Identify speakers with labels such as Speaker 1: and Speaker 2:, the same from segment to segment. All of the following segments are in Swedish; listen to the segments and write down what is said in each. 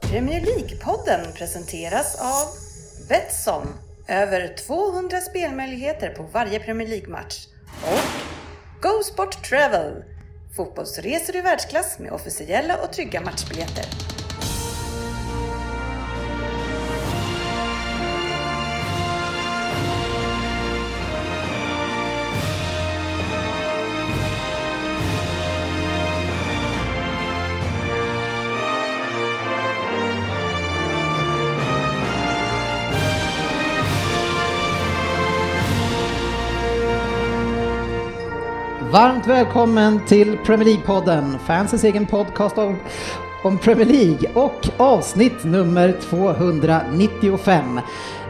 Speaker 1: Premier League-podden presenteras av Betsson. Över 200 spelmöjligheter på varje Premier League-match. Och Go Sport Travel. Fotbollsresor i världsklass med officiella och trygga matchbiljetter.
Speaker 2: Varmt välkommen till Premier League-podden, fansens egen podcast om, om Premier League och avsnitt nummer 295.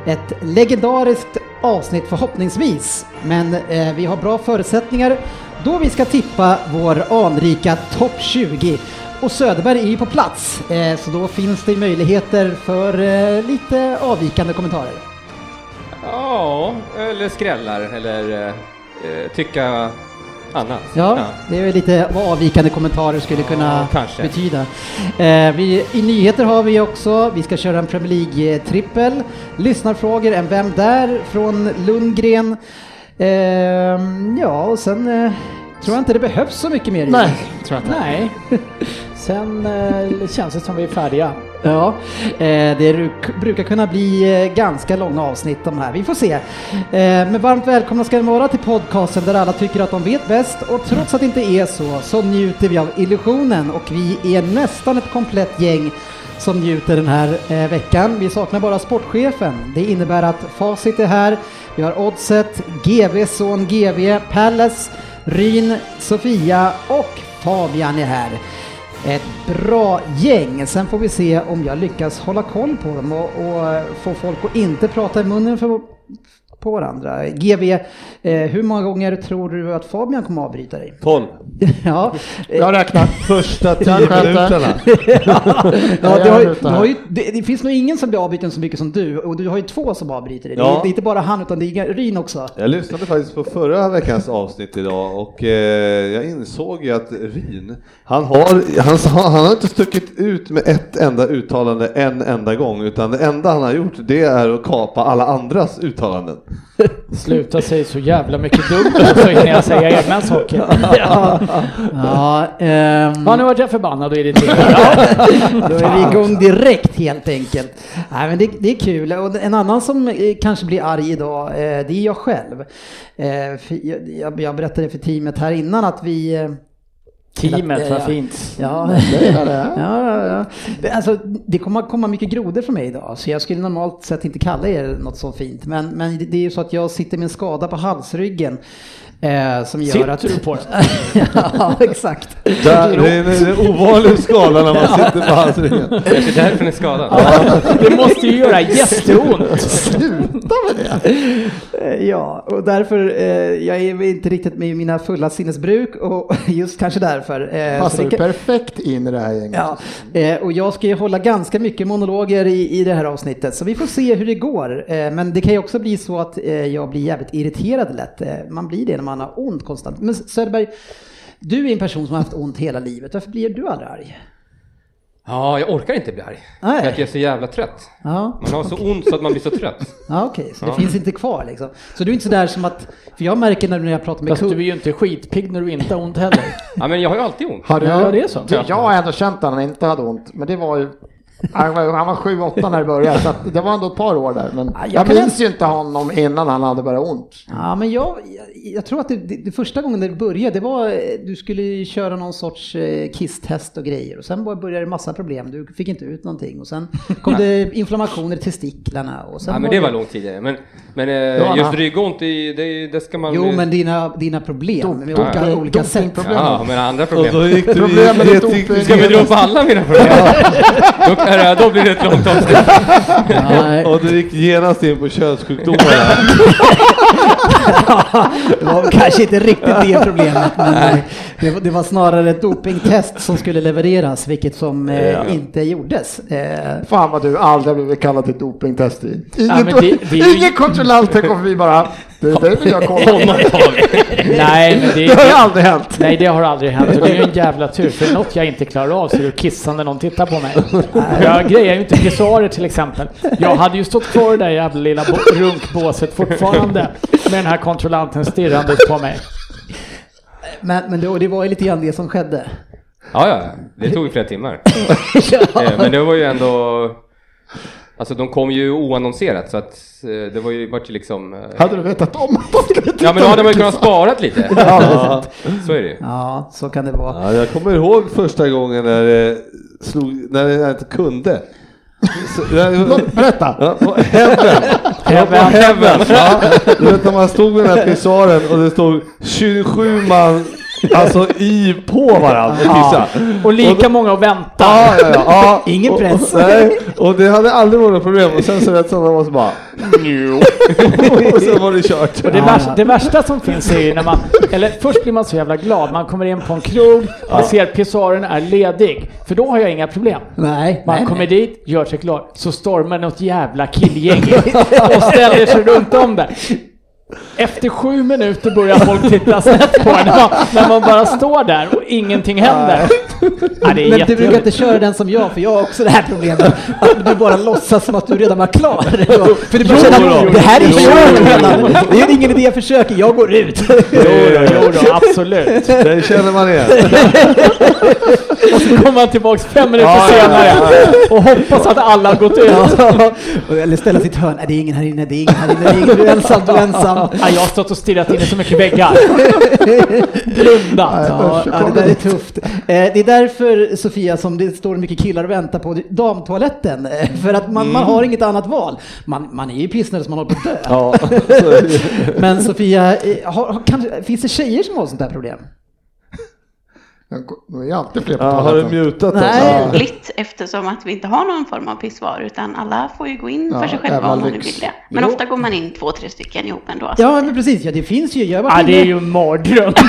Speaker 2: Ett legendariskt avsnitt förhoppningsvis, men eh, vi har bra förutsättningar då vi ska tippa vår anrika topp 20. Och Söderberg är ju på plats, eh, så då finns det möjligheter för eh, lite avvikande kommentarer.
Speaker 3: Ja, eller skrällar eller eh, eh, tycka annat.
Speaker 2: Ja, det är väl lite vad avvikande kommentarer skulle kunna
Speaker 3: kanske.
Speaker 2: betyda. Eh, vi, I nyheter har vi också, vi ska köra en Premier League-trippel, lyssnarfrågor, en Vem där? från Lundgren. Ehm, ja, och sen eh, tror jag inte det behövs så mycket mer.
Speaker 4: Nej,
Speaker 2: tror jag
Speaker 4: Nej. Sen eh, känns det som vi är färdiga.
Speaker 2: Ja, eh, det ru- brukar kunna bli eh, ganska långa avsnitt de här. Vi får se. Eh, Men varmt välkomna ska ni vara till podcasten där alla tycker att de vet bäst och trots att det inte är så så njuter vi av illusionen och vi är nästan ett komplett gäng som njuter den här eh, veckan. Vi saknar bara sportchefen. Det innebär att Facit är här. Vi har Oddset, GV son GV, Palace, Ryn, Sofia och Fabian är här. Ett bra gäng. Sen får vi se om jag lyckas hålla koll på dem och, och eh, få folk att inte prata i munnen för, på varandra. GV, eh, hur många gånger tror du att Fabian kommer att avbryta dig?
Speaker 3: 12.
Speaker 2: ja, eh,
Speaker 5: Jag räknar. Första tio
Speaker 4: Jag skämtar.
Speaker 5: minuterna.
Speaker 2: ja
Speaker 4: jag
Speaker 2: du har, ju-
Speaker 4: är ute
Speaker 2: du
Speaker 4: här.
Speaker 2: har ju, det, det finns nog ingen som blir avbruten så mycket som du och du har ju två som avbryter dig. Det,
Speaker 5: Ja.
Speaker 2: är, det är inte bara han utan det är Ryn också.
Speaker 5: Jag lyssnade faktiskt på förra veckans avsnitt idag och eh, jag insåg ju att Ryn, han har, han, sa- han har inte stuckit ut med ett enda uttalande en enda gång, utan det enda han har gjort det är att kapa alla andras uttalanden.
Speaker 4: Sluta säga så jävla mycket dumt och så hinner jag säga egna saker. Ja.
Speaker 2: Ja, ehm.
Speaker 4: Ja, nu vart jag förbannad och irriterad.
Speaker 2: Då är vi igång direkt helt enkelt. Nej, men det, det är kul. Och en annan som eh, kanske blir arg idag, eh, det är jag själv. Eh, för jag- jag, jag berättade för teamet här innan att vi... eh,
Speaker 4: Teamet, vad fint.
Speaker 2: Ja, ja, ja, ja. Det- Alltså, det kommer att komma mycket grodor från mig idag, så jag skulle normalt sett inte kalla er något så fint. Men, men det- det är ju så att jag sitter med en skada på halsryggen. Eh, som gör
Speaker 4: Sitter
Speaker 2: att...
Speaker 4: du på den?
Speaker 2: ja, exakt.
Speaker 5: Där, det är en- en ovanlig skala när man sitter på hans rygg.
Speaker 3: Kanske därför den är skadad.
Speaker 4: Det måste ju göra jätteont.
Speaker 2: Sluta med det! Eh, Ja, och därför, eh, jag är inte riktigt med i mina fulla sinnesbruk och just kanske därför. eh, så
Speaker 6: Passar
Speaker 2: det
Speaker 6: du
Speaker 2: kan-
Speaker 6: perfekt in i det här gänget?
Speaker 2: Ja, eh, och jag ska ju hålla ganska mycket monologer i, i det här avsnittet, så vi får se hur det går. Eh, Men det kan ju också bli så att eh, jag blir jävligt irriterad lätt. Eh, Man blir det när man har ont konstant. Men Söderberg, du är en person som har haft ont hela livet. Varför blir du aldrig arg?
Speaker 3: Ja, jag orkar inte bli arg.
Speaker 2: Nej.
Speaker 3: För att jag är så jävla trött.
Speaker 2: Ja,
Speaker 3: Man har så ont så att man blir så trött.
Speaker 2: ja okej, så det finns inte kvar liksom. Så du är inte sådär som att, för jag märker när jag pratar med
Speaker 4: Fast du är
Speaker 2: kunder.
Speaker 4: ju inte skitpigg när du inte har ont heller.
Speaker 3: Ja, men jag har ju alltid ont.
Speaker 6: Har du,
Speaker 4: Ja, det är så.
Speaker 6: Du, jag har ändå känt att han inte hade ont, men det var ju... Han var, han var 7-8 när det började, så att det var ändå ett par år där. Men
Speaker 2: jag
Speaker 6: jag
Speaker 2: kan-
Speaker 6: minns ju inte honom innan han hade börjat ont.
Speaker 2: Ja, men jag, jag, jag tror att det, det, det första gången det började, det var eh, du skulle ju köra någon sorts eh, kisstest och grejer och sen bara började det massa problem. Du fick inte ut någonting och sen kom det inflammationer till testiklarna och sen
Speaker 3: Ja, men det var långt tidigare. Men, men eh,
Speaker 6: Ja,
Speaker 3: just
Speaker 6: na.
Speaker 3: ryggont, det, det, det ska man...
Speaker 2: Jo, men dina, dina problem med olika,
Speaker 6: doping-
Speaker 2: olika sätt.
Speaker 6: dopingproblem.
Speaker 3: Ja, men andra
Speaker 5: Och
Speaker 3: problem.
Speaker 5: då gick du i
Speaker 6: Problemet är doping.
Speaker 5: geting...
Speaker 3: Ska vi dra upp alla mina problem? då, kan jag- då blir det ett långt avsnitt.
Speaker 2: Ja,
Speaker 5: Och du gick genast in på könssjukdomarna.
Speaker 2: det var kanske inte riktigt det problemet, men det var, det var snarare ett dopingtest som skulle levereras, vilket som eh, inte gjordes. Eh,
Speaker 6: Fan vad du aldrig har blivit kallad till dopingtest i.
Speaker 4: men
Speaker 6: Ingen,
Speaker 4: det- det är ju-
Speaker 6: ingen kontrollant har kommit förbi bara, det där vill jag kolla.
Speaker 3: Honom tag.
Speaker 4: Nej, men det,
Speaker 6: Det har ju aldrig hänt.
Speaker 4: Nej, det har aldrig hänt och det är ju en jävla tur. För det är något jag inte klarar av så är det att kissa när någon tittar på mig. Jag grejar ju inte pissoarer till exempel. Jag hade ju stått kvar i det där jävla lilla bo- runkbåset fortfarande med den här kontrollanten stirrandes på mig.
Speaker 2: men men det, och det var ju lite grann det som skedde.
Speaker 3: Ja, ja, det tog ju flera timmar. Eh, Men det var ju ändå... Alltså de kom ju oannonserat så att eh, det var ju, vart ju liksom... eh,
Speaker 6: Hade du vetat om att de skulle titta
Speaker 3: Ja men då hade man ju
Speaker 6: på
Speaker 3: kunnat
Speaker 6: det?
Speaker 3: sparat lite. Så är det ju.
Speaker 2: Ja, så kan det vara.
Speaker 5: Ja, jag kommer ihåg första gången när, det slog, när jag inte kunde. Så, jag,
Speaker 6: Berätta!
Speaker 5: Ja, på heaven. Ja, på heaven. Ja, du vet när man stod vid den här pissoaren och det stod 27 man alltså i på varandra typ och kissa.
Speaker 4: Och lika många och vänta.
Speaker 5: Ja, ja, ja, ja.
Speaker 2: Ingen
Speaker 5: Och-
Speaker 2: press.
Speaker 5: Och, nej, och det hade aldrig varit något problem och sen så rätt som det var så bara och sen var det kört.
Speaker 4: Och det, värsta, det värsta som finns är ju när man, eller först blir man så jävla glad, man kommer in på en krog, man ser pissoaren är ledig, för då har jag inga problem.
Speaker 2: Nej,
Speaker 4: Man
Speaker 2: nej,
Speaker 4: kommer
Speaker 2: nej.
Speaker 4: dit, gör sig klar, så stormar något jävla killgäng in och ställer sig runt om där. Efter sju minuter börjar folk titta snett på en när man, när man bara står där och ingenting händer. Ja, det är
Speaker 2: Men du brukar
Speaker 4: jättejobbigt.
Speaker 2: inte köra den som jag, för jag har också det här problemet. Att du bara låtsas som att du redan var klar. För du bara känner
Speaker 4: då.
Speaker 2: att det här är
Speaker 4: Jo,
Speaker 2: inte
Speaker 4: jo,
Speaker 2: jag redan.
Speaker 4: jo.
Speaker 2: Det är ingen idé jag försöker, jag går ut.
Speaker 4: Jo, då, jo, då, absolut.
Speaker 5: Det känner man igen.
Speaker 4: Och så kommer man tillbaks fem minuter
Speaker 5: Ja, ja, ja,
Speaker 4: senare och hoppas att alla har gått ut.
Speaker 2: Ja. Eller ställa sitt hörn. Nej, det är ingen här inne, det är ingen här inne, det är ingen. Du är ensam, du är ensam.
Speaker 4: Ja, jag har stått och stirrat in i så mycket väggar. Blundat.
Speaker 2: Ja, ja, det där är tufft. Eh, Det är därför, Sofia, som det står mycket killar och väntar på damtoaletten. Eh, För att man,
Speaker 4: Mm.
Speaker 2: man har inget annat val. Man, man är ju pissnödig som man håller på att dö.
Speaker 5: Ja, så är det.
Speaker 2: Men Sofia, eh, har, har, kan, finns det tjejer som har sånt där problem?
Speaker 6: Det är ju alltid fler på
Speaker 5: ja, har du
Speaker 6: toaletten.
Speaker 5: mutat oss?
Speaker 2: Nej.
Speaker 5: Ja.
Speaker 7: Lagligt eftersom att vi inte har någon form av pissvar utan alla får ju gå in
Speaker 6: Ja,
Speaker 7: för sig själva
Speaker 6: jävla
Speaker 7: om de nu
Speaker 6: lyx.
Speaker 7: vill det. Men
Speaker 2: Jo.
Speaker 7: ofta går man in två, tre stycken ihop ändå. Alltså.
Speaker 2: Ja, men precis. Ja, det finns ju. Jag
Speaker 4: Ja,
Speaker 2: var
Speaker 4: det är
Speaker 2: inne,
Speaker 4: ju en mardröm.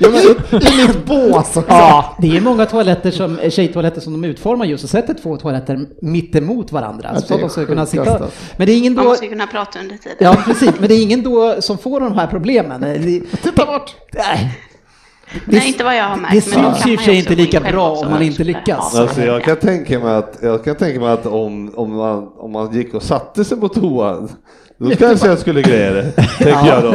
Speaker 6: Ja, men I mitt bås också!
Speaker 4: Ja.
Speaker 2: det är många toaletter som, eh, tjejtoaletter som de utformar just och sätter två toaletter mittemot varandra. så
Speaker 6: Ja,
Speaker 2: att
Speaker 6: det är
Speaker 2: de ska kunna
Speaker 6: sjukaste.
Speaker 2: sitta. Men det är ingen
Speaker 7: Man
Speaker 2: då...
Speaker 7: måste ju kunna prata under tiden.
Speaker 2: Ja, precis. Men det är ingen då som får de här problemen. Eh, det-
Speaker 6: Titta bort!
Speaker 2: Nej.
Speaker 7: Nej, inte vad jag har märkt.
Speaker 2: Det
Speaker 7: men då
Speaker 2: syns
Speaker 7: kan
Speaker 2: i och
Speaker 7: man
Speaker 2: för sig
Speaker 7: ju
Speaker 2: inte
Speaker 7: också gå in
Speaker 2: lika
Speaker 7: själv
Speaker 2: bra
Speaker 7: också.
Speaker 2: om man inte lyckas.
Speaker 7: Ja,
Speaker 5: Alltså jag kan tänka mig att, jag kan tänka mig att om, om, man, om man gick och satte sig på toan, då kanske jag skulle greja det. Tänker jag då.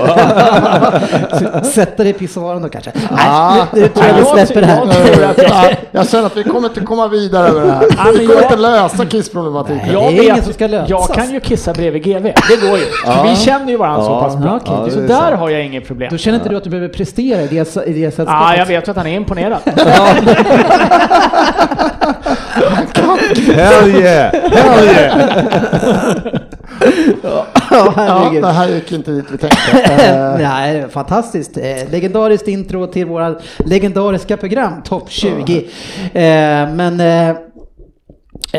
Speaker 2: Sätta dig i pissoaren då kanske.
Speaker 6: Ah.
Speaker 2: Nej, nu, nu tror jag vi
Speaker 4: Jag
Speaker 2: släpper det
Speaker 4: tror-
Speaker 2: här.
Speaker 6: Ja, jag känner att vi kommer inte komma vidare med det här. Vi kommer inte lösa kissproblematiken.
Speaker 2: Nej.
Speaker 4: Jag
Speaker 2: Det är ingen
Speaker 4: vet-
Speaker 2: som ska lösas.
Speaker 4: Jag kan ju kissa bredvid GV. Det går ju. Vi känner ju varandra så
Speaker 5: Ja.
Speaker 4: pass bra.
Speaker 5: Ja, okej,
Speaker 4: så
Speaker 5: det är
Speaker 4: där
Speaker 5: sant.
Speaker 4: har jag inget problem.
Speaker 2: Då känner inte du att du behöver prestera i det, i det sällskapet?
Speaker 4: Ja, jag vet ju att han är imponerad.
Speaker 5: Hell Oh, yeah! Hell yeah!
Speaker 2: Ja,
Speaker 6: Ja,
Speaker 2: herregud.
Speaker 6: det här gick inte dit vi tänkte. Eh,
Speaker 2: Nej, fantastiskt. Eh, Legendariskt intro till våra legendariska program, Topp 20. Eh, Men eh,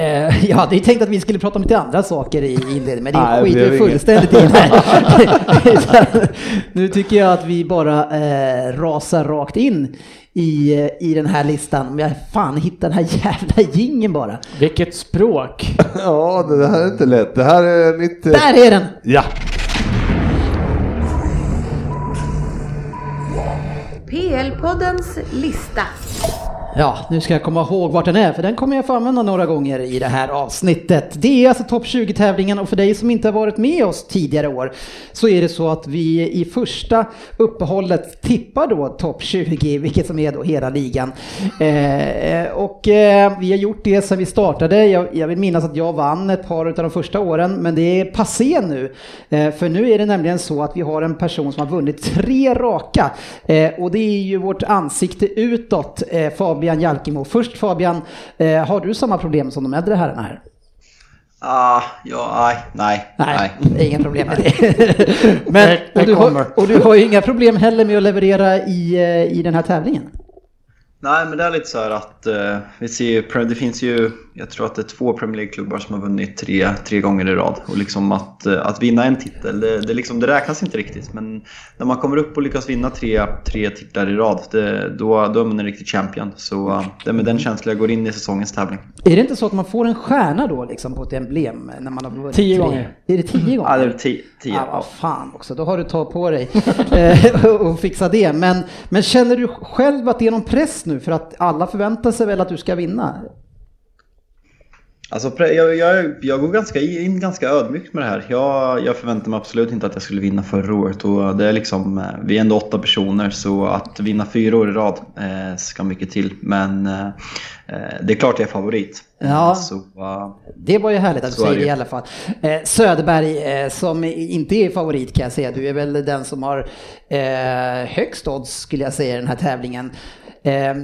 Speaker 2: eh, jag hade ju tänkt att vi skulle prata om lite andra saker i inledningen, men
Speaker 5: Nej,
Speaker 2: det
Speaker 5: det
Speaker 2: skiter
Speaker 5: blev
Speaker 2: ju
Speaker 5: inget.
Speaker 2: fullständigt i här. Utan Nu tycker jag att vi bara eh, rasar rakt in i, eh, i den här listan. Om jag fan hittar den här jävla gingen bara.
Speaker 4: Vilket språk.
Speaker 5: Ja, det här är inte lätt. Det här är mitt... eh,
Speaker 2: Där är den!
Speaker 5: Ja!
Speaker 1: PL-poddens lista.
Speaker 2: Ja, nu ska jag komma ihåg vart den är, för den kommer jag få använda några gånger i det här avsnittet. Det är alltså topp 20-tävlingen och för dig som inte har varit med oss tidigare år så är det så att vi i första uppehållet tippar då topp 20, vilket som är då hela ligan. Eh, och eh, vi har gjort det sedan vi startade. Jag, jag vill minnas att jag vann ett par av de första åren, men det är passé nu. Eh, för nu är det nämligen så att vi har en person som har vunnit tre raka eh, och det är ju vårt ansikte utåt, eh, Fabian Jalkemo. Först Fabian, eh, har du samma problem som de äldre herrarna här?
Speaker 8: Ah, ja, nej, nej,
Speaker 2: Nej,
Speaker 8: nej.
Speaker 2: inga problem med det. Men,
Speaker 6: det
Speaker 2: och, du har,
Speaker 6: kommer.
Speaker 2: och du har ju inga problem heller med att leverera i, eh, i den här tävlingen.
Speaker 8: Nej, men det är lite så här att eh, vi ser ju, Pre- det finns ju, jag tror att det är två Premier League-klubbar som har vunnit tre, tre gånger i rad. Och liksom att, eh, att vinna en titel, det, det, liksom, det räknas inte riktigt. Men när man kommer upp och lyckas vinna tre, tre titlar i rad, det, då, då är man en riktig champion. Så eh, det är med den känslan jag går in i säsongens tävling.
Speaker 2: Är det inte så att man får en stjärna då liksom på ett emblem när man har vunnit?
Speaker 4: Tio
Speaker 2: tre?
Speaker 4: gånger.
Speaker 2: Är det tio gånger?
Speaker 8: Ja, det är tio. tio.
Speaker 2: Ja, vad fan också, då har du tagit på dig eh, och- och fixa det. Men, men känner du själv att det är någon press nu för att alla förväntar sig väl att du ska vinna?
Speaker 8: Alltså, pre- jag, jag, jag går ganska i- in ganska ödmjukt med det här. Jag, jag förväntar mig absolut inte att jag skulle vinna förra året. Och det är liksom, eh, vi är ändå åtta personer så att vinna fyra år i rad eh, ska mycket till. Men eh, eh, det är klart jag är favorit.
Speaker 2: Ja.
Speaker 8: Eh, Så, eh,
Speaker 2: Det var ju härligt att du
Speaker 8: Så är
Speaker 2: säger
Speaker 8: det
Speaker 2: det
Speaker 8: ju.
Speaker 2: i alla fall. Eh, Söderberg eh, som inte är favorit kan jag säga, du är väl den som har eh, högst odds skulle jag säga i den här tävlingen. Eh,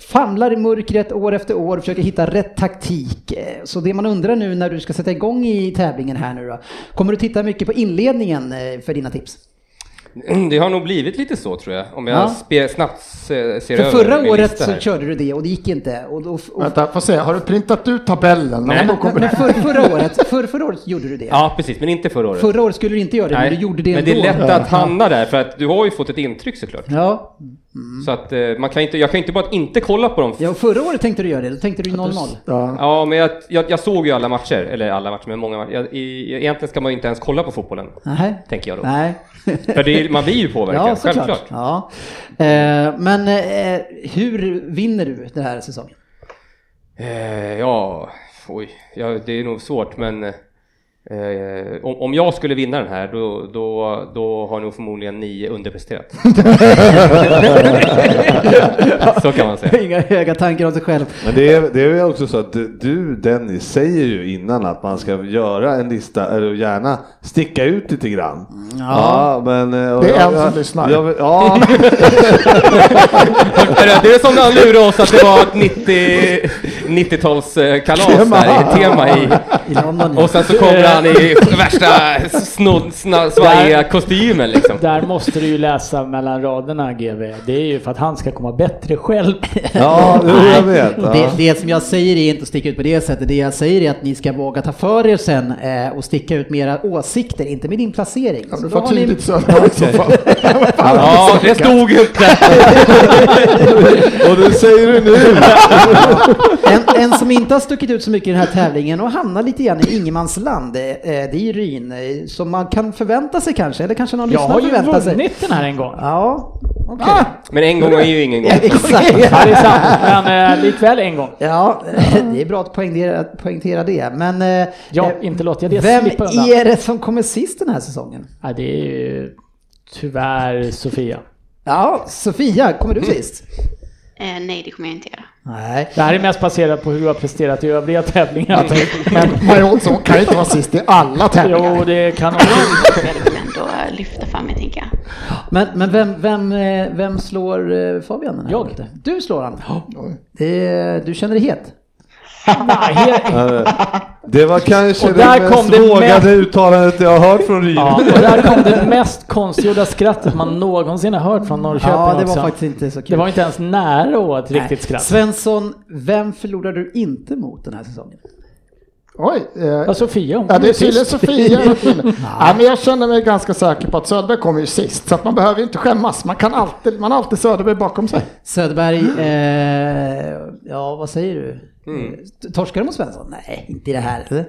Speaker 2: famlar i mörkret år efter år, försöker hitta rätt taktik. Eh, Så det man undrar nu när du ska sätta igång i tävlingen här nu då, kommer du titta mycket på inledningen eh, för dina tips?
Speaker 3: Det har nog blivit lite så tror jag, om jag
Speaker 2: Ja.
Speaker 3: spe, snabbt se- ser
Speaker 2: För
Speaker 3: över
Speaker 2: förra
Speaker 3: min
Speaker 2: året
Speaker 3: lista
Speaker 2: så
Speaker 3: här.
Speaker 2: körde du det och det gick inte. Och, då- och,
Speaker 6: Vänta, får se. Har du printat ut tabellen?
Speaker 3: Nej.
Speaker 6: När man kommer-
Speaker 2: men för, förra, året, för, förra året gjorde du det.
Speaker 3: Ja, precis, men inte förra året.
Speaker 2: Förra året skulle du inte göra det,
Speaker 3: Nej,
Speaker 2: men du gjorde det
Speaker 3: men det
Speaker 2: ändå.
Speaker 3: är lätt att hamna där, för att du har ju fått ett intryck såklart.
Speaker 2: Ja,
Speaker 3: Så att eh, man kan inte, jag kan inte bara inte kolla på dem.
Speaker 2: Ja, och förra året tänkte du göra det, då tänkte du 0-0.
Speaker 6: Ja.
Speaker 3: Ja, men jag, jag, jag såg ju alla matcher, eller alla matcher, men många matcher. Jag, i, egentligen ska man ju inte ens kolla på fotbollen,
Speaker 2: Nej.
Speaker 3: tänker jag då.
Speaker 2: Nej.
Speaker 3: För det, är- man blir ju påverkad,
Speaker 2: ja,
Speaker 3: självklart.
Speaker 2: såklart. Ja. Eh, men eh, hur vinner du den här säsongen?
Speaker 3: Eh, ja, oj, ja, det är nog svårt, men eh, om, om jag skulle vinna den här, då, då, då har nog förmodligen ni underpresterat. så kan man säga.
Speaker 2: Inga höga tankar om sig själv.
Speaker 5: Men det är, det är ju också så att du Dennis säger ju innan att man ska göra en lista, eller gärna sticka ut lite grann. Ja, men... Det
Speaker 6: är en som lyssnar.
Speaker 5: Jag, ja,
Speaker 3: Eller, Det är som när han lurade oss att det var ett 90 90-talskalas där, i tema i...
Speaker 2: I London.
Speaker 3: Och sen så kommer han i värsta snodd, sna, svajiga kostymen liksom.
Speaker 4: Där måste du ju läsa mellan raderna GV. Det är ju för att han ska komma bättre själv.
Speaker 5: ja jo, jag vet.
Speaker 2: Och
Speaker 5: Ja.
Speaker 2: Det, det som jag säger är inte att sticka ut på det sättet. Det jag säger är att ni ska våga ta för er sen eh, och sticka ut med era åsikter, inte med din placering.
Speaker 6: Ja,
Speaker 2: Så
Speaker 6: Du
Speaker 2: då
Speaker 6: får
Speaker 2: har ni-
Speaker 6: tydligt Söderberg i så fall.
Speaker 3: Ja, det stod inte.
Speaker 5: Och det säger du nu!
Speaker 2: En, en som inte har stuckit ut så mycket i den här tävlingen och hamnar lite grann i ingenmansland, eh, eh, det är ju Ryn. eh, Som man kan förvänta sig kanske, eller kanske någon
Speaker 4: Jag har
Speaker 2: lyssnare
Speaker 4: ju
Speaker 2: förväntar sig.
Speaker 4: vunnit den här en gång. Ah!
Speaker 2: Ja, okej.
Speaker 3: Men en gång är ju ingen gång.
Speaker 4: Ja, det
Speaker 2: Exakt.
Speaker 4: är sant. Men eh, likväl en gång.
Speaker 2: Ja, eh, det är bra att poängtera, att poängtera det. Men eh,
Speaker 4: Ja,
Speaker 2: eh,
Speaker 4: inte låter jag det
Speaker 2: vem
Speaker 4: slippa undan.
Speaker 2: är det som kommer sist den här säsongen?
Speaker 4: Ja, det är ju tyvärr Sofia.
Speaker 2: Ja, Sofia, kommer du sist?
Speaker 7: Eh, nej, det kommer jag inte göra.
Speaker 2: Nej.
Speaker 4: Det här är mest baserat på hur du har presterat i övriga tävlingar.
Speaker 6: Men Maja Olsson kan ju inte vara sist i alla tävlingar.
Speaker 4: Jo, det kan också...
Speaker 7: Jag vill ändå lyfta fram mig, tänker jag.
Speaker 2: Men, men vem, vem, eh, vem slår eh, Fabian den här
Speaker 4: Jag.
Speaker 2: gången? Du slår han. Det, du känner dig het?
Speaker 4: Nej, he-
Speaker 5: Det var kanske
Speaker 4: Och
Speaker 5: det
Speaker 4: där kom
Speaker 5: mest
Speaker 4: det
Speaker 5: vågade
Speaker 4: mest-
Speaker 5: uttalandet jag har hört från Ryn.
Speaker 4: ja, och där kom det mest konstgjorda skrattet man någonsin har hört från Norrköping
Speaker 2: Ja, det var
Speaker 4: också.
Speaker 2: faktiskt inte så kul.
Speaker 4: Det var inte ens nära ett riktigt skratt.
Speaker 2: Svensson, vem förlorar du inte mot den här säsongen?
Speaker 6: Oj. eh,
Speaker 4: Ja, Sofia, hon
Speaker 6: Ja,
Speaker 4: kom
Speaker 6: det är
Speaker 4: ju
Speaker 6: tydligen
Speaker 4: sist.
Speaker 6: Sofia. ja, men jag känner mig ganska säker på att Söderberg kommer ju sist, så att man behöver ju inte skämmas. Man kan alltid, man har alltid Söderberg bakom sig.
Speaker 2: Söderberg, eh, ja vad säger du?
Speaker 4: Mm.
Speaker 2: Eh, Torskar du mot Svensson? Nej, inte i det här. eller?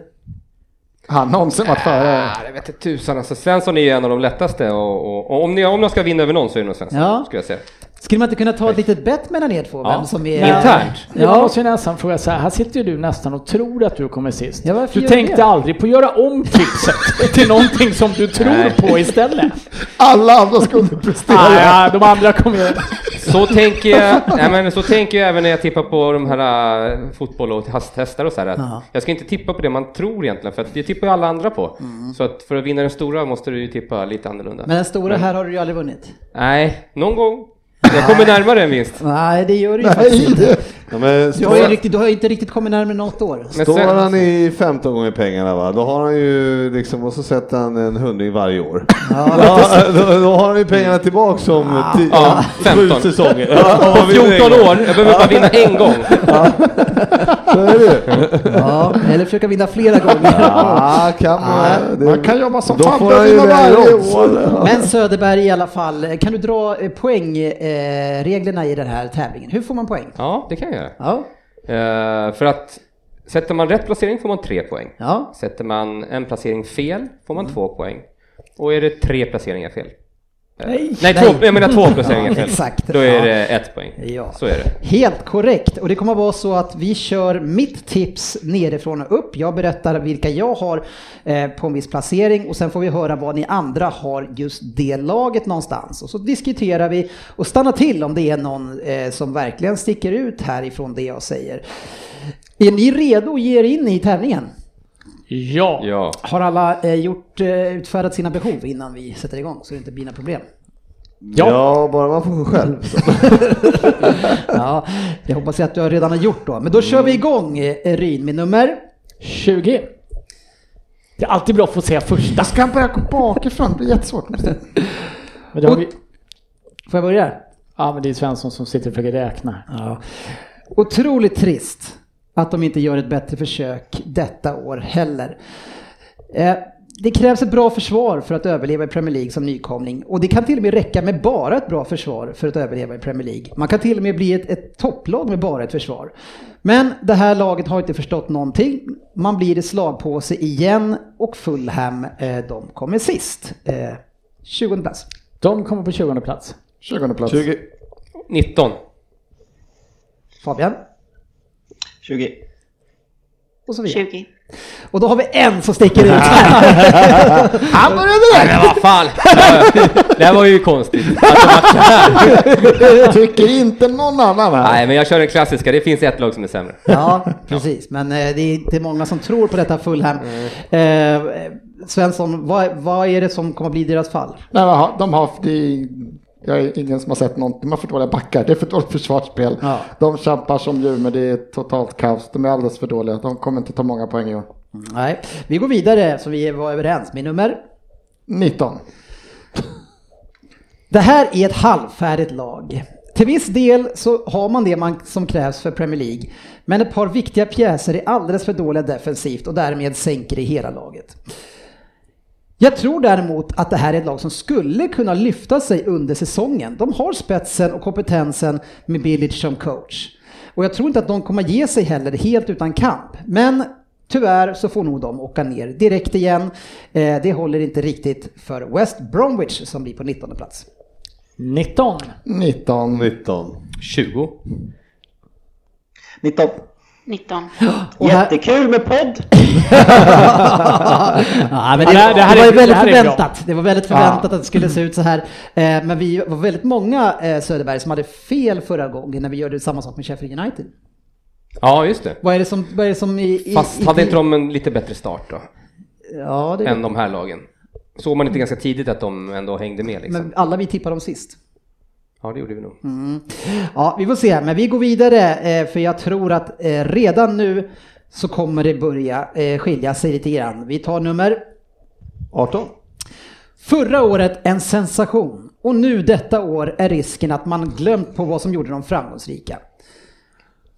Speaker 6: Han har någonsin varit före.
Speaker 3: Ja, det vete tusan alltså. Svensson är ju en av de lättaste och, och, och om, ni, om jag ska vinna över någon så är det nog Svensson,
Speaker 2: Ja.
Speaker 3: skulle jag säga.
Speaker 2: Skulle man inte kunna ta ett litet bett mellan er två? Vem som är...
Speaker 3: Men- Internt.
Speaker 4: Ja. Jag
Speaker 2: Ja.
Speaker 4: måste ju nästan fråga så här, här sitter ju du nästan och tror att du kommer sist.
Speaker 2: Ja, varför
Speaker 4: du
Speaker 2: gör
Speaker 4: tänkte
Speaker 2: det?
Speaker 4: aldrig på att göra om tipset till någonting som du tror
Speaker 3: Nej.
Speaker 4: på istället.
Speaker 6: Alla andra ska underprestera.
Speaker 4: Ah, ja, de andra kommer ju...
Speaker 3: Så tänker jag, nej, men så tänker jag även när jag tippar på de här äh, fotboll och hasthästar och så här.
Speaker 2: Ja.
Speaker 3: Att jag ska inte tippa på det man tror egentligen, för att det tippar ju alla andra på. Så att för att vinna den stora måste du ju tippa lite annorlunda.
Speaker 2: Mm. Men den stora här har du ju aldrig vunnit.
Speaker 3: Nej, någon gång. Jag kommer närmare en vinst.
Speaker 2: Nej, det gör du ju faktiskt inte.
Speaker 5: Ja, men
Speaker 2: Du har, ju
Speaker 5: står,
Speaker 2: riktigt, du har ju inte riktigt kommit närmare något år.
Speaker 3: Men
Speaker 5: står
Speaker 3: sen-
Speaker 5: han i 15 gånger pengarna va, då har han ju liksom, och så sätter han en hundring varje år. Ja, då, då har han ju pengarna tillbaks om tio,
Speaker 3: Ja,
Speaker 5: sju
Speaker 3: 15.
Speaker 5: säsonger.
Speaker 3: Om 14 år, jag behöver bara vinna en gång.
Speaker 5: Så är det ju.
Speaker 2: Ja, eller försöka vinna flera gånger.
Speaker 5: Ja, Ah, kan man.
Speaker 6: Nej,
Speaker 5: det-
Speaker 6: Ah, man kan jobba som
Speaker 5: då
Speaker 6: fan
Speaker 5: får
Speaker 6: för
Speaker 5: han ju
Speaker 6: vinna
Speaker 5: med
Speaker 6: varje
Speaker 5: odds.
Speaker 6: år.
Speaker 2: Men Söderberg i alla fall, kan du dra eh, poängreglerna eh, reglerna i den här tävlingen? Hur får man poäng?
Speaker 3: Ja, det kan jag göra.
Speaker 2: Ja,
Speaker 3: Eh, för att sätter man rätt placering får man tre poäng.
Speaker 2: ja.
Speaker 3: Sätter man en placering fel får man två poäng. Och är det tre placeringar fel? Nej, nej, två, jag menar två placeringar
Speaker 2: Ja,
Speaker 3: fel.
Speaker 2: exakt.
Speaker 3: Då är
Speaker 2: Ja.
Speaker 3: det ett poäng.
Speaker 2: Ja.
Speaker 3: Så är det.
Speaker 2: Helt korrekt. Och det kommer vara så att vi kör mitt tips nerifrån och upp. Jag berättar vilka jag har eh, på en viss placering och sen får vi höra vad ni andra har just det laget någonstans. Och så diskuterar vi och stannar till om det är någon eh, som verkligen sticker ut härifrån det jag säger. Är ni redo att ge er in i tävlingen?
Speaker 4: Ja.
Speaker 3: Ja.
Speaker 2: Har alla eh, gjort, eh, utfärdat sina behov innan vi sätter igång så det inte blir några problem?
Speaker 4: Ja.
Speaker 5: Ja, bara man får sjunga själv. Så.
Speaker 2: Ja, jag hoppas att du redan har gjort då. Men då kör vi igång eh, Ryn med nummer
Speaker 4: 20. Det är alltid bra att få säga första.
Speaker 6: Jag ska börja gå bakifrån, det blir jättesvårt.
Speaker 4: Men det har vi...
Speaker 2: Får jag börja?
Speaker 4: Ja, men det är Svensson som sitter och försöker räkna. här.
Speaker 2: Ja. Otroligt trist att de inte gör ett bättre försök detta år heller. Eh, Det krävs ett bra försvar för att överleva i Premier League som nykomling och det kan till och med räcka med bara ett bra försvar för att överleva i Premier League. Man kan till och med bli ett, ett topplag med bara ett försvar. Men det här laget har inte förstått någonting. Man blir i slagpåse igen och Fulham, eh, de kommer sist. Eh, 20 plats.
Speaker 4: De kommer på 20 plats.
Speaker 6: 20 plats.
Speaker 5: 20.
Speaker 3: 19.
Speaker 2: Fabian
Speaker 8: 20.
Speaker 2: och så vidare.
Speaker 7: 20.
Speaker 2: Och då har vi en som sticker ut här.
Speaker 6: Han började
Speaker 3: Men vad fan! det här var ju konstigt.
Speaker 6: där! Tycker inte någon annan här.
Speaker 3: Nej, men jag kör den klassiska. Det finns ett lag som är sämre.
Speaker 2: Ja, precis. Men eh, det är inte många som tror på detta Fulham.
Speaker 4: Mm.
Speaker 2: Eh, Svensson, vad, vad är det som kommer bli deras fall?
Speaker 6: Nej, men ha- de har... Det är, jag är ingen som har sett någonting. De har för dåliga backar. Det är för dåligt försvarsspel.
Speaker 2: Ja.
Speaker 6: De kämpar som djur, men det är totalt kaos. De är alldeles för dåliga. De kommer inte ta många poäng i år.
Speaker 2: Nej, vi går vidare så vi var överens med nummer.
Speaker 6: 19.
Speaker 2: Det här är ett halvfärdigt lag. Till viss del så har man det man, som krävs för Premier League, men ett par viktiga pjäser är alldeles för dåliga defensivt och därmed sänker det hela laget. Jag tror däremot att det här är ett lag som skulle kunna lyfta sig under säsongen. De har spetsen och kompetensen med Bilic som coach. Och jag tror inte att de kommer ge sig heller helt utan kamp. Men tyvärr så får nog de åka ner direkt igen. Eh, det håller inte riktigt för West Bromwich som blir på 19 plats.
Speaker 4: 19.
Speaker 6: 19.
Speaker 5: 19.
Speaker 3: 20.
Speaker 8: 19.
Speaker 7: 19.
Speaker 2: Och här-
Speaker 8: Jättekul med podd!
Speaker 2: ja, men det,
Speaker 4: Ja, det här- det här
Speaker 2: det var ju
Speaker 4: är- det
Speaker 2: väldigt
Speaker 4: här är
Speaker 2: förväntat. Det var väldigt förväntat att det skulle se ut så här. Eh, Men vi var väldigt många eh, Söderberg som hade fel förra gången när vi gjorde samma sak med Sheffield United.
Speaker 3: Ja, just det.
Speaker 2: Vad är det som, vad är det som i, i,
Speaker 3: Fast
Speaker 2: i,
Speaker 3: hade inte de en lite bättre start då?
Speaker 2: Ja, det
Speaker 3: Än de här lagen? Såg man inte ganska tidigt att de ändå hängde med liksom?
Speaker 2: men alla vi tippade dem sist.
Speaker 3: Ja, det gjorde vi nog.
Speaker 2: Ja, vi får se. Men vi går vidare eh, för jag tror att eh, redan nu så kommer det börja eh, skilja sig lite grann. Vi tar nummer
Speaker 5: 18.
Speaker 2: Förra året en sensation och nu detta år är risken att man glömt på vad som gjorde dem framgångsrika.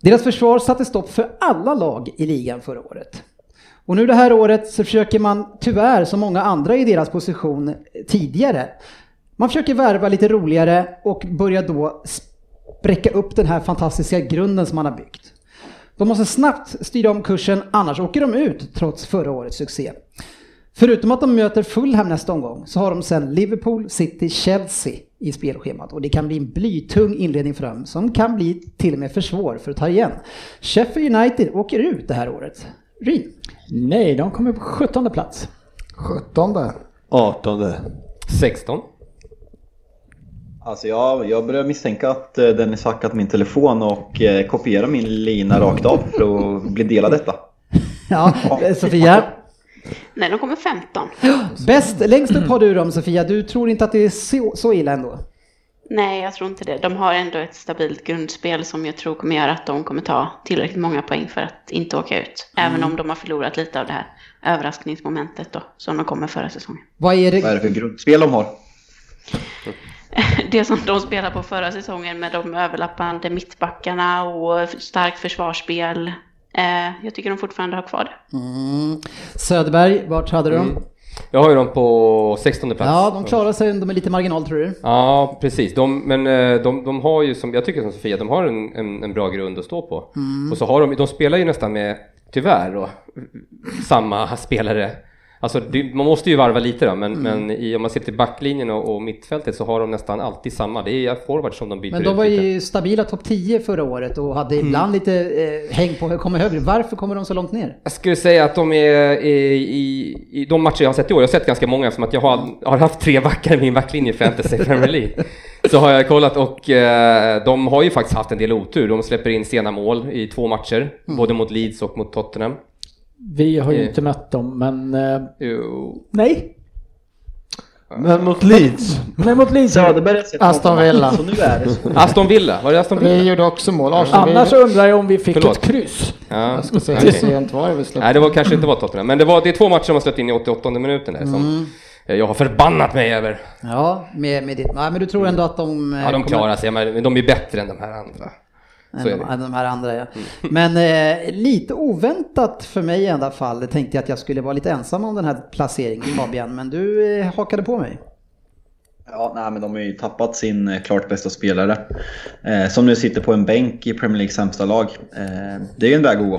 Speaker 2: Deras försvar satte stopp för alla lag i ligan förra året. Och nu det här året så försöker man tyvärr som många andra i deras position eh, tidigare. Man försöker värva lite roligare och börjar då spräcka upp den här fantastiska grunden som man har byggt. De måste snabbt styra om kursen annars åker de ut trots förra årets succé. Förutom att de möter Fulham nästa omgång så har de sen Liverpool, City, Chelsea i spelschemat och det kan bli en blytung inledning för dem som kan bli till och med för svår för att ta igen. Sheffield United åker ut det här året. Ryn.
Speaker 4: Nej, de kommer på 17 plats.
Speaker 6: 17.
Speaker 5: 18.
Speaker 3: 16.
Speaker 8: Alltså jag, jag börjar misstänka att eh, Dennis hackat min telefon och eh, kopierar min lina rakt av för att bli delad detta.
Speaker 2: Ja, eh, Sofia.
Speaker 7: Nej, de kommer 15.
Speaker 2: Bäst, längst upp har du dem Sofia. Du tror inte att det är så, så illa ändå?
Speaker 7: Nej, jag tror inte det. De har ändå ett stabilt grundspel som jag tror kommer göra att de kommer ta tillräckligt många poäng för att inte åka ut.
Speaker 2: Mm.
Speaker 7: Även om de har förlorat lite av det här överraskningsmomentet då, som de kommer förra säsongen.
Speaker 2: Vad är
Speaker 8: Vad är det
Speaker 2: det?
Speaker 8: för grundspel de har?
Speaker 7: Det som de spelade på förra säsongen med de överlappande mittbackarna och starkt försvarsspel. Eh, jag tycker de fortfarande har kvar det.
Speaker 2: Mm. Söderberg, vart hade du
Speaker 3: Mm.
Speaker 2: dem?
Speaker 3: Jag har ju dem på 16 plats.
Speaker 2: Ja, de klarar sig ändå med lite marginal tror du?
Speaker 3: Ja, precis. De, men eh, de, de har ju, som, jag tycker som Sofia, de har en, en, en bra grund att stå på.
Speaker 2: Mm.
Speaker 3: Och så har de, de spelar ju nästan med, tyvärr då, samma spelare. Alltså, det, man måste ju varva lite då,
Speaker 2: Mm.
Speaker 3: men, men i, om man ser till backlinjen och, och mittfältet så har de nästan alltid samma. Det är forwards som de byter
Speaker 2: Men de
Speaker 3: ut
Speaker 2: var
Speaker 3: lite.
Speaker 2: ju stabila topp 10 förra året och hade ibland lite eh, häng på att komma högre. Varför kommer de så långt ner?
Speaker 3: Jag skulle säga att de är i, i, i de matcher jag har sett i år, jag har sett ganska många som att jag har, har haft tre backar i min backlinje i Fantasy Premier League. Så har jag kollat och eh, de har ju faktiskt haft en del otur. De släpper in sena mål i två matcher,
Speaker 4: Mm.
Speaker 3: både mot Leeds och mot Tottenham.
Speaker 4: Vi har ju
Speaker 3: Eh.
Speaker 4: inte mött dem, men... eh,
Speaker 3: Jo.
Speaker 4: Nej!
Speaker 5: Men mot Leeds,
Speaker 4: Nej, mot Leeds.
Speaker 8: Söderberg har sett
Speaker 6: Aston
Speaker 8: något.
Speaker 6: Villa.
Speaker 8: Så nu är det så.
Speaker 3: Aston Villa, var det Aston
Speaker 6: Vi
Speaker 3: Villa?
Speaker 6: gjorde också mål. Arsenal, vi,
Speaker 4: Annars undrar jag om vi fick
Speaker 3: Förlåt.
Speaker 4: ett kryss.
Speaker 3: Ja.
Speaker 6: jag ska säga
Speaker 3: okej.
Speaker 6: hur sent var det vi släppte.
Speaker 3: Nej, det var kanske inte var Tottenham, men det, var, det är två matcher de har släppt in i 88 minuten där som
Speaker 6: Mm.
Speaker 3: eh, jag har förbannat mig över.
Speaker 2: Ja, med, med ditt... Ja, men du tror ändå att de... eh,
Speaker 3: Ja, de
Speaker 2: kommer-
Speaker 3: klarar sig, men de är bättre än de här andra. Så är
Speaker 2: Än
Speaker 3: det.
Speaker 2: de, än de här andra ja. Men eh, lite oväntat för mig i alla fall tänkte jag att jag skulle vara lite ensam om den här placeringen Fabian, men du eh, hakade på mig.
Speaker 8: Ja, nej, men de har ju tappat sin eh, klart bästa spelare. Eh, som nu sitter på en bänk i Premier Leagues sämsta lag. Eh, det är ju en väg att gå.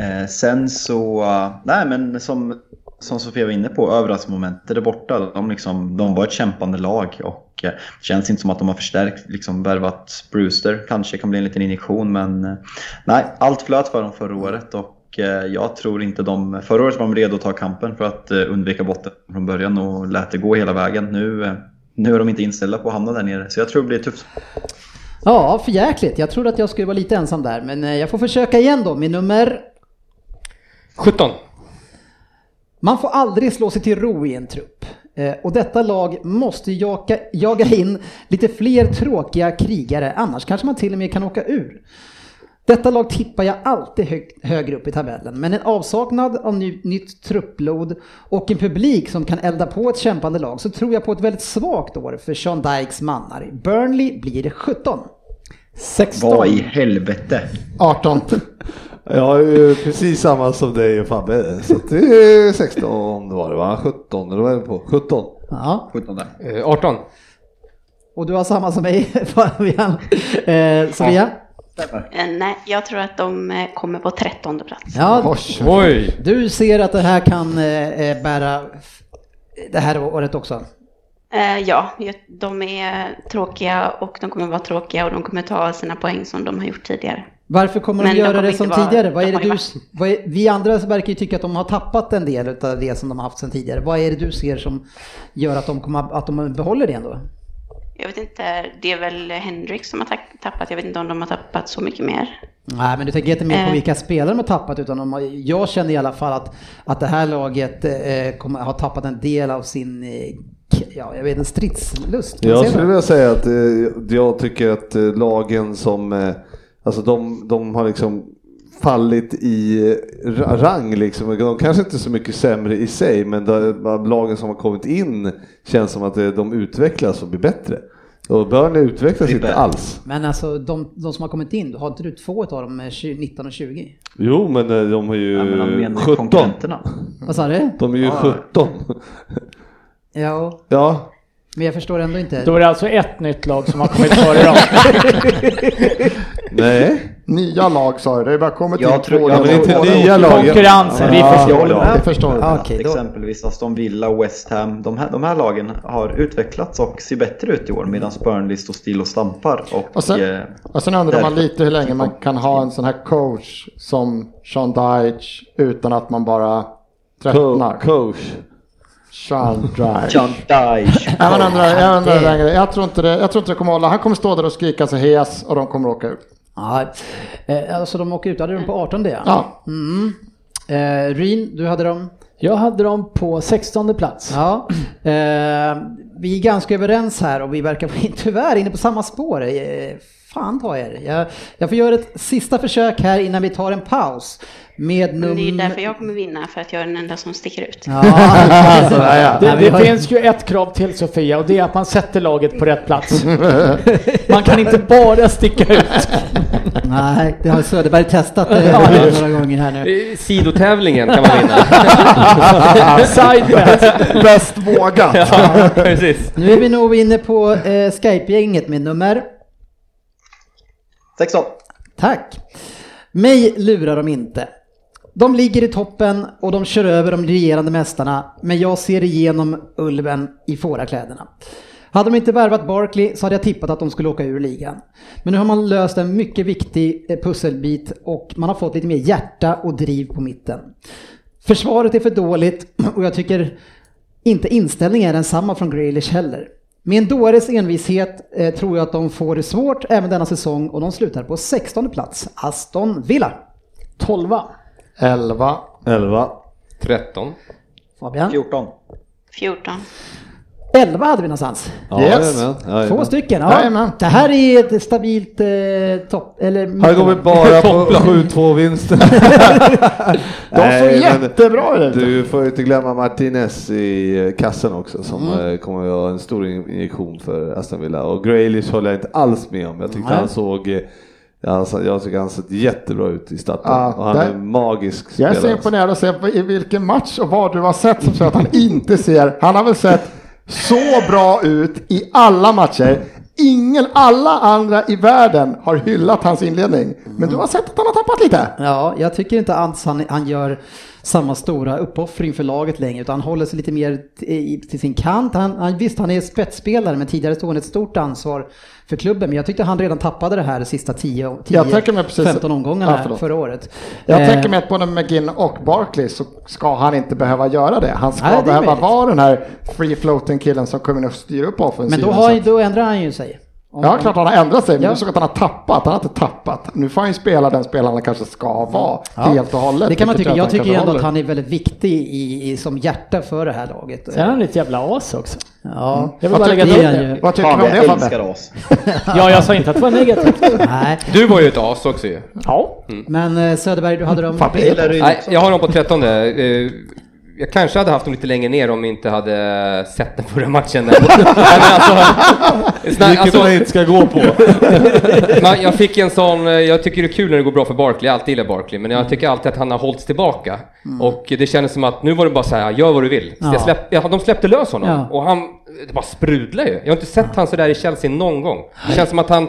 Speaker 8: Eh, sen så, eh, nej men som, som Sofia var inne på, överraskningsmomentet är borta. De, liksom, de var ett kämpande lag och eh, det känns inte som att de har förstärkt, liksom värvat Brewster. Kanske kan bli en liten injektion men eh, nej, allt flöt för dem förra året. Och och, eh, jag tror inte de... Förra året var de redo att ta kampen för att eh, undvika botten från början och lät det gå hela vägen. Nu, eh, nu är de inte inställda på att hamna där nere, så jag tror det blir tufft.
Speaker 2: Ja, för jäkligt. Jag trodde att jag skulle vara lite ensam där, men eh, jag får försöka igen då med nummer...
Speaker 3: 17.
Speaker 2: Man får aldrig slå sig till ro i en trupp. Eh, Och detta lag måste jaka, jaga in lite fler tråkiga krigare, annars kanske man till och med kan åka ur. Detta lag tippar jag alltid hög, högre upp i tabellen, men en avsaknad av ny, nytt truppblod och en publik som kan elda på ett kämpande lag så tror jag på ett väldigt svagt år för Sean Dykes mannar. Burnley blir 17.
Speaker 4: 16.
Speaker 8: Vad i helvete!
Speaker 6: 18.
Speaker 5: jag är ju precis samma som dig och Fabbe. Så att det är 16 var det va? 17 eller vad är det på? 17.
Speaker 2: Ja,
Speaker 8: 17 där.
Speaker 3: Eh, 18.
Speaker 2: och du har samma som mig Fabian. Eh, Sofia?
Speaker 7: Eh, nej, jag tror att de eh, kommer på trettonde plats.
Speaker 2: Ja,
Speaker 6: Oj.
Speaker 3: Oj!
Speaker 2: Du ser att det här kan eh, eh, bära f- det här året också?
Speaker 7: Eh, ja, jag- de är tråkiga och de kommer vara tråkiga och de kommer ta sina poäng som de har gjort tidigare.
Speaker 2: Varför kommer
Speaker 7: Men
Speaker 2: de
Speaker 7: de
Speaker 2: göra
Speaker 7: kommer
Speaker 2: det
Speaker 7: inte
Speaker 2: som
Speaker 7: vara-
Speaker 2: tidigare? Vad
Speaker 7: de
Speaker 2: är det
Speaker 7: har ju
Speaker 2: du,
Speaker 7: varit-
Speaker 2: vad är, vi andra verkar ju tycka att de har tappat en del av det som de har haft sedan tidigare. Vad är det du ser som gör att de, kommer, att de behåller det ändå?
Speaker 7: Jag vet inte, det är väl Henrik som har tack- tappat, jag vet inte om de har tappat så mycket mer.
Speaker 2: Nej, men du tänker inte mer på
Speaker 7: Eh.
Speaker 2: vilka spelare de har tappat, utan de har, jag känner i alla fall att, att det här laget eh, kommer, har tappat en del av sin eh, k- ja, jag vet, en stridslust. Kan
Speaker 5: Jag
Speaker 2: man säga
Speaker 5: skulle
Speaker 2: det?
Speaker 5: vilja säga att eh, jag tycker att eh, lagen som, eh, alltså de, de har liksom fallit i eh, ra- rang liksom. De kanske inte är så mycket sämre i sig, men de, lagen som har kommit in känns som att eh, de utvecklas och blir bättre. Och Burnley utvecklas
Speaker 8: Blir
Speaker 5: inte
Speaker 8: bättre.
Speaker 5: alls.
Speaker 2: Men alltså de, de som har kommit in, har inte du två av dem, eh, 20 19 och 20?
Speaker 5: Jo, men eh, de har ju
Speaker 8: Ja, men de menar ju
Speaker 5: 17.
Speaker 8: konkurrenterna.
Speaker 2: Vad sa du?
Speaker 5: De är ju
Speaker 8: Ja.
Speaker 5: 17.
Speaker 2: Ja,
Speaker 5: Ja,
Speaker 2: men jag förstår ändå inte.
Speaker 4: Då är det alltså ett nytt lag som har kommit före dem.
Speaker 5: nej.
Speaker 6: Nya lag sa du, det är bara kommit
Speaker 8: Jag
Speaker 6: in
Speaker 8: tror-
Speaker 6: två
Speaker 8: jag
Speaker 5: Ja,
Speaker 6: lag.
Speaker 5: men inte nya lag.
Speaker 4: Konkurrensen, vi
Speaker 5: Ja,
Speaker 4: förstår.
Speaker 5: ja.
Speaker 6: Jag förstår.
Speaker 2: Ja.
Speaker 8: Ja,
Speaker 2: Okej, då-
Speaker 8: Exempelvis Aston Villa och West Ham. De här, de här lagen har utvecklats och ser bättre ut i år medan Burnley står still och stampar. Och,
Speaker 6: Och sen,
Speaker 8: eh,
Speaker 6: och sen undrar man
Speaker 8: därför-
Speaker 6: lite hur länge man kan ha en sån här coach som Sean Dyche utan att man bara
Speaker 5: Co-
Speaker 6: tröttnar.
Speaker 5: coach.
Speaker 6: Sean Dyche.
Speaker 8: John Dyche.
Speaker 6: Jag undrar, jag undrar hur
Speaker 2: Det-
Speaker 6: länge det- jag tror inte det, jag tror inte det kommer hålla. Han kommer stå där och skrika så hes och de kommer åka ut.
Speaker 2: Ja, eh, alltså de åker ut, hade de på 18 det ja.
Speaker 6: Ja,
Speaker 2: Mm. Eh, Ryn, du hade dem?
Speaker 4: Jag hade dem på 16 plats.
Speaker 2: Ja. Eh, vi är ganska överens här och vi verkar vara tyvärr inne på samma spår. Eh, Fan ta er. Jag, jag får göra ett sista försök här innan vi tar en paus. Med
Speaker 7: Men det är ju
Speaker 2: nummer...
Speaker 7: därför jag kommer vinna, för att jag är den enda som sticker ut.
Speaker 2: Ja,
Speaker 6: Sådär, ja.
Speaker 2: Nej,
Speaker 4: Det,
Speaker 2: vi
Speaker 4: det
Speaker 2: har-
Speaker 4: finns ju ett krav till Sofia och det är att man sätter laget på rätt plats. Man kan inte bara sticka ut.
Speaker 2: Nej, det har Söderberg testat eh, några gånger här nu.
Speaker 3: Eh, Sidotävlingen kan man vinna.
Speaker 4: Side bet.
Speaker 6: Bäst vågat.
Speaker 3: ja, precis.
Speaker 2: Nu är vi nog inne på eh, Skype-gänget med nummer.
Speaker 8: 16.
Speaker 2: Tack. Mig lurar de inte. De ligger i toppen och de kör över de regerande mästarna, men jag ser igenom ulven i fårakläderna. Hade de inte värvat Barkley så hade jag tippat att de skulle åka ur ligan. Men nu har man löst en mycket viktig eh, pusselbit och man har fått lite mer hjärta och driv på mitten. Försvaret är för dåligt och jag tycker inte inställningen är densamma från Grealish heller. Med en dåres envishet eh, tror jag att de får det svårt även denna säsong och de slutar på 16 plats. Aston Villa.
Speaker 4: 12.
Speaker 6: 11.
Speaker 5: 11.
Speaker 3: 13.
Speaker 2: Fabian.
Speaker 8: 14.
Speaker 7: 14.
Speaker 2: 11 hade vi någonstans.
Speaker 5: Ja,
Speaker 6: Yes.
Speaker 5: jajamän, jajamän.
Speaker 2: Två stycken.
Speaker 6: Jajamän.
Speaker 2: Ja. Det här är ett stabilt eh, topp... Eller
Speaker 5: Här går vi bara på 7-2 vinsten.
Speaker 6: De såg jättebra ut.
Speaker 5: Du får ju inte glömma Martinez i eh, kassen också som
Speaker 6: Mm.
Speaker 5: eh, kommer att vara en stor injektion för Aston Villa. Och Grealish håller jag inte alls med om. Jag tyckte han såg eh, jag sa- jag tycker han såg jättebra ut i starten
Speaker 6: Ja,
Speaker 5: och han
Speaker 6: Ah, där-
Speaker 5: är en magisk
Speaker 6: Jag är så
Speaker 5: spelare.
Speaker 6: imponerad att se på- i vilken match och vad du har sett som så att han inte ser. Han har väl sett så bra ut i alla matcher. Ingen, alla andra i världen har hyllat hans inledning. Men du har sett att han har tappat lite.
Speaker 2: Ja, jag tycker inte alls han, han gör samma stora uppoffring för laget längre utan han håller sig lite mer t- i- till sin kant. Han, han, visst, han är spetsspelare men tidigare stod han ett stort ansvar för klubben. Men jag tyckte han redan tappade det här de sista 10-15
Speaker 6: tänker mig precis- Ja,
Speaker 2: omgångarna
Speaker 6: förlåt.
Speaker 2: förra året.
Speaker 6: Jag
Speaker 2: Eh,
Speaker 6: tänker mig att både McGinn och Barkley så ska han inte behöva göra det. Han ska
Speaker 2: Nej, det är
Speaker 6: behöva
Speaker 2: möjligt.
Speaker 6: vara den här free floating killen som kommer in och styr upp offensiven.
Speaker 2: men då,
Speaker 6: Så
Speaker 2: har,
Speaker 6: att-
Speaker 2: då ändrar han ju sig. Om-
Speaker 6: Ja, klart han har ändrat sig, men
Speaker 2: Ja.
Speaker 6: du såg att han har tappat. Han har inte tappat. Nu får han ju spela den spelaren han kanske ska vara
Speaker 2: Ja,
Speaker 6: helt och hållet.
Speaker 2: Det kan man
Speaker 6: vilket
Speaker 2: tycka.
Speaker 6: gör
Speaker 2: Jag tycker ju
Speaker 6: kanske
Speaker 2: ändå att
Speaker 6: håller.
Speaker 2: han är väldigt viktig i, i, som hjärta för det här laget.
Speaker 4: Sen är han ett jävla as också.
Speaker 2: Ja,
Speaker 4: Jag vill
Speaker 2: det
Speaker 4: bara lägga
Speaker 2: är
Speaker 4: till
Speaker 2: han
Speaker 4: det.
Speaker 2: ju.
Speaker 6: Vad tycker
Speaker 8: Fan,
Speaker 6: du om
Speaker 8: jag
Speaker 6: det Fabbe?
Speaker 8: älskar oss.
Speaker 4: Ja, jag sa inte att det var negativt.
Speaker 2: Nej,
Speaker 3: Du var ju ett as också ju. Mm.
Speaker 4: Ja.
Speaker 2: men eh, Söderberg, du hade dem...
Speaker 6: Fabbe
Speaker 8: Gillar du
Speaker 3: Nej,
Speaker 8: också?
Speaker 3: jag har dem på 13. Eh, Jag kanske hade haft dem lite längre ner om vi inte hade sett den förra matchen. Där. Nej, men alltså, Sna-
Speaker 5: Vilket
Speaker 3: alltså,
Speaker 5: man inte ska gå på.
Speaker 3: man, jag fick en sån, eh, jag tycker det är kul när det går bra för Barkley, jag alltid gillar Barkley, men
Speaker 2: Mm.
Speaker 3: jag tycker alltid att han har hållits tillbaka. Och det kändes som att nu var det bara så här, gör vad du vill. Så
Speaker 2: Ja.
Speaker 3: Jag släpp, ja, de släppte lös honom
Speaker 2: Ja.
Speaker 3: och han det bara sprudlade ju. Jag har inte sett han så där i Chelsea någon gång. Det känns som att han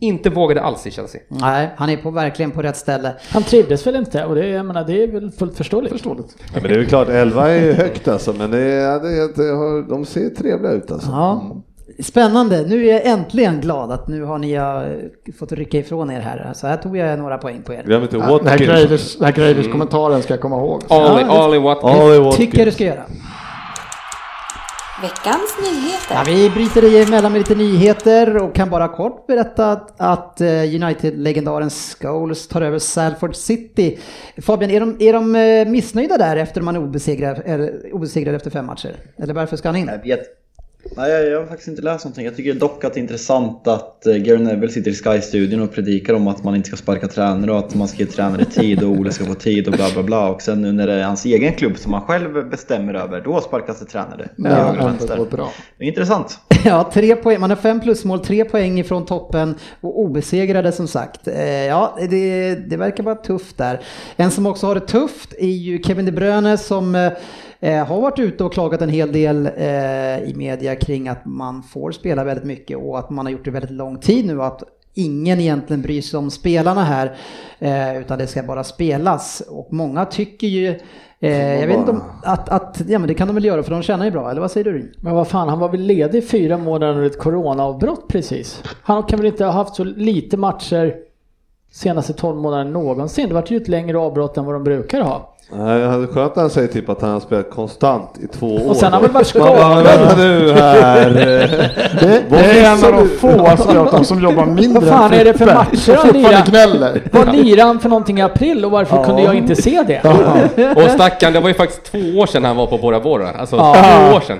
Speaker 3: inte vågade alls i Chelsea.
Speaker 2: Nej, han är på, verkligen på rätt ställe.
Speaker 4: Han trivdes väl inte och det, jag menar, det är väl fullt förståeligt.
Speaker 5: Ja, men det är väl klart, 11 är ju högt alltså, men det är, det är, det har, de ser trevliga ut alltså.
Speaker 2: Ja. Spännande, nu är jag äntligen glad att nu har ni eh, fått rycka ifrån er här. Så här tog jag några poäng på er.
Speaker 5: Glöm inte
Speaker 6: Den här
Speaker 5: Watkins.
Speaker 6: Greiders- den här Greiders kommentaren ska jag komma ihåg.
Speaker 3: Ollie,
Speaker 2: Ja, det-
Speaker 3: Ollie Watkins.
Speaker 5: Ollie Watkins.
Speaker 2: Tycker jag du ska göra.
Speaker 1: Veckans
Speaker 2: Ja,
Speaker 1: nyheter.
Speaker 2: vi bryter emellan med lite nyheter och kan bara kort berätta att, att eh, United-legendaren Scholes tar över Salford City. Fabian, är de, är de eh, missnöjda där efter man är obesegrad, eller, obesegrad efter fem matcher? Eller varför ska han in?
Speaker 8: Jag vet. Nej, jag, jag har faktiskt inte läst någonting. Jag tycker dock att det är intressant att eh, Gary Neville sitter i Sky-studion och predikar om att man inte ska sparka tränare och att man ska ge tränare tid och Ole ska få tid och bla bla bla. Och sen nu när det är hans egen klubb som han själv bestämmer över, då sparkas det tränare.
Speaker 6: Ja,
Speaker 8: till höger och
Speaker 6: ändå går
Speaker 8: vänster.
Speaker 6: bra.
Speaker 8: Det är intressant.
Speaker 2: Ja, tre poäng. Man har fem plusmål, tre poäng ifrån toppen och obesegrade som sagt. Eh, Ja, det, det verkar vara tufft där. En som också har det tufft är ju Kevin De Bruyne som eh, har varit ute och klagat en hel del eh, i media kring att man får spela väldigt mycket och att man har gjort det väldigt lång tid nu. och Att Ingen egentligen bryr sig om spelarna här, eh, utan det ska bara spelas. Och många tycker ju, eh, jag vet inte om, att, att ja, men det kan de väl göra för de tjänar ju bra, eller vad säger du? Rin?
Speaker 4: Men vad fan, han var väl ledig fyra månader under ett coronaavbrott precis. Han kan väl inte ha haft så lite matcher senaste 12 månaderna någonsin. Det vart ju ett längre avbrott än vad de brukar ha.
Speaker 5: Nej, han- Skönt att han säger typ att han har spelat konstant i två år.
Speaker 4: Och sen har han väl varit
Speaker 5: Man bara,
Speaker 4: skadad.
Speaker 5: Vänta nu här.
Speaker 6: Det, det är en av de få scouterna som jobbar mindre
Speaker 4: Vad fan
Speaker 6: än
Speaker 4: är det för
Speaker 6: Frippe,
Speaker 4: matcher
Speaker 6: som
Speaker 4: han
Speaker 6: fortfarande
Speaker 4: lirar?
Speaker 6: gnäller?
Speaker 4: Vad lirade han för någonting i april och varför kunde jag inte se det?
Speaker 3: Och stackarn, det var ju faktiskt två år sedan han var på Bora Bora. Alltså
Speaker 4: Ja.
Speaker 3: två år sedan.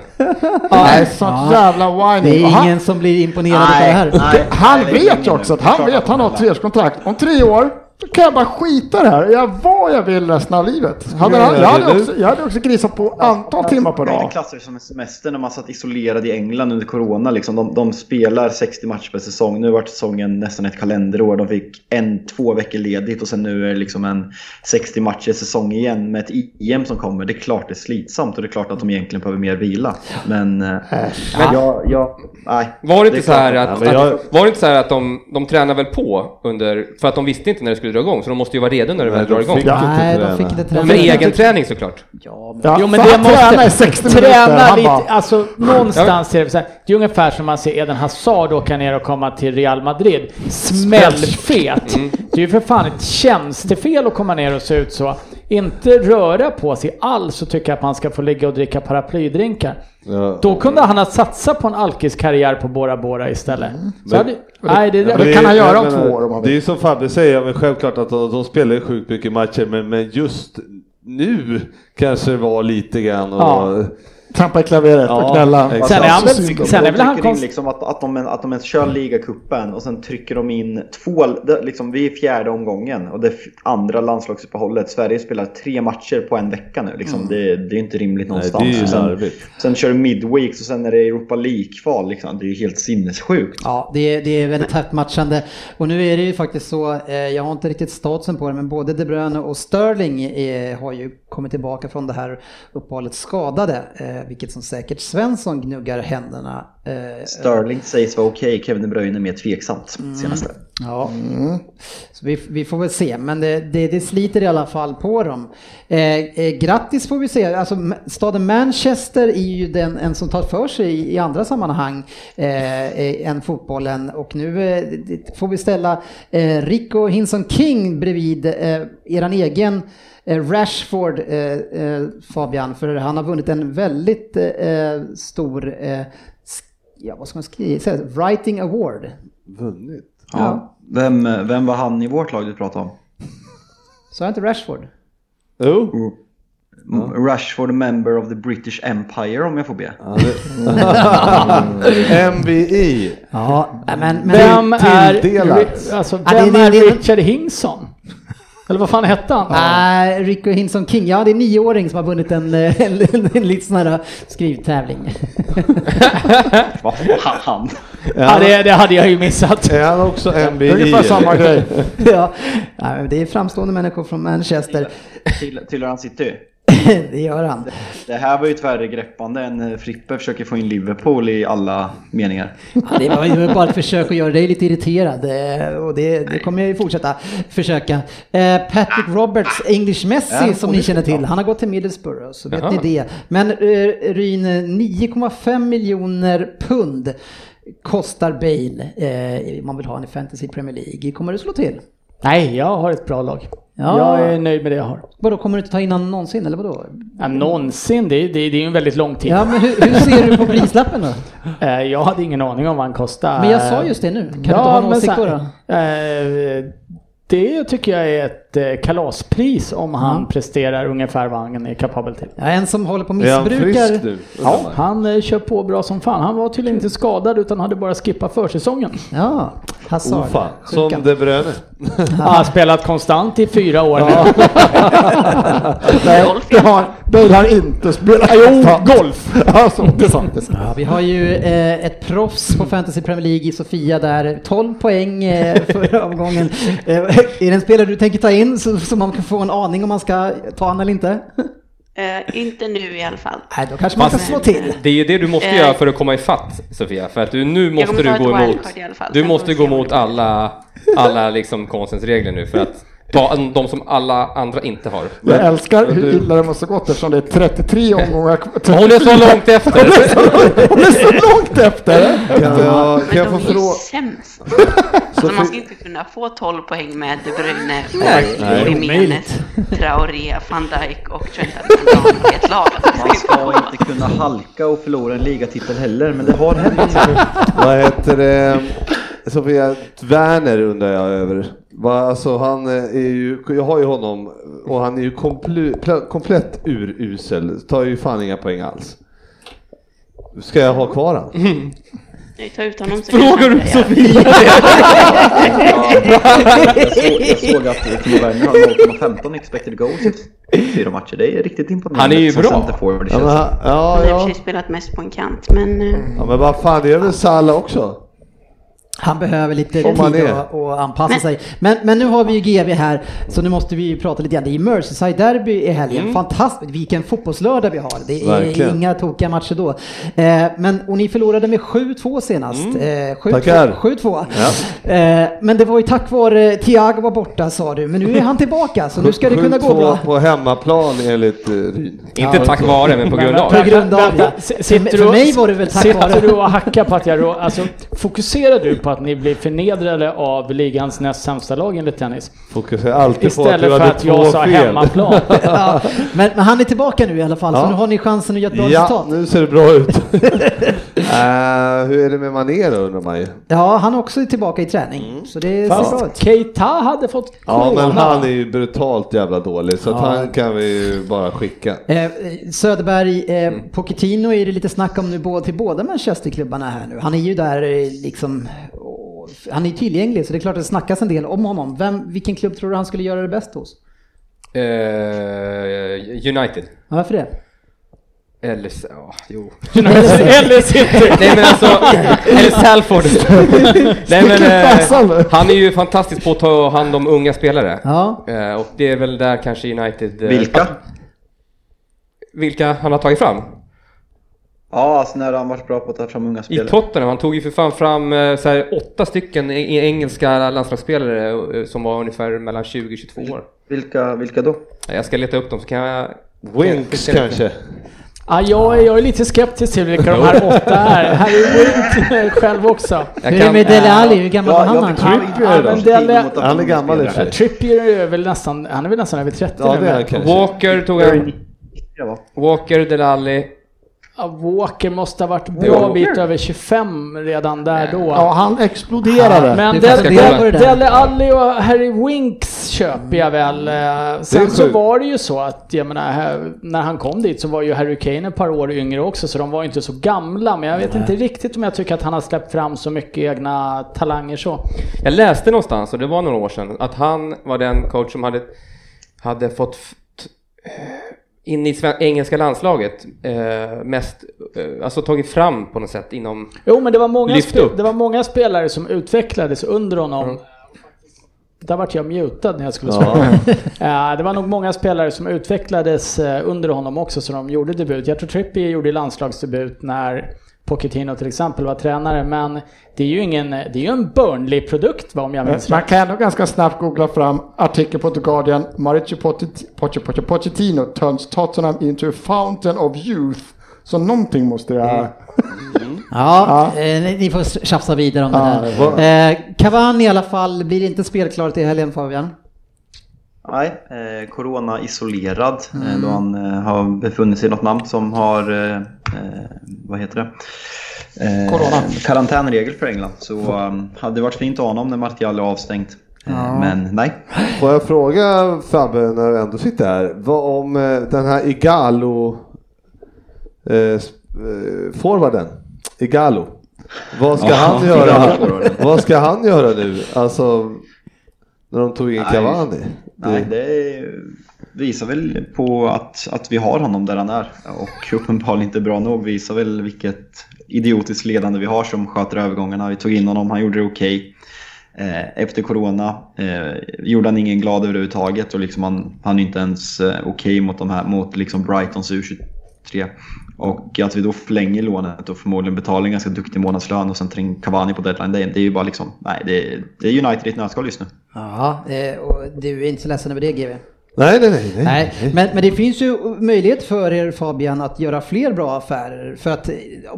Speaker 6: Nej, sånt jävla
Speaker 2: Det
Speaker 6: whining. Och
Speaker 2: är
Speaker 6: han,
Speaker 2: ingen som blir imponerad av det här.
Speaker 8: nej,
Speaker 6: han
Speaker 8: nej, det är
Speaker 6: vet ju
Speaker 8: ingen
Speaker 6: också att
Speaker 8: nu.
Speaker 6: han
Speaker 8: Klart
Speaker 6: vet han har ett treårskontrakt. Om tre år kan jag bara skita i det här. Jag gör vad jag vill resten av livet. Hade han, jag, hade också, jag hade också grisat på antal timmar per
Speaker 8: Jag hade
Speaker 6: dag.
Speaker 8: klasser som en semester när man satt isolerad i England under corona. Liksom. De, de spelar 60 matcher per säsong. Nu vart säsongen nästan ett kalenderår. De fick en, två veckor ledigt och sen nu är det liksom en 60 matcher säsong igen med ett EM som kommer. Det är klart det är slitsamt och det är klart att de egentligen behöver mer vila. Men, eh, men jag, jag... Nej.
Speaker 3: Var det
Speaker 8: är
Speaker 3: inte så
Speaker 8: klart
Speaker 3: här
Speaker 8: att-
Speaker 3: att,
Speaker 5: Ja, men jag-
Speaker 3: att, var det inte så här att de, de tränade väl på under, för att de visste inte när det skulle dra igång, så de måste ju vara redo när det väl
Speaker 5: Nej,
Speaker 3: drar
Speaker 5: de
Speaker 3: igång.
Speaker 5: fick inte
Speaker 2: Nej, de
Speaker 5: träna.
Speaker 2: fick
Speaker 3: För
Speaker 2: inte träna.
Speaker 3: egen träning såklart.
Speaker 6: Ja,
Speaker 4: Jo men
Speaker 6: för
Speaker 4: det
Speaker 6: han tränar i 60
Speaker 4: måste...
Speaker 6: minuter.
Speaker 4: Träna
Speaker 6: Han
Speaker 4: lite,
Speaker 6: bara-
Speaker 4: alltså någonstans är det så här. Det är ungefär som man ser Eden Hazard åka ner och komma till Real Madrid. Smällfet! Det är ju för fan ett tjänstefel att komma ner och se ut så. Inte röra på sig alls och tycka att man ska få ligga och dricka paraplydrinkar.
Speaker 5: Ja.
Speaker 4: Då kunde han ha satsat på en alkiskarriär på Bora Bora istället. Så hade, nej, det,
Speaker 5: Ja,
Speaker 4: det,
Speaker 5: men
Speaker 6: kan han
Speaker 5: är-
Speaker 6: göra
Speaker 5: jag
Speaker 6: om två år om han vill.
Speaker 5: Det är ju som Fabbe säger, men självklart att de, de spelar ju sjukt mycket matcher, men, men just nu kanske det var lite grann och...
Speaker 4: Ja.
Speaker 6: Trampa i klaveret
Speaker 5: Ja,
Speaker 6: och gnälla.
Speaker 5: exakt.
Speaker 4: Sen är han väl-
Speaker 6: Så synd om
Speaker 4: sen
Speaker 8: De
Speaker 4: är väl han
Speaker 8: trycker in
Speaker 4: konst...
Speaker 8: liksom att, att, de, att de ens kör ligacupen och sen trycker de in två, det- liksom, vi är i fjärde omgången och det är f- andra landslagsuppehållet. Sverige spelar tre matcher på en vecka nu. Liksom. Det, det är inte rimligt
Speaker 5: Nej,
Speaker 8: någonstans.
Speaker 5: det är ju
Speaker 8: Och sen,
Speaker 5: larvigt.
Speaker 8: sen kör du midweeks och sen är det Europa League-kval. Liksom. Det är ju helt sinnessjukt.
Speaker 2: Ja, det är, det är väldigt tätt matchande. Och nu är det ju faktiskt så, eh, jag har inte riktigt statsen på det, men både De Bruyne och Sterling eh, har ju kommit tillbaka från det här uppehållet skadade, eh, vilket som säkert Svensson gnuggar händerna. Eh,
Speaker 8: Sterling sägs vara okej, Kevin De Bruyne är mer tveksamt
Speaker 2: Mm.
Speaker 8: senaste.
Speaker 2: Ja, Mm. så vi, vi får väl se. Men det, det, det sliter i alla fall på dem. Eh, eh, grattis får vi se. Alltså, M- staden Manchester är ju den en som tar för sig i, i andra sammanhang eh, eh, än fotbollen. Och nu eh, det- får vi ställa eh, Rico Hinson King bredvid eh, eran egen eh, Rashford, eh, eh, Fabian, för han har vunnit en väldigt eh, eh, stor, eh, sk- ja vad ska man skriva, säga, writing award.
Speaker 5: Vunnit.
Speaker 8: Ja. Vem, vem var han i vårt lag du pratade om?
Speaker 2: Så är inte Rashford?
Speaker 5: Jo.
Speaker 8: Mm. Rashford member of the British Empire om jag får be.
Speaker 5: MVI.
Speaker 2: Ja, men... men
Speaker 4: Vem
Speaker 5: tilldelat.
Speaker 4: är, alltså,
Speaker 2: Ja, det-
Speaker 4: vem
Speaker 2: det-
Speaker 4: är
Speaker 2: det-
Speaker 4: Richard Hingson? Eller vad fan hette han?
Speaker 2: Nej, Rico Hinson King. Ja, det är en nioåring som har vunnit en, eh, en, en, en liten sån här eh, skrivtävling.
Speaker 8: Vad fan?
Speaker 4: Ja, det, det hade jag ju missat.
Speaker 5: Är han också MVI?
Speaker 6: Ungefär samma
Speaker 5: eller?
Speaker 6: grej.
Speaker 2: ja, nej, men det är framstående människor från Manchester.
Speaker 8: Till- Tillhör han City?
Speaker 2: det gör han.
Speaker 8: Det här var ju tvärre greppande än eh, Frippe försöker få in Liverpool i alla meningar.
Speaker 2: Ja, det var ju bara ett försök att göra dig lite irriterad eh, och det, det kommer jag ju fortsätta försöka. Eh, Patrick
Speaker 4: Ah.
Speaker 2: Roberts, English Messi
Speaker 8: Ja,
Speaker 2: som
Speaker 8: och
Speaker 2: ni
Speaker 8: det-
Speaker 2: känner till, han har gått till Middlesbrough, så vet
Speaker 3: Jaha.
Speaker 2: ni det. Men eh, Ryn, 9,5 miljoner pund kostar Bale eh, om man vill ha en i Fantasy Premier League. Kommer du slå till?
Speaker 4: Nej, jag har ett bra lag.
Speaker 2: Ja.
Speaker 4: Jag är nöjd med det jag har.
Speaker 2: Vadå, kommer du inte ta in honom någonsin eller vadå?
Speaker 4: Ja, någonsin, det, det, det är ju en väldigt lång tid.
Speaker 2: Ja, men hur, hur ser du på prislappen då?
Speaker 4: Eh, Jag hade ingen aning om vad han kostade.
Speaker 2: Men jag sa just det nu, kan du inte
Speaker 4: Eh, Ja,
Speaker 2: ha en
Speaker 4: men
Speaker 2: åsikt
Speaker 4: så-
Speaker 2: då? då?
Speaker 4: eh, Det tycker jag är ett eh, kalaspris om han presterar ungefär vad han är kapabel till.
Speaker 2: Ja, en som håller på och
Speaker 5: Är han
Speaker 2: missbrukar...
Speaker 5: frisk nu? undrar
Speaker 4: Ja,
Speaker 5: man?
Speaker 4: han eh, kör på bra som fan. Han var tydligen inte skadad utan hade bara skippat försäsongen.
Speaker 2: Ja, Hazard.
Speaker 5: Oh, fan.
Speaker 2: Sjukan.
Speaker 5: Som De Bruyne.
Speaker 4: Han har spelat konstant i fyra år.
Speaker 6: Nej, det har, Bale har inte spelat. Jo, golf! Ja, så, det är sant. Det är sant.
Speaker 2: Ja, vi har ju eh, ett proffs på Fantasy Premier League i Sofia där, 12 poäng eh, förra omgången. Eh, är det en spelare du tänker ta in så, så man kan få en aning om man ska ta han eller inte?
Speaker 7: Eh, inte nu i alla fall.
Speaker 2: Nej, då kanske man kan
Speaker 7: Fast-
Speaker 2: slå till.
Speaker 3: Det är ju det du måste
Speaker 7: Eh.
Speaker 3: göra för att komma ifatt Sofia, för att du, nu måste
Speaker 7: kommer
Speaker 3: du
Speaker 7: ta ett
Speaker 3: gå emot,
Speaker 7: wildcard i alla fall,
Speaker 3: du
Speaker 7: sen
Speaker 3: måste
Speaker 7: får vi
Speaker 3: gå
Speaker 7: se vad
Speaker 3: emot
Speaker 7: det blir.
Speaker 3: alla, alla liksom konstens regler nu för att ta an- de som alla andra inte har.
Speaker 6: Jag älskar hur illa det måste gått eftersom det är 33 omgångar kvar.
Speaker 3: Hon är så långt efter!
Speaker 6: Hon är så långt efter!
Speaker 5: Kan jag, kan
Speaker 7: Men
Speaker 5: jag få
Speaker 7: de är ju
Speaker 5: fråga?
Speaker 7: sämst. Alltså,
Speaker 5: Sofie-
Speaker 7: man ska inte kunna få 12 poäng med De Bruyne, Barkley, Jiménez, Traoré, van Dijk och Trent Alexander-Arnold i ett lag.
Speaker 8: Man ska inte kunna halka och förlora en ligatitel heller, men det har hänt.
Speaker 5: Vad heter det? Sofia Werner undrar jag över. Va, alltså han eh, är ju, jag har ju honom och han är ju komplu, pl- komplett urusel. Tar ju fan inga poäng alls. Ska jag ha kvar han?
Speaker 2: Mm.
Speaker 7: Nej, ta ut honom så
Speaker 3: Frågar du
Speaker 7: kanske jag gör.
Speaker 3: Sofie?
Speaker 8: Jag såg, jag såg att Timo Werner har 0,15 expected goals i fyra matcher. Det är riktigt imponerande.
Speaker 3: Han är ju
Speaker 8: som
Speaker 3: bra.
Speaker 8: centerforward i
Speaker 5: Ja, men,
Speaker 8: Chelsea.
Speaker 5: han- ja,
Speaker 7: Han har i och för
Speaker 5: ja.
Speaker 7: sig spelat mest på en kant, men eh,
Speaker 5: ja men vad fan, det är väl Salah också?
Speaker 2: Han behöver lite
Speaker 5: Om han
Speaker 2: tid
Speaker 5: är.
Speaker 2: att, att anpassa
Speaker 7: Men-
Speaker 2: sig. Men, men nu har vi ju GV här, så nu måste vi ju prata lite grann. Det är ju Merseyside-derby i helgen. Fantastiskt, vilken fotbollslördag vi har. Det är
Speaker 5: Mm. Verkligen.
Speaker 2: inga tokiga matcher då. Eh, men, och ni förlorade med 7-2 senast. Eh, 7-2,
Speaker 5: Mm. Tackar.
Speaker 2: 7-2. Eh, men det var ju tack vare Thiago var borta sa du, men nu är han tillbaka så nu ska det kunna gå
Speaker 5: 7-2
Speaker 2: bra.
Speaker 5: på hemmaplan enligt eh, Ryn.
Speaker 3: Inte tack vare, men på grund av.
Speaker 2: På grund av,
Speaker 4: Vänta,
Speaker 2: ja.
Speaker 4: s-
Speaker 2: För-
Speaker 4: sitter
Speaker 2: för
Speaker 4: du och-
Speaker 2: mig var det väl tack
Speaker 4: sitter
Speaker 2: vare.
Speaker 4: du och hackar på att jag rå, alltså, Fokuserar du på att ni blir förnedrade av ligans näst sämsta lag enligt tennis?
Speaker 5: Fokuserar alltid på att
Speaker 4: Istället
Speaker 5: du
Speaker 4: för
Speaker 5: hade
Speaker 4: att
Speaker 5: två
Speaker 4: jag sa
Speaker 5: fel.
Speaker 4: hemmaplan.
Speaker 2: Ja, men, men han är tillbaka nu i alla fall,
Speaker 5: Ja.
Speaker 2: så nu har ni chansen att göra ett bra
Speaker 5: Ja,
Speaker 2: resultat.
Speaker 5: nu ser det bra ut. Eh, hur är det med Mané då undrar man ju.
Speaker 2: Ja, han är också tillbaka i träning, så det ser bra ut.
Speaker 4: Keita hade fått
Speaker 5: Mm. Ja, men
Speaker 4: corona.
Speaker 5: han är ju brutalt jävla dålig så att han kan vi ju bara skicka.
Speaker 2: Eh, Söderberg, eh, Pochettino är det lite snack om nu både till båda Manchesterklubbarna här nu. Han är ju där eh, liksom, och f- han är ju tillgänglig så det är klart att det snackas en del om honom. Vem, vilken klubb tror du han skulle göra det bäst hos?
Speaker 3: Eh, United.
Speaker 2: Ja, Varför det?
Speaker 3: Eller, s- ja, jo.
Speaker 4: Eller sitter...
Speaker 3: Nej men alltså, eller Salford. Nej men,
Speaker 6: Passar nu.
Speaker 3: eh, han är ju fantastisk på att ta hand om unga spelare.
Speaker 2: Ja.
Speaker 3: Eh, och det är väl där kanske United... eh,
Speaker 8: Vilka?
Speaker 3: Vilka han har tagit fram?
Speaker 8: Ja, alltså när har han varit bra på att ta fram unga
Speaker 3: I
Speaker 8: spelare?
Speaker 3: Tottenham, han tog ju för fan fram eh, så här, åtta stycken i- i engelska landslagsspelare eh, som var ungefär mellan 20 och 22 år.
Speaker 8: Vilka, vilka då?
Speaker 3: Eh, Jag ska leta upp dem så kan jag...
Speaker 5: Winks kanske?
Speaker 4: Ja, Ah, jag, är- jag är lite skeptisk till vilka de här åtta är. Här är Wint själv också.
Speaker 3: jag
Speaker 2: Hur är det
Speaker 3: kan
Speaker 2: med Dele Alli? Hur gammal var
Speaker 8: Ja,
Speaker 2: han?
Speaker 8: jag
Speaker 2: han?
Speaker 8: beklagar. Trippier
Speaker 2: kom?
Speaker 4: då?
Speaker 8: Stig mot att
Speaker 5: Han är gammal i och för
Speaker 8: spelare.
Speaker 5: sig.
Speaker 4: Trippier är väl nästan, han är väl nästan över 30
Speaker 5: Ja,
Speaker 4: nu.
Speaker 5: det är han
Speaker 4: men-
Speaker 5: kanske.
Speaker 3: Walker tog han.
Speaker 8: Ja, va?
Speaker 3: Walker, Dele Alli.
Speaker 4: Ja, Walker måste ha varit en bra bit över 25 redan där då.
Speaker 6: Ja, han exploderade.
Speaker 4: Men
Speaker 2: Du
Speaker 4: Del,
Speaker 2: kanske ska kolla på det
Speaker 4: Del,
Speaker 2: där.
Speaker 4: Dele Alli och Harry Winks köper jag väl.
Speaker 6: Mm.
Speaker 4: eh, Sen så
Speaker 5: sjukt.
Speaker 4: var det ju så att, jag menar, här- när han kom dit så var ju Harry Kane ett par år yngre också, så de var ju inte så gamla. Men jag vet inte riktigt om jag tycker att han har släppt fram så mycket egna talanger så.
Speaker 3: Jag läste någonstans, och det var några år sedan, att han var den coach som hade, hade fått f- t- eh, in i sven- engelska landslaget eh, mest, eh, alltså tagit fram på något sätt inom...
Speaker 4: Jo, men det var många,
Speaker 3: Lyft
Speaker 4: spe-
Speaker 3: upp.
Speaker 4: det var många spelare som utvecklades under honom. Där vart jag mutad när jag skulle svara. Eh, Det var nog många spelare som utvecklades eh, under honom också så de gjorde debut. Jag tror Trippier gjorde landslagsdebut när Pochettino till exempel var tränare. Men det är ju ingen, det är ju en Burnley-produkt va, om jag minns
Speaker 6: Eh, Man
Speaker 4: rätt.
Speaker 6: kan ändå ganska snabbt googla fram artikel på The Guardian. Mauricio Pochetti- Poche- Poche- Pochettino turns Tottenham into a fountain of youth. Så någonting måste jag...
Speaker 4: Mm.
Speaker 2: Ja, eh, ni- ni får tjafsa vidare om
Speaker 6: Ja,
Speaker 2: det där. Eh, Cavani i alla fall, blir inte spelklar till helgen Fabian?
Speaker 8: Nej, eh, corona-isolerad eh, då han eh, har befunnit sig i något namn som har, eh, eh, vad heter det? Eh,
Speaker 6: Corona.
Speaker 8: Karantänregel för England. Så eh, hade det varit fint att ha honom när Martial är avstängt. Eh, Men nej.
Speaker 5: Får jag fråga Fabbe när du ändå sitter här, vad om eh, den här Igalo eh, sp- eh, forwarden? Igalo. Vad ska
Speaker 8: Ja,
Speaker 5: han göra?
Speaker 8: forwarden.
Speaker 5: Vad ska han göra nu? Alltså när de tog in
Speaker 8: Nej.
Speaker 5: Cavani?
Speaker 8: Nej, det visar väl på att, att vi har honom där han är. Och uppenbarligen inte bra nog. Visar väl vilket idiotiskt ledande vi har som sköter övergångarna. Vi tog in honom, han gjorde det okej. Eh, Efter corona eh, gjorde han ingen glad överhuvudtaget och liksom han, han är inte ens eh, okej mot, de här, mot liksom Brightons U23. Och att vi då förlänger lånet och förmodligen betalar en ganska duktig månadslön och sen tar in Cavani på deadline day. Det är ju bara liksom, nej det är, det är United i ett nötskal just nu.
Speaker 2: Ja, eh, och du är inte så ledsen över det GV?
Speaker 5: Nej, nej, nej. nej.
Speaker 2: Nej, men, men det finns ju möjlighet för er Fabian att göra fler bra affärer. För att eh,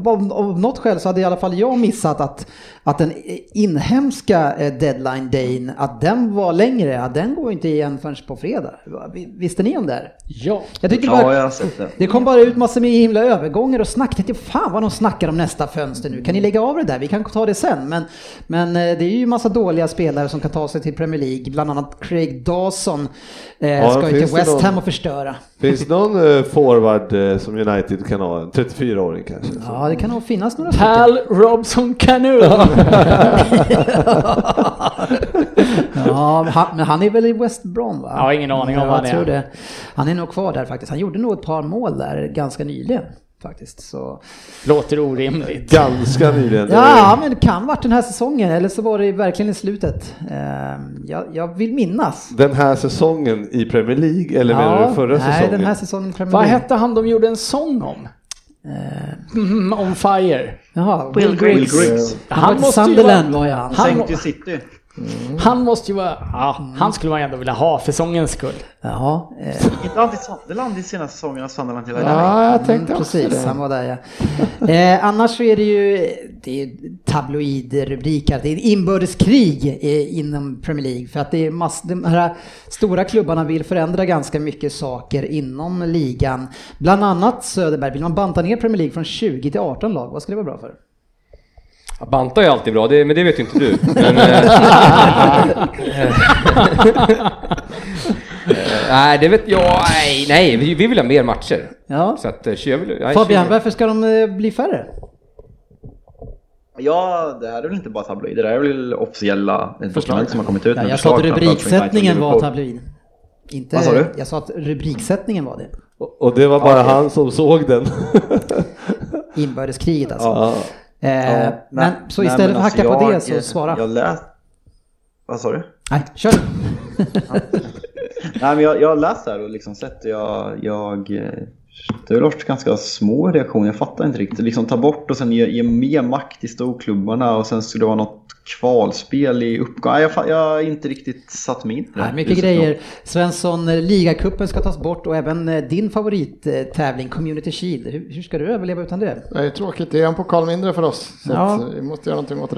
Speaker 2: av, av något skäl så hade i alla fall jag missat att, att den inhemska eh, deadline dayn, att den var längre, ja, den går ju inte igen förrän på fredag. Vi- Visste ni om det? här?
Speaker 4: Ja.
Speaker 2: Jag tycker
Speaker 8: Ja,
Speaker 2: bara,
Speaker 8: jag har sett det.
Speaker 2: det kom bara ut massor med himla övergångar och snack. Jag tänkte, fan vad de snackar om nästa fönster nu. Kan ni lägga av det där? Vi kan ta det sen. Men, men eh, det är ju massa dåliga spelare som kan ta sig till Premier League. Bland annat Craig Dawson eh, ska ju
Speaker 5: finns
Speaker 2: till
Speaker 5: det
Speaker 2: West Ham
Speaker 5: någon-
Speaker 2: och förstöra.
Speaker 5: Finns det någon eh, forward eh, som United kan ha? En 34-åring kanske?
Speaker 2: Ja, det kan nog finnas några
Speaker 4: Pal Robson Canoe.
Speaker 2: Ja, men han, men han är väl i West Brom va?
Speaker 4: Jag har ingen aning om
Speaker 2: Ja,
Speaker 4: vad han
Speaker 2: jag
Speaker 4: är.
Speaker 2: tror det. Han är nog kvar där faktiskt. Han gjorde nog ett par mål där ganska nyligen faktiskt. Så.
Speaker 4: Låter orimligt.
Speaker 5: Ganska nyligen. det är-
Speaker 2: Ja, men det kan varit den här säsongen eller så var det verkligen i slutet. Ehm, Jag, jag vill minnas.
Speaker 5: Den här säsongen i Premier League eller menar du förra
Speaker 2: nej,
Speaker 5: säsongen?
Speaker 2: den här säsongen i Premier
Speaker 4: Vad
Speaker 2: League.
Speaker 4: hette han de gjorde en sång om? Mm, on fire.
Speaker 2: Eh, Jaha,
Speaker 7: Will
Speaker 2: Will
Speaker 7: Griggs.
Speaker 2: Griggs.
Speaker 8: Will Griggs.
Speaker 2: Han måste Sunderland var ju han. Mm.
Speaker 4: Han-
Speaker 8: Sänkte City.
Speaker 4: Han måste ju vara... Ja, han skulle man ju ändå vilja ha för sångens skull.
Speaker 2: Jaha, eh,
Speaker 8: Inte alltid Sunderland i senaste säsongerna, Sunderland hela tiden.
Speaker 6: Ja, jag tänkte också
Speaker 2: mm, Precis,
Speaker 6: det.
Speaker 2: han var där ja. Eh, annars så är det ju det är tabloidrubriker, det är inbördeskrig eh, inom Premier League för att det är mass, de här stora klubbarna vill förändra ganska mycket saker inom ligan. Bland annat Söderberg, vill man banta ner Premier League från 20 till 18 lag, vad skulle det vara bra för?
Speaker 3: Ja, Banta är alltid bra, det, men det vet ju inte du. Men, eh, eh, nej, det vet jag. Nej, nej vi, vi vill ha mer matcher.
Speaker 2: Ja.
Speaker 3: Så att, eh, tjugo- jag vill, nej,
Speaker 2: Fabian,
Speaker 3: tjugo-
Speaker 2: varför ska de eh, bli färre?
Speaker 8: Ja, det här är väl inte bara tabloider, det här är väl officiella dokument som har kommit ut.
Speaker 2: Ja,
Speaker 8: med
Speaker 2: jag sa att
Speaker 8: förslag, framförallt från United
Speaker 2: rubriksättningen
Speaker 8: och
Speaker 2: var
Speaker 8: Liverpool.
Speaker 2: tabloid. Inte,
Speaker 8: alltså, Vad sa du?
Speaker 2: jag sa att rubriksättningen var det.
Speaker 5: Och- Och det var bara han som såg den.
Speaker 2: Inbördeskriget alltså.
Speaker 5: ja.
Speaker 2: Eh,
Speaker 8: Ja,
Speaker 2: men
Speaker 8: nej,
Speaker 2: så
Speaker 8: nej, men
Speaker 2: istället för att hacka
Speaker 8: alltså
Speaker 2: på det
Speaker 8: jag-
Speaker 2: så svara.
Speaker 8: Jag lät... Vad sa du?
Speaker 2: Nej, kör du.
Speaker 8: Nej, men jag, jag har läst det här och liksom sett och jag, jag... eh, Det har varit ganska små reaktioner, jag fattar inte riktigt. Liksom ta bort och sen ge, ge mer makt till storklubbarna och sen skulle det vara något kvalspel i uppgång. Nej, jag, fa- jag har inte riktigt satt mig in i det här
Speaker 2: Nej, mycket
Speaker 8: priset.
Speaker 2: grejer. Svensson, eh, ligacupen ska tas bort och även eh, din favorittävling Community Shield. Hur, hur ska du överleva utan det?
Speaker 6: Det är tråkigt, det är en pokal mindre för oss. Så
Speaker 2: Ja.
Speaker 6: att eh, vi måste göra någonting åt det.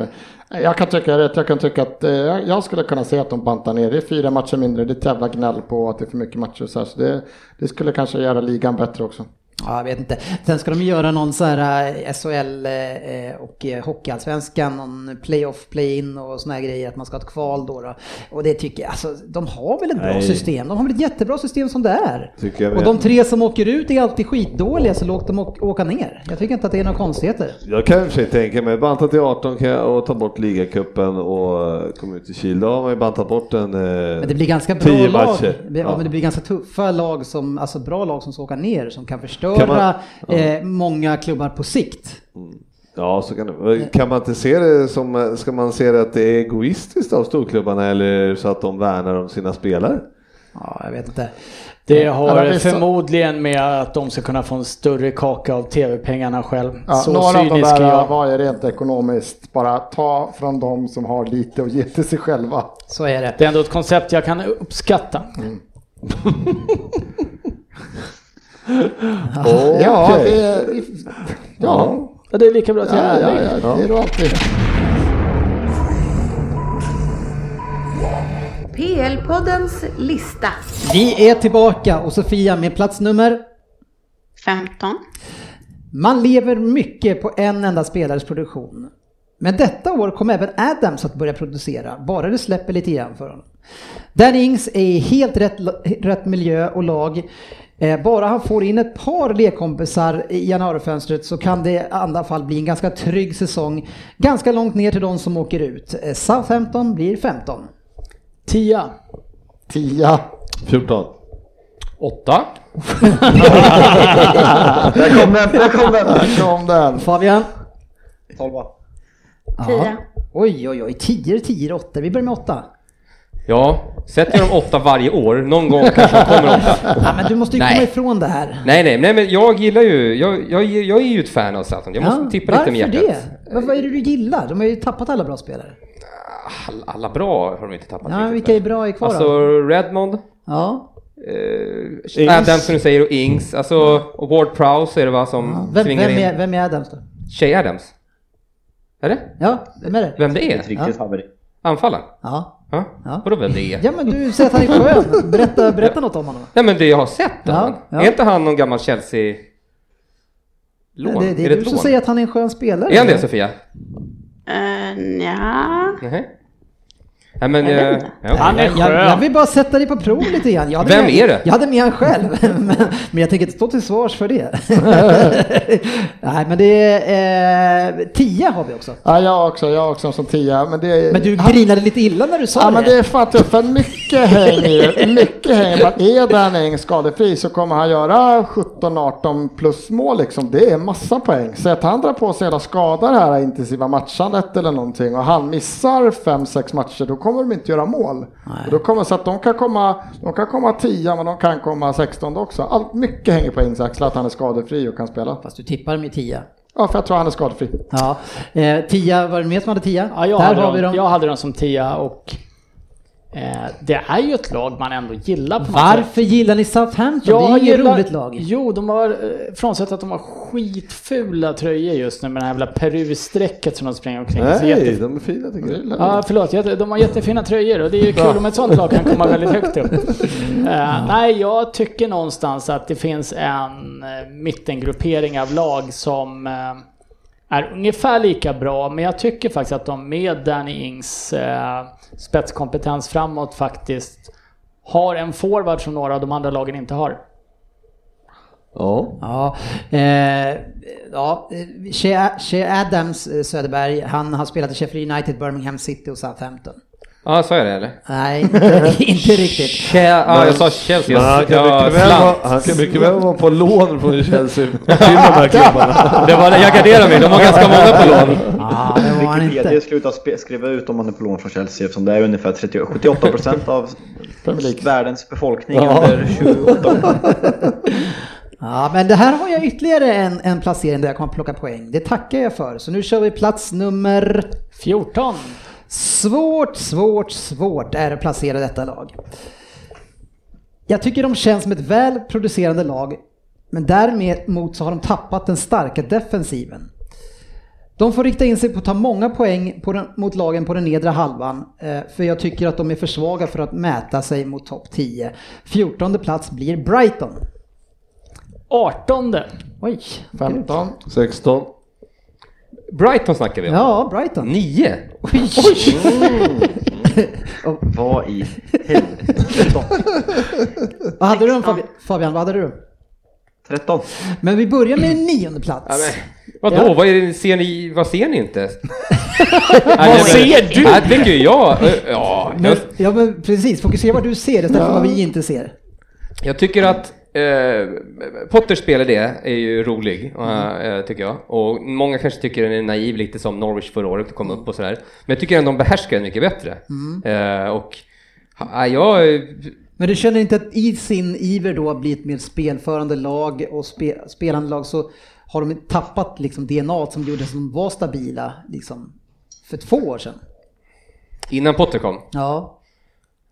Speaker 6: där. Jag kan tycka rätt, jag kan tycka att eh, jag skulle kunna se att de bantar ner. Det är fyra matcher mindre, det är ett jävla gnäll på att det är för mycket matcher och så här. Så det, det skulle kanske göra ligan bättre också.
Speaker 2: Ja, jag vet inte. Sen ska de göra någon så här eh, SHL eh, och eh, Hockeyallsvenskan, någon playoff, play-in och såna här grejer, att man ska ha ett kval då. då. Och det tycker jag, alltså de har väl ett bra
Speaker 5: Nej.
Speaker 2: system? De har väl ett jättebra system som det är?
Speaker 5: Tycker jag
Speaker 2: och
Speaker 5: med.
Speaker 2: de tre som åker ut är alltid skitdåliga, så låt dem å- åka ner. Jag tycker inte att det är några konstigheter.
Speaker 5: Jag kan i och för sig tänka mig, banta till 18 kan jag, och ta bort ligacupen och eh, komma ut i Kil. Då har man ju bantat bort en... eh,
Speaker 2: Men det blir ganska bra
Speaker 5: Tio
Speaker 2: lag.
Speaker 5: matcher.
Speaker 2: Ja,
Speaker 5: Ja.
Speaker 2: men det blir ganska tuffa lag som, alltså bra lag som ska åka ner, som kan förstöra
Speaker 5: Kan man-
Speaker 2: eh, många klubbar på sikt.
Speaker 5: Ja, så kan det Kan man inte se det som... eh, Ska man se det att det är egoistiskt av storklubbarna eller så att de värnar om sina spelare?
Speaker 2: Ja, jag vet inte.
Speaker 4: Det har
Speaker 6: det är så-
Speaker 4: förmodligen med att de ska kunna få en större kaka av tv-pengarna själv.
Speaker 6: Ja,
Speaker 4: så
Speaker 6: några av de
Speaker 4: cynisk
Speaker 6: där
Speaker 4: är jag.
Speaker 6: var ju rent ekonomiskt. Bara ta från de som har lite och ge till sig själva.
Speaker 2: Så är det. Mm.
Speaker 4: Det är ändå ett koncept jag kan uppskatta.
Speaker 6: Ja,
Speaker 5: Okej.
Speaker 6: det, är- ja,
Speaker 4: Ja, det är lika bra att jag
Speaker 6: ja,
Speaker 4: är
Speaker 6: ja,
Speaker 4: ärlig.
Speaker 6: ja, det är då alltid.
Speaker 1: PL-poddens lista.
Speaker 2: Vi är tillbaka och Sofia med plats nummer
Speaker 7: 15.
Speaker 2: Man lever mycket på en enda spelares produktion. Men detta år kommer även Adams att börja producera, bara det släpper lite grann för honom. Danny Ings är i helt rätt, rätt miljö och lag. Eh, Bara han får in ett par lekkompisar i januarifönstret så kan det i andra fall bli en ganska trygg säsong. Ganska långt ner till de som åker ut. Eh, Southampton blir 15.
Speaker 4: Tia.
Speaker 6: Tia.
Speaker 5: 14.
Speaker 3: Åtta.
Speaker 8: Där kom den, där kom den!
Speaker 6: Där kom den.
Speaker 2: Fabian?
Speaker 8: Tolva.
Speaker 2: Ja.
Speaker 7: Tio.
Speaker 2: Oj, oj, oj. 10, 10, 8. Vi börjar med 8.
Speaker 3: Ja, sätter jag dem åtta varje år, någon gång kanske de kommer åtta.
Speaker 2: Ja, men du måste ju
Speaker 3: Nej.
Speaker 2: komma ifrån det här.
Speaker 3: Nej, nej, nej, men jag gillar ju, jag, jag, jag är ju ett fan av Zlatan. Jag måste
Speaker 2: Ja,
Speaker 3: tippa lite med hjärtat.
Speaker 2: Varför det? Vad- Vad är det du gillar? De har ju tappat alla bra spelare.
Speaker 3: Alla, alla bra har de inte tappat
Speaker 2: Ja,
Speaker 3: riktigt.
Speaker 2: vilka är bra är kvar då?
Speaker 3: Alltså Redmond,
Speaker 2: Ja.
Speaker 3: eh, Adam som du säger och Ings, alltså och Ward Prowse är det va som
Speaker 2: Vem, vem,
Speaker 3: svingar
Speaker 2: är,
Speaker 3: in.
Speaker 2: vem är Adams då?
Speaker 3: Shay Adams? Är det?
Speaker 2: Ja, vem är det?
Speaker 3: Vem det är?
Speaker 8: Riktigt haveri.
Speaker 3: Anfallaren?
Speaker 2: Ja.
Speaker 3: Ja.
Speaker 2: Ja.
Speaker 3: Vadå vem det är?
Speaker 2: ja, men du säger att han är skön. Berätta, berätta något om honom.
Speaker 3: Nej men det jag har sett av
Speaker 2: Ja,
Speaker 3: honom.
Speaker 2: ja.
Speaker 3: Är inte han någon gammal Chelsea... Lån?
Speaker 2: Det, det är,
Speaker 3: är det
Speaker 2: du
Speaker 3: ett
Speaker 2: som
Speaker 3: lån?
Speaker 2: säger att han är en skön spelare.
Speaker 3: Är han det Sofia?
Speaker 7: Uh, ja.
Speaker 3: Nej. Nej men...
Speaker 7: Jag vet
Speaker 3: eh,
Speaker 7: inte.
Speaker 3: ja.
Speaker 4: Han är
Speaker 2: Jag, jag
Speaker 4: skön.
Speaker 2: vill bara sätta dig på prov lite grann. Jag hade
Speaker 3: Vem
Speaker 2: med,
Speaker 3: är det?
Speaker 2: Jag hade med han själv, men, men jag tänker inte stå till svars för det. Nej, men det är... Eh, tio har vi också.
Speaker 6: Ja, jag också, jag också som tia. Men det är...
Speaker 2: Men du
Speaker 6: han,
Speaker 2: grinade lite illa när du sa
Speaker 6: Ja,
Speaker 2: det.
Speaker 6: men det är fan tufft, för mycket hänger ju. Mycket hänger på att är Dan Eng skadefri så kommer han göra 17-18 plus mål liksom. Det är massa poäng. Så att han drar på sig hela skada det här intensiva matchandet eller någonting och han missar 5-6 matcher, då kommer de inte göra mål. Och då kommer, så att de kan komma, de kan komma 10 men de kan komma 16 också. Allt, mycket hänger på Engs axlar att han är skadefri och kan spela.
Speaker 2: Fast du tippar med tio.
Speaker 6: Ja, för jag tror han är skadefri.
Speaker 2: Ja. Eh, tia, var det mer som hade tia?
Speaker 4: Ja, jag,
Speaker 2: Där
Speaker 4: hade
Speaker 2: har vi
Speaker 4: dem.
Speaker 2: dem.
Speaker 4: jag hade dem som tia och eh, det är ju ett lag man ändå gillar på något sätt.
Speaker 2: Varför gillar ni Southampton? det är ju inget roligt lag.
Speaker 4: Jo, de har, eh, frånsett att de har skitfula tröjor just nu med det här jävla Peru-strecket som de springer omkring i. Så jätte-
Speaker 5: Nej, de är fina tycker jag.
Speaker 4: Ja, förlåt. jätte- De har jättefina tröjor och det är ju kul om ett sånt lag kan komma väldigt högt upp. Eh, nej, jag tycker någonstans att det finns en eh, mittengruppering av lag som eh, är ungefär lika bra, men jag tycker faktiskt att de med Danny Ings eh, spetskompetens framåt faktiskt har en forward som några av de andra lagen inte har.
Speaker 5: Ja.
Speaker 2: Ja, eh, ja, eh, Shea- Shea Adams eh, Söderberg, han har spelat i Sheffield United, Birmingham City och Southampton.
Speaker 3: Ja, sa jag det eller?
Speaker 2: Nej, inte riktigt.
Speaker 3: Che- Ja, jag sa Chelsea.
Speaker 5: Men han
Speaker 3: Jag,
Speaker 5: kan
Speaker 3: jag,
Speaker 5: mycket väl
Speaker 3: slant.
Speaker 5: vara- han kan mycket väl vara på lån från Chelsea till de här klubbarna.
Speaker 3: Det var, jag garderar mig, de har ganska många på lån.
Speaker 2: Ja, Ah, det var han
Speaker 8: Wikipedia
Speaker 2: inte.
Speaker 8: slutar spe- skriva ut om man är på lån från Chelsea eftersom det är ungefär 30, 78% av världens befolkning under 28 år.
Speaker 2: Ja, men det här har jag ytterligare en, en placering där jag kommer plocka poäng. Det tackar jag för. Så nu kör vi plats nummer
Speaker 4: 14.
Speaker 2: Svårt, svårt, svårt är det att placera detta lag. Jag tycker de känns som ett väl producerande lag, men däremot så har de tappat den starka defensiven. De får rikta in sig på att ta många poäng på den, mot lagen på den nedre halvan, eh, för jag tycker att de är för svaga för att mäta sig mot topp 10. 14 plats blir Brighton.
Speaker 4: 18.
Speaker 2: Oj.
Speaker 6: 15.
Speaker 5: 16.
Speaker 3: Brighton snackar vi om.
Speaker 2: Ja, Brighton.
Speaker 3: Nio?
Speaker 2: Oj.
Speaker 8: Mm. Vad i helvete?
Speaker 2: Vad hade du då, Fabi- Fabian? Vad hade du?
Speaker 8: 13.
Speaker 2: Men vi börjar med nionde plats.
Speaker 3: Vadå,
Speaker 2: Ja.
Speaker 3: vad, är det, ser ni, vad ser ni inte?
Speaker 4: Vad ser du?
Speaker 3: Här tycker jag, eh, ja, jag,
Speaker 2: Men, ja men precis, fokusera vad du ser istället för vad vi inte ser.
Speaker 3: jag tycker att eh, Potters spel i det är ju rolig, eh,
Speaker 6: Mm.
Speaker 3: tycker jag. Och många kanske tycker den är naiv, lite som Norwich förra året kom upp och sådär. Men jag tycker ändå de behärskar den mycket bättre.
Speaker 6: Mm.
Speaker 3: Eh, och ja, jag,
Speaker 2: Men du känner inte att i sin iver då att bli ett mer spelförande lag och spe, spelande lag så har de tappat liksom DNA som gjorde att de var stabila liksom för två år sedan?
Speaker 3: innan Potter kom,
Speaker 2: Ja,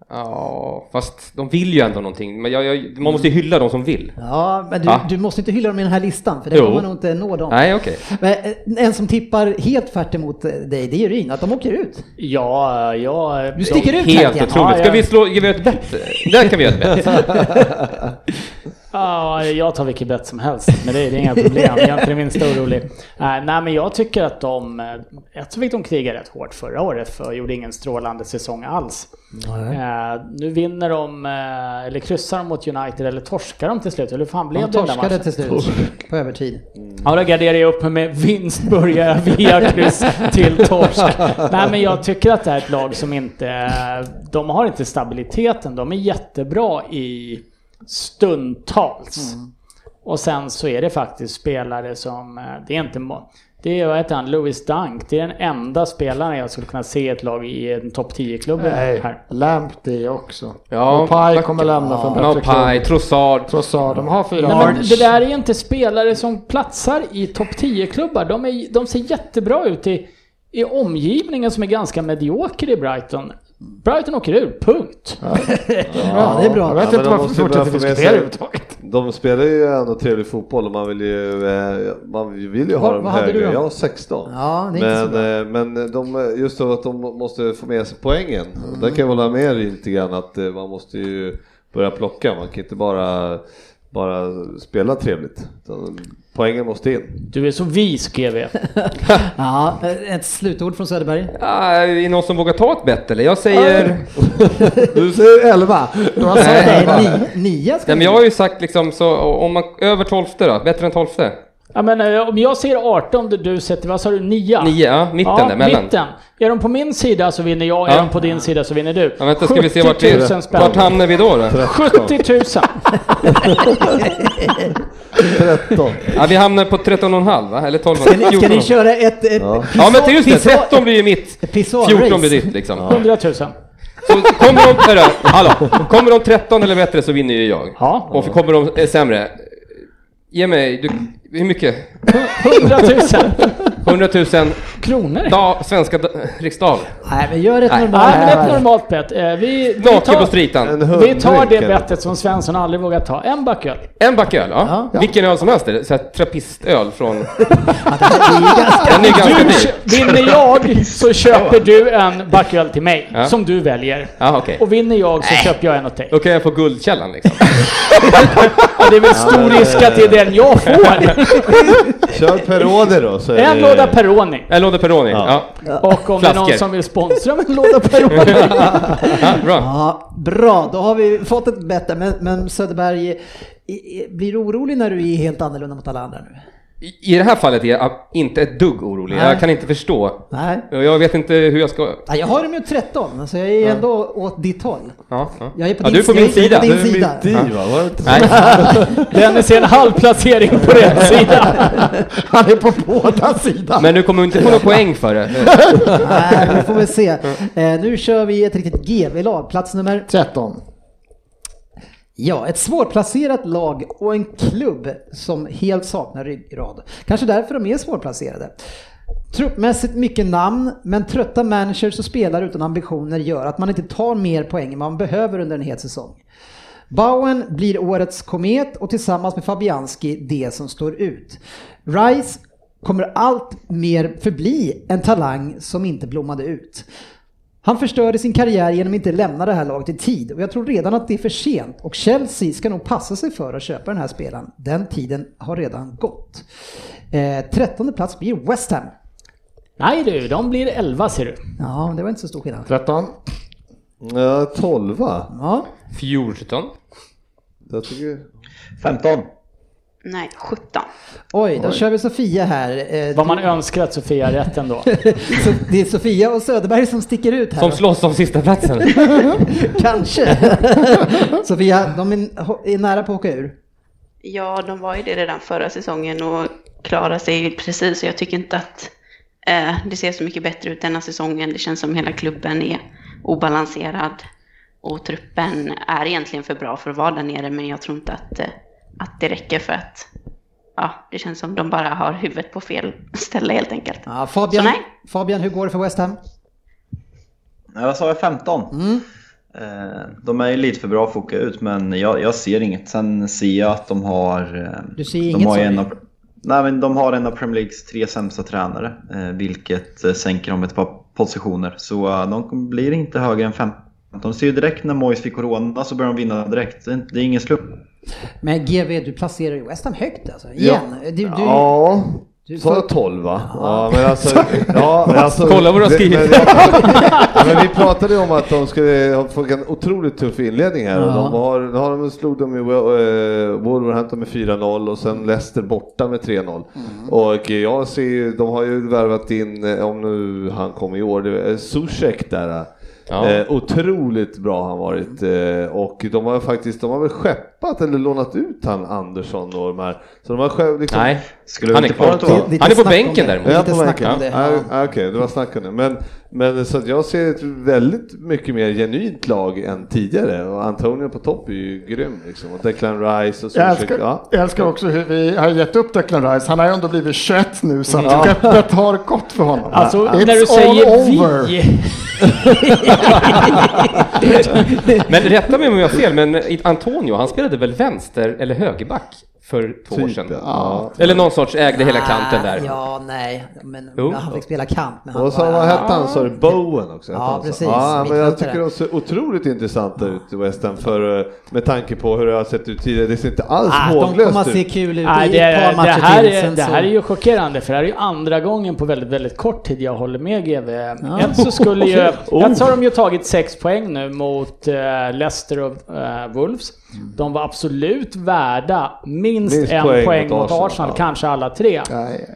Speaker 3: ja, fast de vill ju ändå någonting. Men jag, jag, man måste ju hylla de som vill.
Speaker 2: ja men du,
Speaker 3: Ja.
Speaker 2: du måste inte hylla dem i den här listan för det
Speaker 3: Jo.
Speaker 2: kommer nog inte nå dem.
Speaker 3: Nej, okej.
Speaker 2: Men eh, en som tippar helt tvärt emot eh, dig, det är Ryn, att de åker ut.
Speaker 4: Ja, ja.
Speaker 2: Du sticker ut
Speaker 3: Helt
Speaker 2: tanken.
Speaker 3: otroligt.
Speaker 4: Ja,
Speaker 3: Ska
Speaker 4: ja.
Speaker 3: vi slå, ge vi ett bett? Där kan vi göra ett bett.
Speaker 4: Ja, jag tar vilket bett som helst, men det är, det är inga problem. Jag är inte det minsta orolig. Äh, nej, men jag tycker att de... eh, Jag tycker att de krigade rätt hårt förra året, för gjorde ingen strålande säsong alls. Eh, nu vinner de, eh, eller kryssar de mot United, eller torskar de till slut? Eller hur fan blev
Speaker 2: De
Speaker 4: det den där
Speaker 2: torskade
Speaker 4: matchen?
Speaker 2: till slut på övertid.
Speaker 4: Ja, då garderar jag upp mig med vinst börjar via kryss till torsk. Nej, men jag tycker att det här är ett lag som inte... De har inte
Speaker 6: Mm.
Speaker 4: stabiliteten. De är jättebra i stundtals. Och sen så är det faktiskt spelare som, eh, det är inte må- det är, vad heter han, Louis Dunk. Det är den enda spelaren jag skulle kunna se i ett lag i en topp 10-klubb
Speaker 6: Nej,
Speaker 4: här.
Speaker 6: Lamp det också.
Speaker 3: Ja,
Speaker 6: och Pai
Speaker 3: tack.
Speaker 6: kommer lämna för en
Speaker 3: Ja,
Speaker 6: bättre
Speaker 3: Paj,
Speaker 6: klubb.
Speaker 3: Trossard.
Speaker 6: Trossard, de har fyra
Speaker 4: Nej, men
Speaker 6: år.
Speaker 4: det där är inte spelare som platsar i topp 10-klubbar. De, är- de ser jättebra ut i, i omgivningen som är ganska medioker i Brighton. Brighton åker ur, punkt.
Speaker 2: Ja, det är bra.
Speaker 6: Jag
Speaker 5: Ja, men
Speaker 6: vet inte
Speaker 5: de
Speaker 6: varför vi
Speaker 5: måste ju
Speaker 6: fortsätter
Speaker 5: börja få med
Speaker 6: diskutera
Speaker 5: sig-
Speaker 6: överhuvudtaget.
Speaker 5: De spelar ju ändå trevlig fotboll och man vill ju, eh, man vill ju ha
Speaker 2: Vad-
Speaker 5: dem
Speaker 2: vad hade
Speaker 5: högre.
Speaker 2: du då?
Speaker 5: Jag har 16.
Speaker 2: Ja, det är inte så
Speaker 5: men eh, men de, just så att de måste få med sig poängen.
Speaker 2: Mm.
Speaker 5: Och Där kan jag hålla med dig lite grann att eh, man måste ju börja plocka. Man kan inte bara, bara spela trevligt. Utan Poängen måste in.
Speaker 4: Du är så vis GV.
Speaker 2: Ja, eh, ett slutord från Söderberg.
Speaker 3: Ah, är det någon som vågar ta ett bett eller? Jag säger...
Speaker 5: Du säger 11!
Speaker 6: Du har sagt
Speaker 2: Nej,
Speaker 6: elva.
Speaker 2: ni, nia ska
Speaker 3: Nej, men
Speaker 2: vi-
Speaker 3: jag har ju sagt liksom så, om man... Över tolfte då? Bättre än tolfte?
Speaker 4: Ja, men, eh, om jag säger 18, du- du sätter, vad sa du, 9?
Speaker 3: Nio, ja. Mitten där, mellan.
Speaker 4: mitten. Är de på min sida så vinner jag, är
Speaker 3: Ja.
Speaker 4: de på din sida så vinner du.
Speaker 3: Ja, vänta, ska vi se vart,
Speaker 4: 70
Speaker 3: vi,
Speaker 4: 000 spänn.
Speaker 3: vart hamnar vi då? då?
Speaker 4: 70 000!
Speaker 5: 13.
Speaker 3: Ja, vi hamnar på 13,5 va? Eller 12?
Speaker 2: Ska ni, ska ni köra ett... ett ja.
Speaker 3: Ja men till just det, 13 blir ju mitt,
Speaker 2: Pissoar
Speaker 3: 14
Speaker 2: race.
Speaker 3: blir ditt liksom.
Speaker 4: 100 000.
Speaker 3: Så kommer de, hörru, hallå, kommer de 13 eller bättre så vinner ju jag.
Speaker 4: Ja.
Speaker 3: Och kommer de eh, sämre, ge mig, du, hur mycket?
Speaker 4: 100 000
Speaker 3: 100 000
Speaker 4: kronor!
Speaker 3: da, svenska da, riksdag.
Speaker 2: Nej, men gör ett
Speaker 3: Nej.
Speaker 4: Nej, men
Speaker 2: normalt...
Speaker 4: ett normalt bet. Eh, Vi, vi,
Speaker 3: Naken på
Speaker 4: tar,
Speaker 5: En
Speaker 3: stritan.
Speaker 4: vi tar det
Speaker 5: hundring, eller?
Speaker 4: bettet som Svensson aldrig vågat ta. En backöl.
Speaker 3: En backöl, ja.
Speaker 2: Ja.
Speaker 3: Vilken öl som helst är det. Så här trappistöl från... Den är ganska
Speaker 4: Du,
Speaker 3: dyr.
Speaker 4: kö- vinner jag så köper du en backöl till mig,
Speaker 3: Ja.
Speaker 4: som du väljer.
Speaker 3: Ja, okej.
Speaker 4: Och vinner jag så köper jag en åt dig.
Speaker 3: Då kan jag få Guldkällan liksom.
Speaker 4: Ja, det är väl stor risk att det är den jag får.
Speaker 5: Kör Peroni då. Så är
Speaker 4: En
Speaker 5: det-
Speaker 4: låda Peroni.
Speaker 3: En låda Peroni. Ja.
Speaker 5: Ja.
Speaker 4: Och om det är någon
Speaker 3: Flaskor.
Speaker 4: som vill sponsra med en låda Peroni.
Speaker 3: ja, bra.
Speaker 2: Ja, bra, då har vi fått ett bättre. Men, men Söderberg, i- i- blir du orolig när du är helt annorlunda mot alla andra nu?
Speaker 3: I- I det här fallet är jag ab- inte ett dugg orolig.
Speaker 2: Nej.
Speaker 3: Jag kan inte förstå.
Speaker 2: Nej.
Speaker 3: Och Jag vet inte hur jag ska...
Speaker 2: Ja, jag har dem ju 13, så jag är ändå åt ditt håll.
Speaker 3: Ja, ja.
Speaker 2: Jag är på
Speaker 3: ja,
Speaker 2: din
Speaker 3: du är på
Speaker 2: sida,
Speaker 3: min
Speaker 2: jag är på
Speaker 3: sida.
Speaker 5: Du
Speaker 2: din
Speaker 5: är mitt
Speaker 2: sida.
Speaker 5: i va? Var det inte så?
Speaker 3: Nej,
Speaker 4: Dennis är en halv placering på rätt sida.
Speaker 6: Han är på båda sidor.
Speaker 3: men du kommer inte få någon poäng för det.
Speaker 2: Nej, vi får väl se. Eh, nu kör vi ett riktigt GV-lag, plats nummer...
Speaker 6: 13.
Speaker 2: Ja, ett svårplacerat lag och en klubb som helt saknar ryggrad. Kanske därför de är svårplacerade. Truppmässigt mycket namn, men trötta managers och spelare utan ambitioner gör att man inte tar mer poäng än man behöver under en hel säsong. Bowen blir årets komet och tillsammans med Fabianski det som står ut. Rice kommer allt mer förbli en talang som inte blommade ut. Han förstörde sin karriär genom att inte lämna det här laget i tid och jag tror redan att det är för sent och Chelsea ska nog passa sig för att köpa den här spelaren. Den tiden har redan gått. Eh, trettonde plats blir West Ham.
Speaker 4: Nej du, de blir 11 ser du.
Speaker 2: Ja, det var inte så stor skillnad.
Speaker 6: 13.
Speaker 5: Ja, 12 va?
Speaker 2: Ja,
Speaker 3: 14.
Speaker 5: Jag tycker...
Speaker 8: 15.
Speaker 7: Nej, 17.
Speaker 2: oj, då kör vi Sofia här. Eh,
Speaker 4: Vad man önskar att Sofia har rätt ändå.
Speaker 2: Så det är Sofia och Söderberg som sticker ut här.
Speaker 3: Som slåss om sista platsen.
Speaker 2: Kanske. Sofia, de är, är nära på att åka ur.
Speaker 7: Ja, de var ju det redan förra säsongen och klarade sig precis. Jag tycker inte att eh, det ser så mycket bättre ut denna säsongen. Det känns som hela klubben är obalanserad och truppen är egentligen för bra för att vara där nere, men jag tror inte att, eh, att det räcker för att ja, det känns som de bara har huvudet på fel ställe helt enkelt.
Speaker 2: Ja, Fabian,
Speaker 7: Så nej.
Speaker 2: Fabian, hur går det för West Ham?
Speaker 8: Nej, vad sa jag? 15?
Speaker 2: Mm.
Speaker 8: Eh, De är ju lite för bra för att åka ut, men jag, jag ser inget. Sen ser jag att de har... eh,
Speaker 2: Du ser
Speaker 8: de
Speaker 2: inget,
Speaker 8: har ju
Speaker 2: sa du?
Speaker 8: en av, Nej, men de har en av Premier Leagues tre sämsta tränare, eh, vilket eh, sänker dem ett par positioner. Så eh, de kom- blir inte högre än 15. De ser ju direkt när Moyes fick corona så börjar de vinna direkt. Det är inte- det är ingen slump.
Speaker 2: Men GV, du placerar ju West Ham högt alltså. Igen. Du, du,
Speaker 5: Ja,
Speaker 2: du-
Speaker 5: sa jag 12 va? Ja, men alltså, ja, men alltså,
Speaker 3: Kolla vad du har
Speaker 5: det-
Speaker 3: skrivit.
Speaker 5: Men, ja, men vi pratade ju om att de skulle få en otroligt tuff inledning här. Och de har, nu har de, slog de ju eh, Wolverhampton med 4-0 och sen Leicester borta med 3-0.
Speaker 3: Mm.
Speaker 5: Och jag ser ju, de har ju värvat in, eh, om nu han kom i år, det är Zuzek där. eh,
Speaker 3: Ja.
Speaker 5: Eh, otroligt bra har han varit eh, och de har faktiskt, de har väl skeppat tappat eller lånat ut han Andersson och de här. Så de har själv liksom...
Speaker 3: Nej, Han
Speaker 8: Skulle han
Speaker 3: är
Speaker 8: inte
Speaker 3: kvar.
Speaker 8: kvar då?
Speaker 3: Han är på bänken däremot.
Speaker 5: Ja,
Speaker 9: Lite
Speaker 5: på
Speaker 9: snack om
Speaker 5: bänken.
Speaker 9: det.
Speaker 5: Ja,
Speaker 9: Ja.
Speaker 5: ja, Okej, det var snack om det. Men, men så att jag ser ett väldigt mycket mer genuint lag än tidigare och Antonio på topp är ju grym liksom och Declan Rice och så.
Speaker 6: Jag älskar, jag älskar också hur vi har gett upp Declan Rice. Han har ju ändå blivit 21 nu så att
Speaker 5: Ja.
Speaker 6: skeppet har gått för honom.
Speaker 4: Alltså
Speaker 6: It's
Speaker 4: när du
Speaker 6: all
Speaker 4: säger
Speaker 6: over.
Speaker 4: vi.
Speaker 3: Men rätta mig om jag har fel, men Antonio, han spelade väl vänster eller högerback för två år sedan?
Speaker 5: Typ, Ja.
Speaker 3: Eller någon sorts ägde hela kanten där.
Speaker 2: Ja, nej. Men
Speaker 3: Jo.
Speaker 2: han fick spela kamp. Men han
Speaker 5: Och så
Speaker 2: var-
Speaker 5: vad hette han sa du? Bowen också? hette
Speaker 2: Ja,
Speaker 5: han, så.
Speaker 2: precis.
Speaker 5: alltså. Ja, men jag
Speaker 2: Mittfältare.
Speaker 5: tycker de ser otroligt intressanta ut i West Ham för, eh, med tanke på hur det har sett ut tidigare. Det ser inte alls
Speaker 2: Ah, de kommer att
Speaker 5: håglöst
Speaker 2: se
Speaker 5: ut.
Speaker 2: kul ut
Speaker 4: Nej,
Speaker 2: i
Speaker 4: det,
Speaker 2: ett par
Speaker 4: det,
Speaker 2: matcher
Speaker 4: här
Speaker 2: till.
Speaker 4: är,
Speaker 2: sen
Speaker 4: det
Speaker 2: så-
Speaker 4: här är ju chockerande för det här är ju andra gången på väldigt, väldigt kort tid jag håller med GV.
Speaker 2: Ja. Oh.
Speaker 4: Ett så skulle ju... Ett så har de ju tagit sex poäng nu mot eh, Leicester och eh, Wolves.
Speaker 2: Mm.
Speaker 4: De var absolut värda minst,
Speaker 5: Minst
Speaker 4: en
Speaker 5: poäng
Speaker 4: poäng,
Speaker 5: mot
Speaker 4: mot
Speaker 5: Arsenal,
Speaker 4: Arsenal,
Speaker 5: ja.
Speaker 4: kanske alla tre.
Speaker 6: Nej,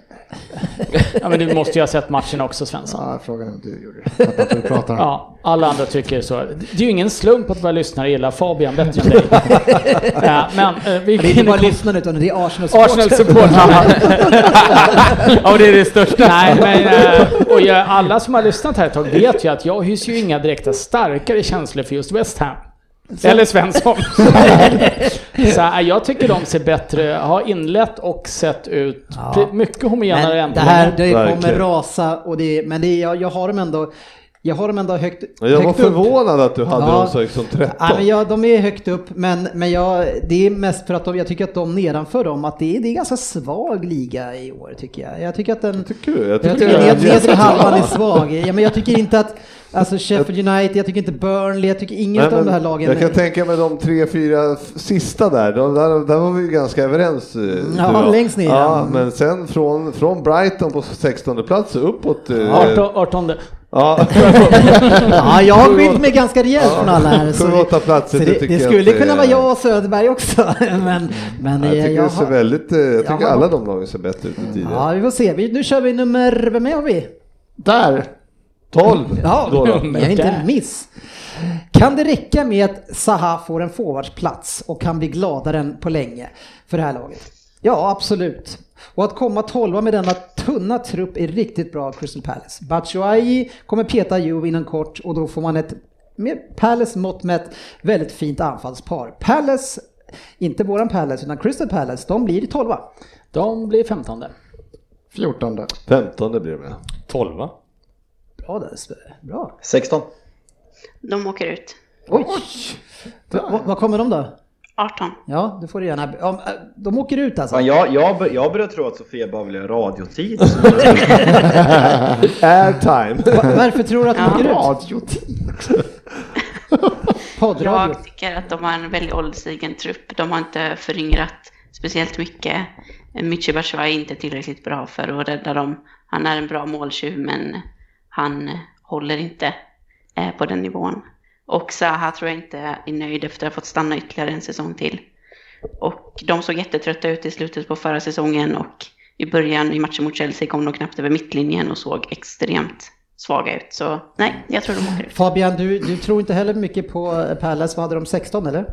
Speaker 4: Ja, men du måste ju ha sett matchen också Svensson.
Speaker 6: ja, frågan är om du gjorde det. Jag fattar inte hur du pratar om.
Speaker 4: Ja, alla andra tycker så. Det är ju ingen slump att våra lyssnare gillar Fabian bättre än dig. Eh, men eh, vi
Speaker 2: Det är inte bara
Speaker 4: hinner
Speaker 2: lyssnarna utan det är arsenal
Speaker 4: Arsenal-supportrarna. ja, det är det största. Nej, men, eh, och jag, alla som har lyssnat här ett tag vet ju att jag hyser ju inga direkta starkare känslor för just West Ham. Eller Svensson. så eh, jag tycker de ser bättre, har inlett och sett ut
Speaker 2: Ja.
Speaker 4: pre- Typ mycket homogenare än
Speaker 2: Men
Speaker 4: på
Speaker 2: det här
Speaker 4: länge.
Speaker 2: det kommer
Speaker 5: Verkligen.
Speaker 2: rasa och det, men det, är- jag, jag har dem ändå jag har dem ändå högt,
Speaker 5: Men Jag var
Speaker 2: högt upp.
Speaker 5: förvånad att du hade
Speaker 2: Ja.
Speaker 5: dem så liksom 13.
Speaker 2: Ja, men jag, de är högt upp, men, men jag, det är mest för att de, jag tycker att de nedanför dem, att det är, det är ganska svag liga i år tycker jag. Jag tycker att den...
Speaker 5: Tycker du? Jag
Speaker 2: Jag
Speaker 5: tycker
Speaker 2: tycker
Speaker 5: det är
Speaker 2: ned- nedre
Speaker 5: jättebra.
Speaker 2: halvan är svag. Ja, men jag tycker inte att alltså Sheffield United, jag tycker inte Burnley, jag tycker inget
Speaker 5: Nej,
Speaker 2: av
Speaker 5: men
Speaker 2: de här lagen.
Speaker 5: Jag kan tänka mig de tre, fyra f- sista där, de, där, där var vi ju ganska överens. eh, du
Speaker 2: Ja,
Speaker 5: och jag.
Speaker 2: längst ner,
Speaker 5: Ja,
Speaker 2: ja.
Speaker 5: men sen från, från Brighton på 16 plats uppåt. eh,
Speaker 4: 18, 18.
Speaker 5: Ja,
Speaker 2: ja, jag har skilt mig ganska rejält
Speaker 5: Ja.
Speaker 2: från alla här. så
Speaker 5: Sju,
Speaker 2: det-
Speaker 5: åtta platser,
Speaker 2: så
Speaker 5: det
Speaker 2: det,
Speaker 5: tycker
Speaker 2: det
Speaker 5: jag
Speaker 2: skulle
Speaker 5: att eh, Mm. det
Speaker 2: kunna
Speaker 5: är-
Speaker 2: vara jag och Söderberg också. Men,
Speaker 5: jag
Speaker 2: men
Speaker 5: tycker, det ser
Speaker 2: har-
Speaker 5: väldigt, eh, jag tycker
Speaker 2: har-
Speaker 5: alla de lagen ser bättre ut än tidigare.
Speaker 2: Ja, vi får se. Vi, nu kör vi nummer, vem har vi?
Speaker 6: Där!
Speaker 5: 12
Speaker 2: Ja,
Speaker 5: då då.
Speaker 2: jag är inte
Speaker 4: där.
Speaker 2: en miss. Kan det räcka med att Zaha får en forwardsplats och kan bli gladare än på länge för det här laget? Ja, absolut. Och att komma tolva med denna tunna trupp är riktigt bra av Crystal Palace. Batshuayi kommer peta Juve inom kort och då får man ett med Palace mått mätt väldigt fint anfallspar. Palace, inte våran Palace utan Crystal Palace, de blir tolva.
Speaker 4: De blir 15.
Speaker 6: 14.
Speaker 5: 15 blir det med.
Speaker 3: 12
Speaker 2: Bra där Sverige. bra.
Speaker 8: 16.
Speaker 7: De åker ut.
Speaker 2: Oj! Va- Vad kommer de då?
Speaker 7: 18.
Speaker 2: Ja, du får det gärna. Ja, men, De åker ut alltså?
Speaker 8: Fan, jag, jag, bör- jag börjar tro att Sofia bara vill göra radiotid.
Speaker 5: Airtime.
Speaker 2: Va- Varför tror du att de
Speaker 7: Ja.
Speaker 2: åker ut?
Speaker 6: Radiotid.
Speaker 2: Poddradio?
Speaker 7: Jag tycker att de har en väldigt ålderstigen trupp. De har inte föryngrat speciellt mycket. Michy Batshuayi är inte tillräckligt bra för att rädda dem. Han är en bra måltjuv, men han håller inte eh, på den nivån. Och Zaha tror jag inte är nöjd efter att ha fått stanna ytterligare en säsong till. Och de såg jättetrötta ut i slutet på förra säsongen och i början i matchen mot Chelsea kom de knappt över mittlinjen och såg extremt svaga ut. Så nej, jag tror de åker ut.
Speaker 2: Fabian, du, du tror inte heller mycket på eh, Palace. Vad hade de 16 eller?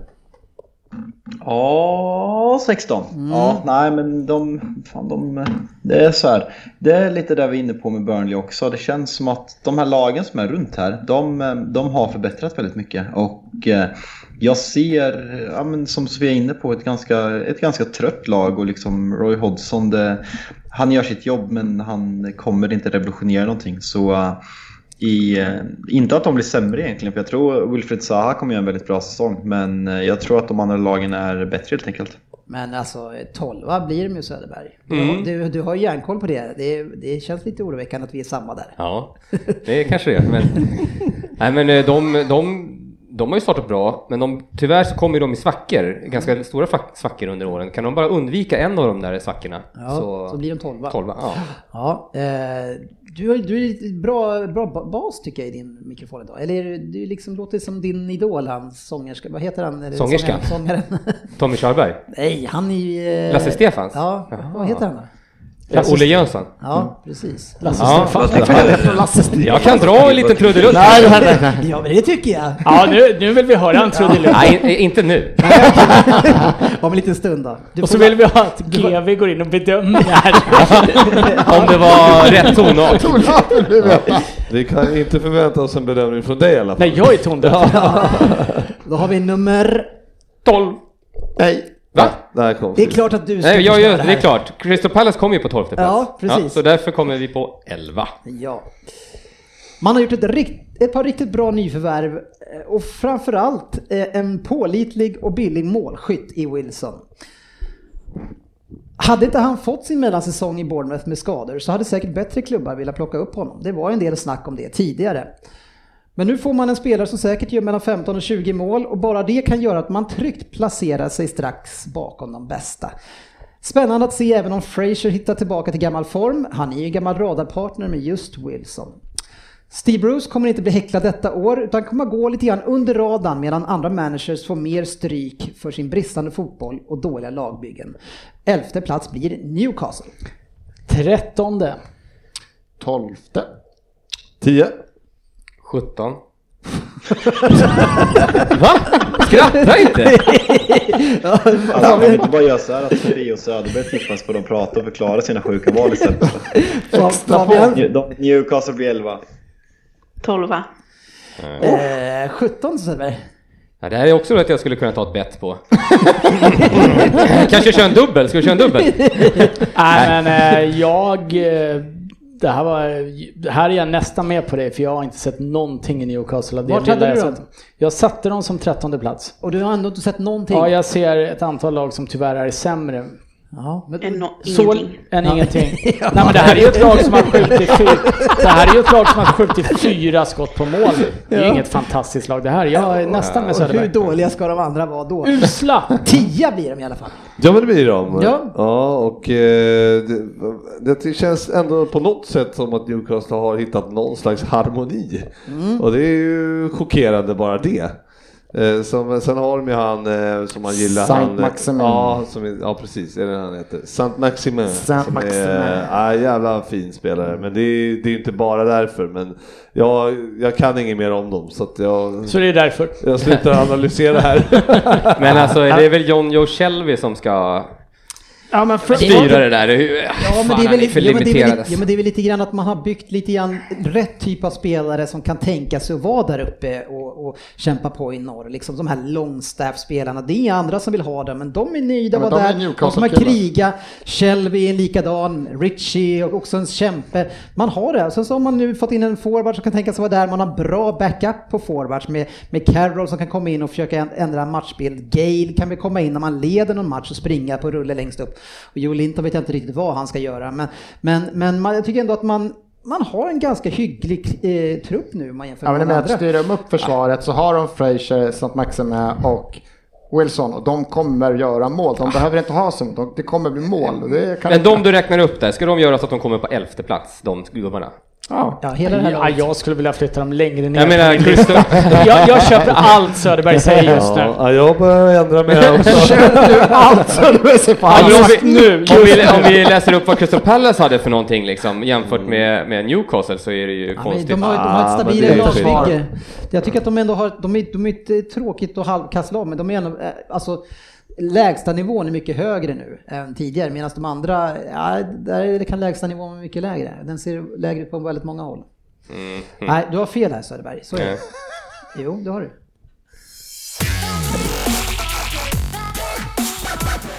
Speaker 8: Ja, 16. Ja, nej men de, fan de, det är så här. Det är lite där vi är inne på med Burnley också. Det känns som att de här lagen som är runt här, de, de har förbättrat väldigt mycket. Och eh, jag ser, ja, men som vi är inne på, ett ganska, ett ganska trött lag och liksom Roy Hodgson, det, han gör sitt jobb men han kommer inte revolutionera någonting. Så eh, i, eh, inte att de blir sämre egentligen, för jag tror Wilfred Zaha kommer göra en väldigt bra säsong. Men eh, jag tror att de andra lagen är bättre helt enkelt.
Speaker 2: Men alltså 12 blir de ju Söderberg. Du- Du, du har ju järnkoll på det. det. Det känns lite oroväckande att vi är samma där.
Speaker 3: Ja, det kanske det är. Men, nej, men eh, de, de, de har ju startat bra, men de, tyvärr så kommer ju de i svackor, ganska stora fack- svackor under åren. Kan de bara undvika en av de där svackorna
Speaker 2: Ja, så, blir de 12.
Speaker 3: 12, ja.
Speaker 2: Ja, eh, du, har- du är lite bra, bra ba- bas tycker jag i din mikrofon idag. Eller är du- du liksom låter som din idol han sångerska. Vad heter han? Eller
Speaker 3: Sångerskan?
Speaker 2: Sångaren. sångaren.
Speaker 3: Tommy Körberg?
Speaker 2: Nej, han är ju... eh,
Speaker 3: Lasse Stefans?
Speaker 2: Ja,
Speaker 3: Jaha.
Speaker 2: vad heter han då?
Speaker 3: Eh, Olle Jönsson.
Speaker 2: Ja, precis.
Speaker 4: Lasse
Speaker 3: Ja,
Speaker 4: Stefan.
Speaker 3: jag kan dra en liten trudelutt.
Speaker 6: Nej, nej, nej.
Speaker 2: Ja, men det tycker jag.
Speaker 4: Ja, nu, nu vill vi höra en trudelutt.
Speaker 3: Nej, i- inte nu.
Speaker 2: Om en liten stund då. Du
Speaker 4: Och
Speaker 2: får-
Speaker 4: så vill vi ha att GV går in och bedömer det här.
Speaker 3: Om det var rätt tonart.
Speaker 5: Vi kan inte förvänta oss en bedömning från dig i alla fall.
Speaker 4: Nej, jag är tondöv.
Speaker 2: Då har vi nummer...
Speaker 3: 12.
Speaker 6: Nej.
Speaker 3: Va?
Speaker 5: Där kom
Speaker 2: Det är klart att du ska
Speaker 3: Nej, ja,
Speaker 2: köra
Speaker 3: ja, det
Speaker 2: här.
Speaker 3: är klart. Crystal Palace kom ju på 12 plats.
Speaker 2: Ja, precis.
Speaker 3: så därför kommer vi på 11.
Speaker 2: Ja. Man har gjort ett, rikt, ett par riktigt bra nyförvärv eh, och framförallt eh, en pålitlig och billig målskytt i Wilson. Hade inte han fått sin mellansäsong i Bournemouth med skador så hade säkert bättre klubbar velat plocka upp honom. Det var ju en del snack om det tidigare. Men nu får man en spelare som säkert gör mellan 15 och 20 mål och bara det kan göra att man tryggt placerar sig strax bakom de bästa. Spännande att se även om Fraser hittar tillbaka till gammal form. Han är ju en gammal radarpartner med just Wilson. Steve Bruce kommer inte bli häcklad detta år utan kommer gå lite grann under radarn medan andra managers får mer stryk för sin bristande fotboll och dåliga lagbyggen. Elfte plats blir Newcastle.
Speaker 4: Trettonde.
Speaker 6: Tolfte.
Speaker 5: 10.
Speaker 3: 17. Va? Skratta inte!
Speaker 8: Alltså, man kan inte bara göra så här att Sofie och Söderberg typ tippas på de pratar och förklarar sina sjuka val istället.
Speaker 2: Fabian,
Speaker 8: De- Newcastle blir 11.
Speaker 7: Tolva.
Speaker 2: eh, 17 Söderberg.
Speaker 3: Ja, det här är också att jag skulle kunna ta ett bett på. Mm. Kanske köra en dubbel? Ska vi köra en dubbel?
Speaker 4: Nej, men eh, jag... eh, Det här, var, det här är jag nästan med på dig för jag har inte sett någonting i Newcastle. av det
Speaker 2: Vart hade
Speaker 4: lilla jag
Speaker 2: du dem?
Speaker 4: sett. Jag satte dem som trettonde plats.
Speaker 2: Och du har ändå inte sett någonting?
Speaker 4: Ja, jag ser ett antal lag som tyvärr är sämre.
Speaker 2: Ja, men-
Speaker 7: En no-
Speaker 4: Så,
Speaker 7: ingenting.
Speaker 4: än ingenting. Nej, men det här är ju ett lag som har skjutit fyra, det här är ju ett lag som har skjutit fyra skott på mål. Det är ju inget fantastiskt lag det här. Jag är nästan med
Speaker 2: och hur
Speaker 4: Söderberg.
Speaker 2: dåliga ska de andra vara då?
Speaker 4: Usla!
Speaker 2: Tia blir de i alla fall.
Speaker 5: Ja men det blir de.
Speaker 2: Ja.
Speaker 5: och eh, det, det känns ändå på något sätt som att Newcastle har hittat någon slags harmoni.
Speaker 6: Mm.
Speaker 5: Och det är ju chockerande bara det. Eh, Som, sen har de ju han eh, som man gillar.
Speaker 6: Saint
Speaker 5: han, eh,
Speaker 6: Maximin.
Speaker 5: Ja, som, är- ja precis, är det han heter? Saint Maximin.
Speaker 6: Saint
Speaker 5: som är,
Speaker 6: Maximin.
Speaker 5: Ja, jävla fin spelare. Men det är, det är inte bara därför. Men jag, jag kan inget mer om dem så att jag,
Speaker 4: Så det är därför.
Speaker 5: jag slutar analysera här.
Speaker 3: Men alltså, det är väl John Joe Shelby som ska
Speaker 4: Ja, men för,
Speaker 3: styra det där? Hur-
Speaker 2: Ja men,
Speaker 3: Fan,
Speaker 2: det är
Speaker 3: han
Speaker 2: väl,
Speaker 3: är för
Speaker 2: ja, men det är väl,
Speaker 3: limiterad.
Speaker 2: ja, men det är väl lite grann att man har byggt lite grann rätt typ av spelare som kan tänka sig att vara där uppe och, och kämpa på i norr. Liksom de här longstaff-spelarna. Det är andra som vill ha dem, men de är nöjda
Speaker 6: Ja, men
Speaker 2: att vara
Speaker 6: de är
Speaker 2: där. De som har
Speaker 6: Newcastle-killar.
Speaker 2: kriga. Shelby är en likadan. Richie och också en kämpe. Man har det. Sen så har man nu fått in en forward som kan tänka sig vara där. Man har bra backup på forwards med, med Carroll som kan komma in och försöka änd- ändra en matchbild. Gale kan väl komma in när man leder någon match och springa på rulle längst upp. Och Joe Linton vet jag inte riktigt vad han ska göra. Men, men, men man, jag tycker ändå att man, man har en ganska hygglig eh, trupp nu om man jämför
Speaker 6: Ja,
Speaker 2: med
Speaker 6: men det
Speaker 2: de
Speaker 6: med att
Speaker 2: andra.
Speaker 6: styra upp försvaret så har de Frazier, St. Maxime och Wilson och de kommer göra mål. De behöver inte ha så de, det kommer bli mål. och Det kan
Speaker 3: Men de du räknar upp där, ska de göra så att de kommer på elfte plats, de gubbarna?
Speaker 6: ja.
Speaker 2: Ja, hela det här
Speaker 4: ja,
Speaker 2: laget.
Speaker 4: jag skulle vilja flytta dem längre ner.
Speaker 3: Jag menar, Crystal...
Speaker 4: jag, jag köper allt Söderberg säger just nu.
Speaker 5: Ja, jag börjar ändra mig här också.
Speaker 6: Alltså, du är så fan.
Speaker 3: Alltså, om, vi, om, vi, om vi läser upp vad Crystal Palace hade för någonting liksom, jämfört med, med Newcastle så är det ju
Speaker 2: Ja, men
Speaker 3: konstigt.
Speaker 2: de, har, de har
Speaker 5: Ah,
Speaker 2: ett
Speaker 5: men
Speaker 2: stabilare
Speaker 5: det är skillnad.
Speaker 2: lagbygge. Jag tycker att de ändå har, de är, de är inte tråkigt och halvkast lag, men de är ändå, eh, alltså lägsta nivån är mycket högre nu än tidigare, medan de andra, ja, där är- kan lägsta nivån vara mycket lägre. Den ser lägre ut på väldigt många håll.
Speaker 5: Mm.
Speaker 2: Nej, du har fel här Söderberg. Så är det.
Speaker 3: Nej.
Speaker 2: Jo, det har du.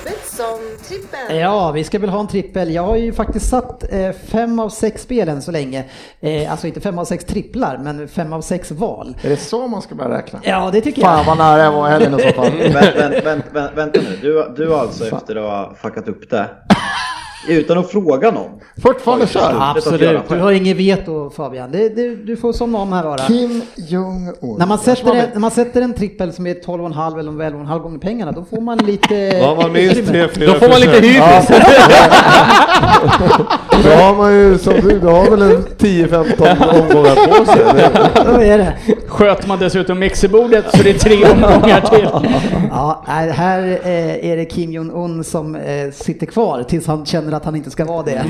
Speaker 1: Betsson trippen.
Speaker 2: Ja, vi ska väl ha en trippel. Jag har ju faktiskt satt eh, fem av sex spel än så länge. Eh, alltså inte fem av sex tripplar, men fem av sex val.
Speaker 6: Är det så man ska börja räkna?
Speaker 2: Ja, det tycker jag.
Speaker 6: Fan vad nära jag var helgen i så fall.
Speaker 8: Vänt, vänt, vänt, vänt, vänta nu, du, du har alltså efter att ha fuckat upp det, utan att fråga någon.
Speaker 6: Fortfarande kör.
Speaker 8: Absolut.
Speaker 2: Du har inget veto Fabian. Det, det, du får somna om här bara.
Speaker 6: Kim Jong-Un.
Speaker 2: När man, sätter
Speaker 6: Vad
Speaker 2: en,
Speaker 6: vet-
Speaker 2: när man sätter en trippel som är 12,5 eller 11,5 gånger pengarna, då får man lite...
Speaker 5: Då har man minst tre,
Speaker 2: utrymme.
Speaker 5: fyra
Speaker 3: Då får man lite
Speaker 5: försök.
Speaker 3: hybris.
Speaker 5: Då har man ju, som du, du har väl en 10-15 omgångar på sig? eller?
Speaker 2: Vad är det?
Speaker 4: Sköter man dessutom mixerbordet så det är tre omgångar till.
Speaker 2: Ja, nej, här eh, är det Kim Jong-Un som eh, sitter kvar tills han känner att han inte ska vara det.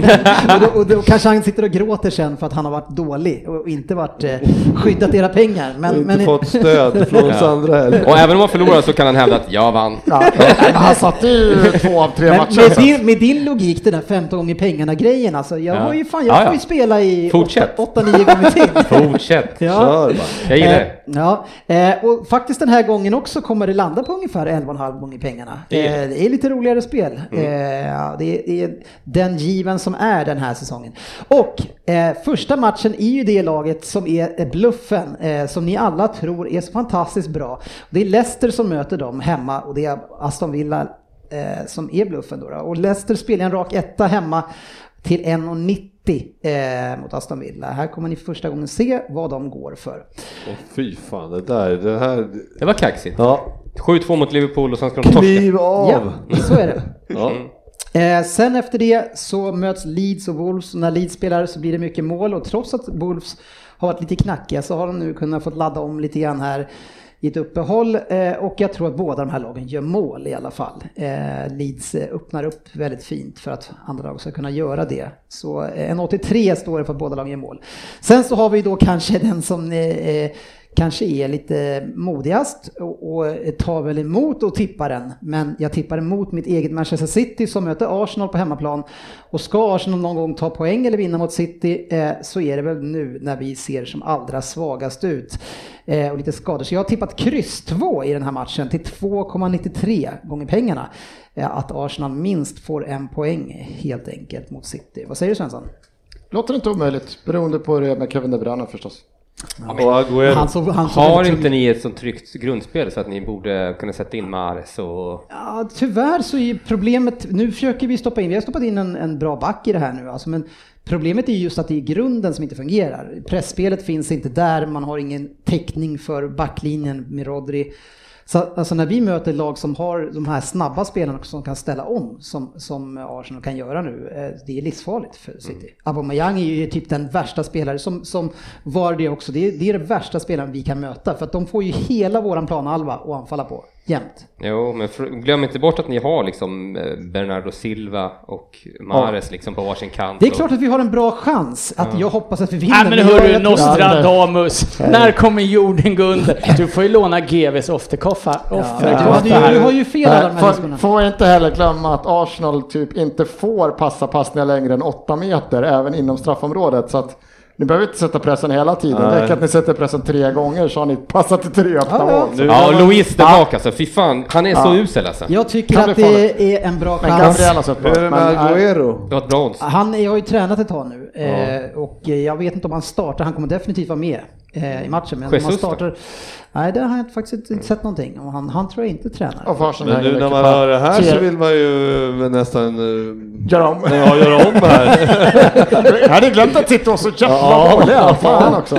Speaker 2: och, då, och då kanske han sitter och gråter sen för att han har varit dålig och inte varit eh, skyddat era pengar. Men,
Speaker 5: Och
Speaker 2: men,
Speaker 5: inte fått stöd från oss
Speaker 3: Ja.
Speaker 5: andra heller.
Speaker 3: Och även om man förlorar så kan han hävda att jag vann.
Speaker 6: Ja, men han satte ju två av tre
Speaker 2: men
Speaker 6: matcher.
Speaker 2: med,
Speaker 6: sen.
Speaker 2: din, med din logik, den där 15 gånger pengarna-grejen, alltså, jag,
Speaker 3: Ja.
Speaker 2: har ju fan, jag
Speaker 3: Ja,
Speaker 2: får
Speaker 3: ja.
Speaker 2: ju spela i
Speaker 3: Fortsätt.
Speaker 2: 8-9 gånger till.
Speaker 3: Fortsätt.
Speaker 2: Ja.
Speaker 5: Kör bara.
Speaker 3: Jag gillar
Speaker 2: Eh,
Speaker 3: det.
Speaker 2: Ja, eh, och faktiskt den här gången också kommer det landa på ungefär 11,5 gånger pengarna.
Speaker 3: Det
Speaker 2: Det
Speaker 3: är
Speaker 2: är, eh, det är lite roligare spel. Eh, ja, det, är, det är den given som är den här säsongen. Och eh, första matchen är ju det laget som är eh, bluffen, eh, som ni alla tror är så fantastiskt bra. Det är Leicester som möter dem hemma och det är Aston Villa eh, som är bluffen då. då. Och Leicester spelar en rak etta hemma till 1,90 eh, mot Aston Villa. Här kommer ni första gången se vad de går för.
Speaker 5: Åh, fy fan, det där, det här...
Speaker 3: Det var kaxigt.
Speaker 5: Ja,
Speaker 3: 7-2 mot Liverpool och sen ska de torska. Mm.
Speaker 5: kliv av!
Speaker 2: Ja, så är det.
Speaker 5: Ja.
Speaker 2: Eh, sen efter det så möts Leeds och Wolves och när Leeds spelar så blir det mycket mål och trots att Wolves har varit lite knackiga så har de nu kunnat få ladda om lite grann här i ett uppehåll eh, och jag tror att båda de här lagen gör mål i alla fall. Eh, Leeds eh, öppnar upp väldigt fint för att andra lag ska kunna göra det. Så eh, en 83 står det för att båda lagen gör mål. Sen så har vi då kanske den som eh, eh, kanske är lite modigast och, och tar väl emot och tippar den. Men jag tippar emot mitt eget Manchester City som möter Arsenal på hemmaplan. Och ska Arsenal någon gång ta poäng eller vinna mot City eh, så är det väl nu när vi ser som allra svagast ut. Eh, och lite skador. Så jag har tippat kryss 2 i den här matchen till 2,93 gånger pengarna. Eh, att Arsenal minst får en poäng helt enkelt mot City. Vad säger du Svensson?
Speaker 6: Låter inte omöjligt, beroende på hur det är med Kevin De Bruyne förstås.
Speaker 5: Och Aguero.
Speaker 2: såg, han såg
Speaker 3: Har
Speaker 2: väldigt
Speaker 3: inte ni ett sånt tryggt grundspel så att ni borde kunna sätta in Mahrez och...
Speaker 2: Ja, tyvärr så är ju problemet, nu försöker vi stoppa in, vi har stoppat in en, en bra back i det här nu alltså, men problemet är ju just att det är grunden som inte fungerar. Pressspelet finns inte där, man har ingen täckning för backlinjen med Rodri. Så alltså när vi möter lag som har de här snabba spelarna som kan ställa om, som, som Arsenal kan göra nu, eh, det är livsfarligt för City. Aubameyang är ju typ den värsta spelare som, som var det också, det är, det är den värsta spelaren vi kan möta, för att de får ju hela våran planhalva att anfalla på, jämt.
Speaker 3: Jo, men fr- glöm inte bort att ni har liksom eh, Bernardo Silva och Mahrez liksom på varsin kant.
Speaker 2: Det är
Speaker 3: och-
Speaker 2: klart att vi har en bra chans. Att Jag hoppas att vi vinner.
Speaker 4: Nej men
Speaker 2: jag-
Speaker 4: hörru,
Speaker 2: jag tror-
Speaker 4: Nostradamus. När kommer jorden gå under? Du får ju låna GVs offerkoffa.
Speaker 2: Ja, du, hade ju, du har ju fel alla de här
Speaker 6: Får,
Speaker 2: människorna.
Speaker 6: får inte heller glömma att Arsenal typ inte får passa passningar längre än 8 meter, även inom straffområdet. Så att ni behöver inte sätta pressen hela tiden. Det räcker att ni sätter pressen tre gånger så har ni passat i tre öppna
Speaker 2: Ja, ja.
Speaker 6: mål.
Speaker 5: Nu-
Speaker 3: Ja, och Luis tillbaka alltså. Fy fan, han är så usel alltså.
Speaker 2: Jag tycker
Speaker 6: Kan bli
Speaker 2: att det är en bra
Speaker 6: Men
Speaker 2: chans.
Speaker 6: Gabriel har sett bra.
Speaker 5: Hur är det med
Speaker 6: Men, nej.
Speaker 5: Aguero?
Speaker 3: Det var ett bra odds.
Speaker 2: Han är- har ju tränat ett tag nu eh, och eh, jag vet inte om han startar. Han kommer definitivt vara med eh, i matchen. Men om han
Speaker 3: Jesus då?
Speaker 2: startar... Nej, det har jag faktiskt inte sett någonting. Och han, han tror jag inte tränar.
Speaker 6: Och Farsen
Speaker 5: Men
Speaker 6: hänger
Speaker 5: nu när man
Speaker 6: mycket på
Speaker 5: hör det här så
Speaker 6: tre-
Speaker 5: vill man ju nästan... eh,
Speaker 6: Gör om.
Speaker 5: Ja, göra om det här.
Speaker 6: Jag hade glömt att titta och så jävla
Speaker 5: Ja.
Speaker 6: dåliga. Fan också.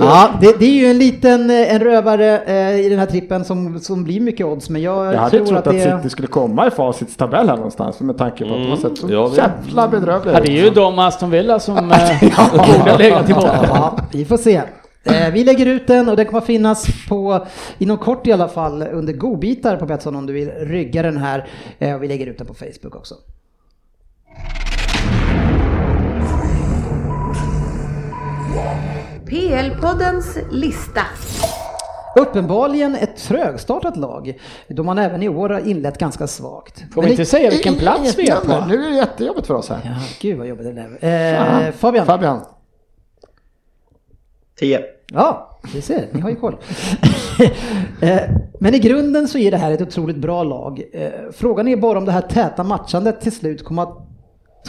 Speaker 2: Ja, det, det är ju en liten eh, en rövare eh, i den här trippen som, som blir mycket odds. Men jag,
Speaker 6: Jag hade
Speaker 2: tror
Speaker 6: trott
Speaker 2: att
Speaker 6: att,
Speaker 2: det är...
Speaker 6: City skulle komma i facits tabell här någonstans med tanke på att de
Speaker 4: Mm.
Speaker 6: har sett så
Speaker 5: Ja, det-
Speaker 6: jävla bedrövliga
Speaker 4: Ja, det är ju de Aston Villa som eh, borde lägga till botten.
Speaker 2: Ja, vi får se. Eh, Vi lägger ut den och den kommer finnas på, inom kort i alla fall, under godbitar på Betsson om du vill rygga den här. Eh, och Vi lägger ut den på Facebook också.
Speaker 1: PL-poddens lista.
Speaker 2: Uppenbarligen ett trögstartat lag, då man även i år har inlett ganska svagt.
Speaker 4: Får
Speaker 2: Men
Speaker 4: vi inte
Speaker 2: det-
Speaker 4: säga vilken plats vi är på?
Speaker 6: Nu är det jättejobbigt för oss här.
Speaker 2: Ja, gud vad jobbigt det blev. Eh, Fabian.
Speaker 6: Fabian.
Speaker 8: 10.
Speaker 2: Ja, vi ser, ni har ju koll. Eh, Men i grunden så är det här ett otroligt bra lag. Eh, Frågan är bara om det här täta matchandet till slut kommer att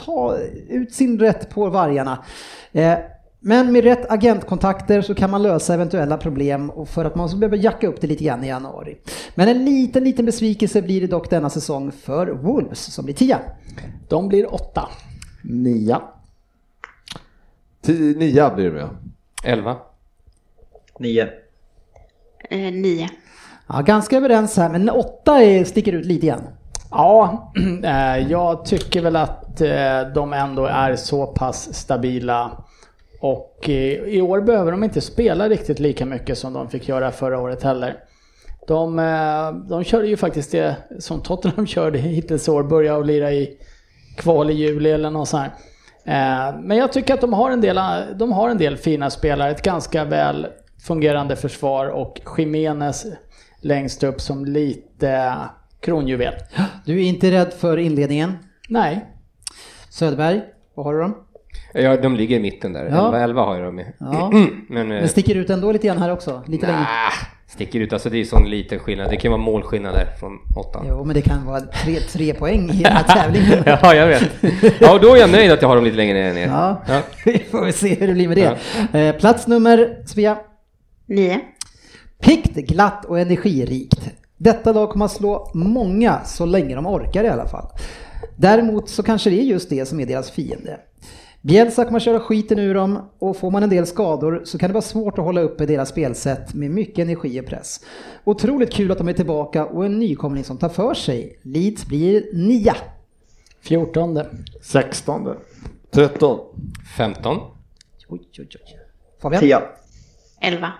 Speaker 2: ta ut sin rätt på vargarna. Eh, Men med rätt agentkontakter så kan man lösa eventuella problem och för att man så behöver jacka upp det lite grann i januari. Men en liten, liten besvikelse blir det dock denna säsong för Wolves som blir tia.
Speaker 4: De blir åtta.
Speaker 6: Nia.
Speaker 5: Tio- Nia blir det med.
Speaker 3: 11.
Speaker 8: 9.
Speaker 10: Eh, nio.
Speaker 2: Ja, ganska överens här, men åtta är, sticker ut lite grann.
Speaker 4: Ja, eh, jag tycker väl att eh, de ändå är så pass stabila. Och eh, i år behöver de inte spela riktigt lika mycket som de fick göra förra året heller. De, eh, de körde ju faktiskt det som Tottenham körde hittills i år, börja och lira i kval i juli eller något sånt här. Eh, Men jag tycker att de har, en del, de har en del fina spelare, ett ganska väl fungerande försvar och Jimenez längst upp som lite kronjuvel.
Speaker 2: Du är inte rädd för inledningen.
Speaker 4: Nej.
Speaker 2: Söderberg, vad har du dem?
Speaker 3: Ja, de ligger i mitten där.
Speaker 2: Ja.
Speaker 3: 11, 11 har jag dem i.
Speaker 2: Ja.
Speaker 3: Men, eh,
Speaker 2: Men sticker ut ändå lite grann här också. Lite längre.
Speaker 3: nah, sticker ut. Alltså det är sån liten skillnad. Det kan vara målskillnader från åttan.
Speaker 2: Jo, men det kan vara tre, tre poäng i den här tävlingen.
Speaker 3: ja, jag vet. Ja, och då är jag nöjd att jag har dem lite längre ner.
Speaker 2: Ja, vi får väl se hur det blir med det. Eh, Plats nummer, Svea,
Speaker 7: Nio.
Speaker 2: Pikt, glatt och energirikt. Detta lag kommer att slå många så länge de orkar i alla fall. Däremot så kanske det är just det som är deras fiende. Bielsa kommer att köra skiten ur dem och får man en del skador så kan det vara svårt att hålla uppe deras spelsätt med mycket energi och press. Otroligt kul att de är tillbaka och en nykomling som tar för sig. Leeds blir nia.
Speaker 4: 14.
Speaker 6: 16.
Speaker 5: 13.
Speaker 3: 15.
Speaker 2: Oj, oj, oj. Fabian?
Speaker 8: Tia.
Speaker 7: Elva.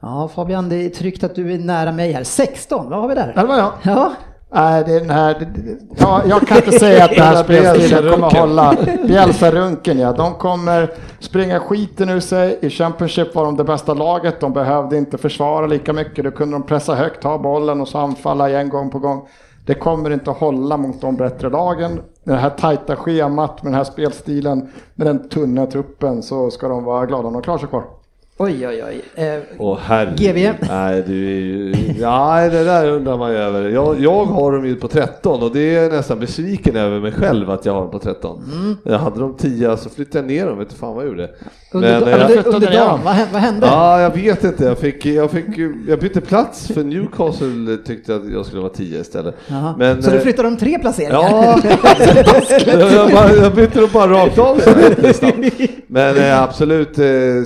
Speaker 2: Ja, Fabian, det är tryggt att du är nära mig här. 16, vad har vi där?
Speaker 6: Där var jag.
Speaker 2: Ja,
Speaker 6: Nej, det är den här... det- det- Ja, jag kan inte säga att den här spelstilen kommer hålla. Bjälsa-runken, ja. De kommer springa skiten ur sig. I Championship var de det bästa laget. De behövde inte försvara lika mycket. Då kunde de pressa högt, ta bollen och så anfalla igen gång på gång. Det kommer inte att hålla mot de bättre lagen. Med det här tajta schemat, med den här spelstilen, med den tunna truppen så ska de vara glada om de klarar sig kvar.
Speaker 2: oj, oj, oj. Eh,
Speaker 5: Åh herre.
Speaker 2: GB.
Speaker 5: Nej, du är ju... Nej, det där undrar man ju över. Jag, jag har dem ju på 13 och det är jag nästan besviken över mig själv att jag har dem på 13.
Speaker 2: Mm.
Speaker 5: Jag hade dem 10 så flyttade jag ner dem, vet inte fan vad jag gjorde.
Speaker 2: Under,
Speaker 5: Men, eh,
Speaker 2: under,
Speaker 6: flyttade
Speaker 2: under
Speaker 6: det
Speaker 2: dagen,
Speaker 6: av.
Speaker 2: vad hände? Vad hände?
Speaker 5: Ja, jag vet inte. Jag, fick, jag, fick, jag bytte plats för Newcastle tyckte att jag skulle vara 10 istället.
Speaker 2: Jaha.
Speaker 5: Men,
Speaker 2: så du
Speaker 5: eh,
Speaker 2: flyttar de tre placeringar?
Speaker 5: Ja, jag, jag, bara- jag bytte dem bara rakt av. så här, nästan. Men eh, absolut eh,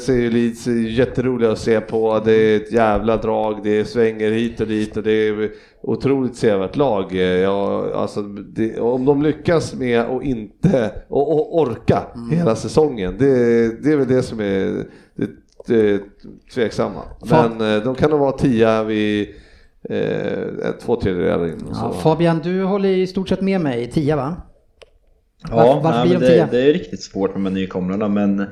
Speaker 5: ser ju Leeds jätteroliga att se på. Det är ett jävla drag, det svänger hit och dit och det är otroligt sevärt lag. Eh, Jag, alltså, det, om de lyckas med att inte och, och orka hela säsongen, det, det är väl det som är det, det tveksamma.
Speaker 2: Fan.
Speaker 5: Men eh, de kan nog vara tia vid eh, två tredjedelar in. och så.
Speaker 2: Ja, Fabian, du håller i stort sett med mig, tia va?
Speaker 8: Ja,
Speaker 2: varför
Speaker 8: nej,
Speaker 2: blir
Speaker 8: men
Speaker 2: de
Speaker 8: det,
Speaker 2: tia?
Speaker 8: det är riktigt svårt med de här nykomlingarna men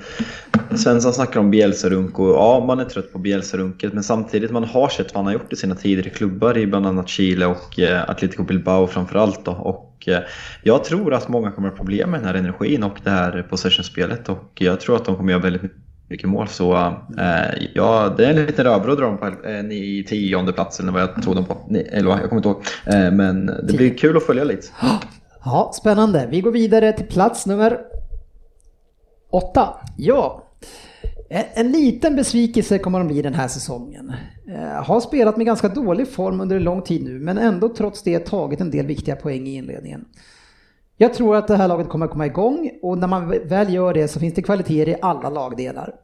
Speaker 8: Svensson snackar om Bielsarunk och ja, man är trött på Bielsarunket men samtidigt man har sett vad han har gjort i sina tidigare klubbar i bland annat Chile och eh, Atletico Bilbao framförallt då och eh, jag tror att många kommer ha problem med den här energin och det här possession-spelet och jag tror att de kommer göra väldigt mycket mål så eh, ja, det är en liten rödbröd att dra dem på eh, ni- i tionde platsen eller vad jag tog dem på, ni, elva, jag kommer inte ihåg. Eh, men det blir kul att följa lite.
Speaker 2: Ja, spännande. Vi går vidare till plats nummer åtta. Ja. En, en liten besvikelse kommer de bli den här säsongen. Eh, har spelat med ganska dålig form under en lång tid nu, men ändå trots det tagit en del viktiga poäng i inledningen. Jag tror att det här laget kommer att komma igång och när man väl gör det så finns det kvaliteter i alla lagdelar.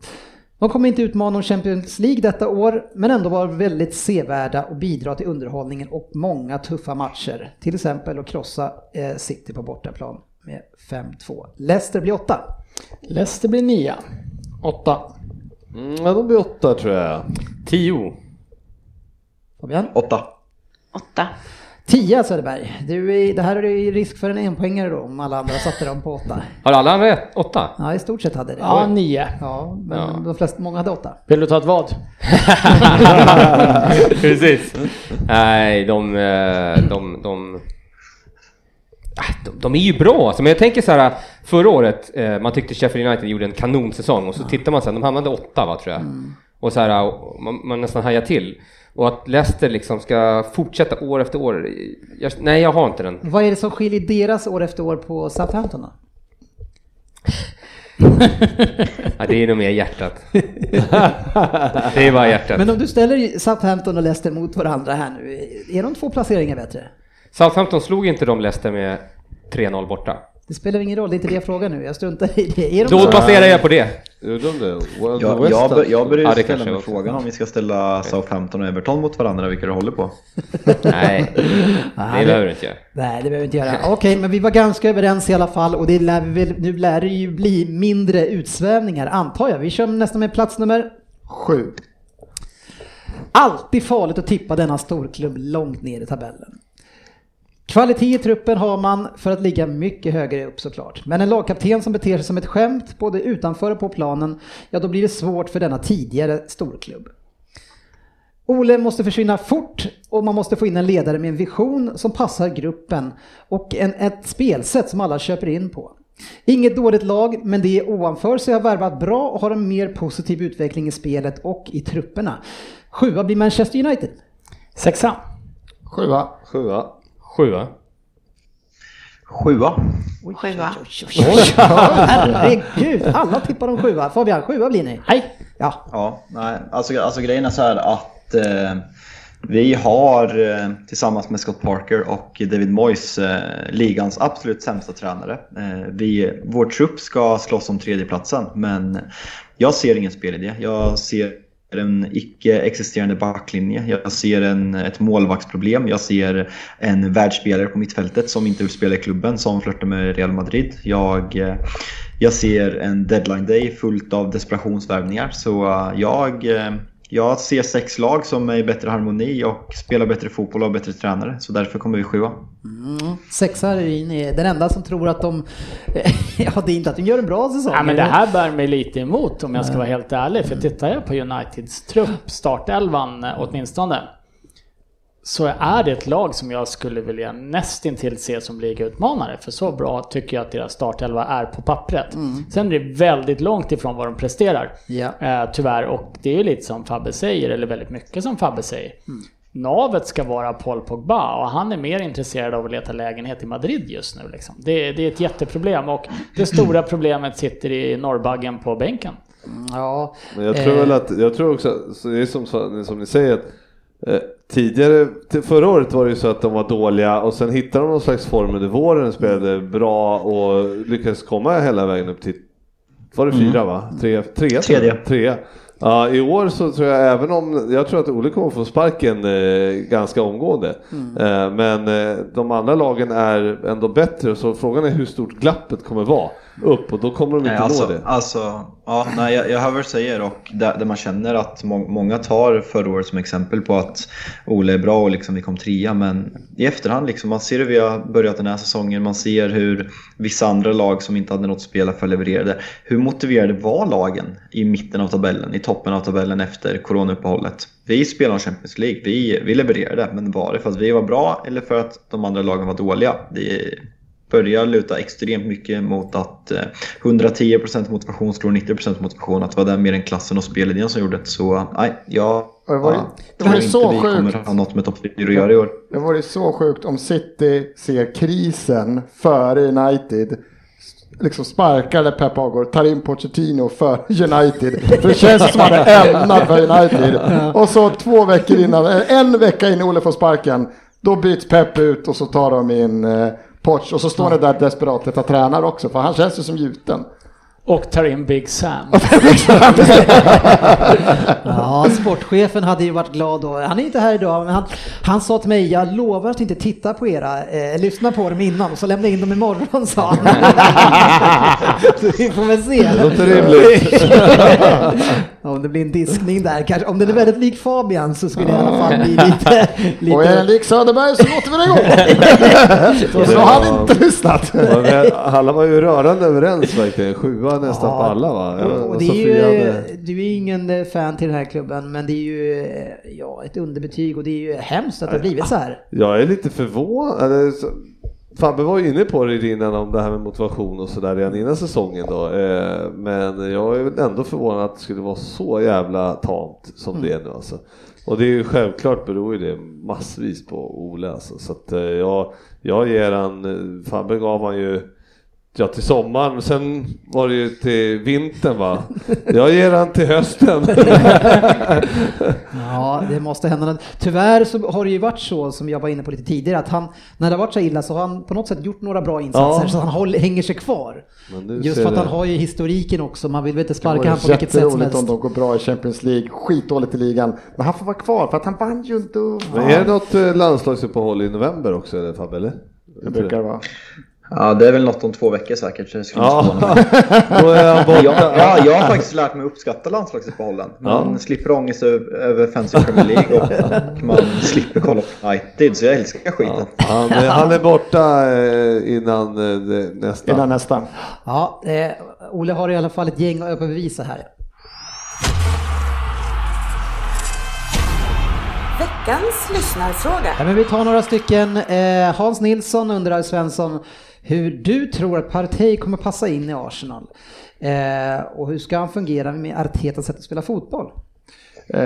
Speaker 2: De kommer inte utmana om Champions League detta år, men ändå vara väldigt sevärda och bidra till underhållningen och många tuffa matcher. Till exempel att krossa eh, City på bortaplan med 5-2. Leicester blir åtta.
Speaker 4: Leicester blir 9. 8.
Speaker 5: Mm, ja, de blir åtta tror jag.
Speaker 3: 10.
Speaker 2: Fabian?
Speaker 8: Åtta.
Speaker 7: Åtta.
Speaker 2: 10 Söderberg. Du är, det här är ju risk för en enpoängare då om alla andra satte dem på åtta.
Speaker 3: Har alla andra ett? Åtta?
Speaker 2: Ja, i stort sett hade det.
Speaker 4: Ja, 9.
Speaker 2: Ja, men
Speaker 3: Ja.
Speaker 2: de flesta, många hade åtta.
Speaker 4: Vill du ta ett vad?
Speaker 3: Precis. Nej, de, eh, de, de, Ah, de, de är ju bra alltså. Men jag tänker så här, förra året, eh, man tyckte Sheffield United gjorde en kanonsäsong och så tittar man sen, de hamnade åtta va, tror jag.
Speaker 2: Mm.
Speaker 3: Och så här, och man, man nästan hajar till. Och att Leicester liksom ska fortsätta år efter år. Jag, nej, jag har inte den.
Speaker 2: Vad är det som skiljer deras år efter år på Southampton då?
Speaker 3: Nej, det är nog mer hjärtat. det är bara hjärtat.
Speaker 2: Men om du ställer Southampton och Leicester mot varandra här nu, är de två placeringar bättre?
Speaker 3: Southampton slog inte de Leicester med 3-0 borta.
Speaker 2: Det spelar ingen roll, det är inte det jag frågar nu. Jag struntar i det. Är de
Speaker 3: Då
Speaker 2: så?
Speaker 3: baserar jag på det.
Speaker 5: Gjorde de det? World of
Speaker 8: Jag,
Speaker 5: West
Speaker 8: jag, bör-
Speaker 5: alltså.
Speaker 8: jag börjar
Speaker 3: Ja, det
Speaker 8: ställa
Speaker 3: kanske
Speaker 8: mig
Speaker 3: också.
Speaker 8: frågan om vi ska ställa Southampton och Everton mot varandra, vilka du håller på.
Speaker 3: Nej, det behöver du inte göra.
Speaker 2: Nej, det behöver vi inte göra. Okej, men vi var ganska överens i alla fall och det lär vi väl, nu lär det ju bli mindre utsvävningar antar jag. Vi kör nästan med plats nummer
Speaker 6: Sju.
Speaker 2: Alltid farligt att tippa denna storklubb långt ner i tabellen. Kvalitet i truppen har man för att ligga mycket högre upp såklart. Men en lagkapten som beter sig som ett skämt både utanför och på planen, ja då blir det svårt för denna tidigare storklubb. Ole måste försvinna fort och man måste få in en ledare med en vision som passar gruppen och en, ett spelsätt som alla köper in på. Inget dåligt lag, men det är ovanför så jag har värvat bra och har en mer positiv utveckling i spelet och i trupperna. Sjua blir Manchester United.
Speaker 4: Sexan.
Speaker 6: Sjua.
Speaker 5: Sjua.
Speaker 3: Sjua.
Speaker 8: Sjua.
Speaker 11: Sjua.
Speaker 2: Herregud, alla tippar om sjua. Fabian, sjua blir ni.
Speaker 4: Nej.
Speaker 2: Ja,
Speaker 8: Ja, nej. Alltså, alltså grejen är så här att eh, vi har eh, tillsammans med Scott Parker och David Moyes eh, ligans absolut sämsta tränare. Eh, vi, vår trupp ska slåss om tredjeplatsen men jag ser ingen spelidé. Jag ser en icke-existerande backlinje. Jag ser en, ett målvaktsproblem. Jag ser en världsspelare på mittfältet som inte vill spela i klubben, som flörtar med Real Madrid. Jag, eh, jag ser en deadline day fullt av desperationsvärvningar. Så eh, jag, eh, jag ser sex lag som är i bättre harmoni och spelar bättre fotboll och har bättre tränare. Så därför kommer vi sjua.
Speaker 2: Mm, sexa Ryn är den enda som tror att de... Ja, det är inte att de gör en bra säsong.
Speaker 4: Ja, men det här bär mig lite emot om jag ska vara helt ärlig. För tittar jag på Uniteds trupp, startelvan eh, åtminstone, så är det ett lag som jag skulle vilja nästintill se som ligautmanare. För så bra tycker jag att deras startelva är på pappret. Sen är det väldigt långt ifrån vad de presterar.
Speaker 2: Ja.
Speaker 4: Eh, tyvärr, och det är ju lite som Fabbe säger, eller väldigt mycket som Fabbe säger.
Speaker 8: Mm.
Speaker 4: Navet ska vara Paul Pogba och han är mer intresserad av att leta lägenhet i Madrid just nu. Liksom. Det, det är ett jätteproblem och det stora problemet sitter i norrbaggen på bänken.
Speaker 2: Ja,
Speaker 5: Men jag tror
Speaker 2: eh,
Speaker 5: väl att, jag tror också, att- så det är som, så- som ni säger att eh, Tidigare, till förra året var det ju så att de var dåliga och sen hittade de någon slags form under våren, spelade bra och lyckades komma hela vägen upp till, var det
Speaker 2: Mm.
Speaker 5: fyra va? Tre, tre,
Speaker 8: Tredje.
Speaker 5: Tre. Ja, i år så tror jag även om, jag tror att Ole kommer få sparken eh, ganska omgående.
Speaker 2: Mm.
Speaker 5: Eh, men eh, de andra lagen är ändå bättre så frågan är hur stort glappet kommer vara upp och då kommer de inte
Speaker 8: Nej, alltså,
Speaker 5: nå det.
Speaker 8: Alltså, ja, nej, jag, jag hör vad du säger och där, där man känner att må, många tar förra året som exempel på att Ole är bra och liksom vi kom trea men i efterhand liksom, man ser hur vi har börjat den här säsongen, man ser hur vissa andra lag som inte hade något att spela för levererade. Hur motiverade var lagen i mitten av tabellen, i toppen av tabellen efter coronauppehållet? Vi spelade om Champions League, vi, vi levererade, men var det för att vi var bra eller för att de andra lagen var dåliga? Det, börjar luta extremt mycket mot att eh, 110% motivation slår 90% motivation. Att det var den mer än klassen och spelidén som gjorde det. Så nej, jag
Speaker 6: Det var ju- det var
Speaker 8: tror
Speaker 6: ju
Speaker 8: inte
Speaker 6: så
Speaker 8: vi
Speaker 6: sjukt.
Speaker 8: kommer ha något med topp 4 att göra i år.
Speaker 6: Det vore så sjukt om City ser krisen före United. Liksom sparkade Pep Agor, tar in Pochettino för United. För det känns som att han är ämnad för United. Och så två veckor innan, eh, en vecka innan Ole får sparken. Då byts Pep ut och så tar de in eh, Poch. Och så står det där desperat att tränar också. För han känns ju som gjuten.
Speaker 4: Och tar in Big Sam.
Speaker 2: Ja, sportchefen hade ju varit glad då. Han är inte här idag, men han, han sa till mig, jag lovar att inte titta på era, eh, lyssna på dem innan och så lämna in dem imorgon, sa han. så vi får väl se.
Speaker 5: Det låter rimligt.
Speaker 2: Om det blir en diskning där kanske. Om den är väldigt lik Fabian så skulle det i alla fall bli lite...
Speaker 6: Och är den
Speaker 2: lite...
Speaker 6: lik Söderberg så låter vi den gå. Så har han inte lyssnat.
Speaker 5: Ja, men alla var ju rörande överens verkligen. Sjua nästan
Speaker 2: Ja.
Speaker 5: på alla va? Ja,
Speaker 2: Och det är
Speaker 5: Sofia
Speaker 2: ju,
Speaker 5: hade-
Speaker 2: du är ju ingen eh, fan till den här klubben, men det är ju eh, ja, ett underbetyg och det är ju hemskt att det har blivit så här.
Speaker 5: Jag är lite förvånad. eller så- Fabbe var ju inne på det innan om det här med motivation och sådär redan innan säsongen då. Eh, Men jag är väl ändå förvånad att det skulle vara så jävla tamt som det är nu alltså. Och det är ju självklart beror ju det massvis på Ole alltså. Så att eh, jag, jag ger eh, han, Fabbe gav han ju Ja, till sommaren, men sen var det ju till vintern va? Jag ger han till hösten.
Speaker 2: Ja, det måste hända något. Tyvärr så har det ju varit så, som jag var inne på lite tidigare, att han, när det har varit så illa så har han på något sätt gjort några bra insatser
Speaker 5: Ja.
Speaker 2: så att han håller, hänger sig kvar.
Speaker 5: Men nu
Speaker 2: Just
Speaker 5: ser
Speaker 2: för att
Speaker 5: det-
Speaker 2: han har ju historiken också, man vill väl inte sparka han
Speaker 6: Det
Speaker 2: på
Speaker 6: vore
Speaker 2: vilket sätt som
Speaker 6: jätteroligt
Speaker 2: helst.
Speaker 6: om de går bra i Champions League, skitdåligt i ligan. Men han får vara kvar för att han vann ju inte.
Speaker 5: Men är det något eh, landslagsuppehåll i november också eller Fabbe? Eller?
Speaker 6: Det brukar det vara.
Speaker 8: Ja, det är väl något om två veckor säkert. så det skulle inte
Speaker 5: Ja,
Speaker 8: förvåna mig.
Speaker 5: då är han
Speaker 8: Ja,
Speaker 5: borta.
Speaker 8: ja, jag har faktiskt lärt mig att uppskatta landslagsuppehållen. Man
Speaker 5: Ja.
Speaker 8: slipper ångest över, över fans i Premier League och man slipper kolla på United. Så jag älskar skiten.
Speaker 5: Han, eh, han är borta eh, innan eh, det- nästa.
Speaker 6: Innan nästa.
Speaker 2: Ja, eh, Olle har i alla fall ett gäng att överbevisa här.
Speaker 1: Veckans lyssnarfråga.
Speaker 2: Ja, men vi tar några stycken. Eh, Hans Nilsson undrar Svensson hur du tror att Partey kommer passa in i Arsenal. Eh, och hur ska han fungera med Artetas sätt att spela fotboll?
Speaker 6: Eh,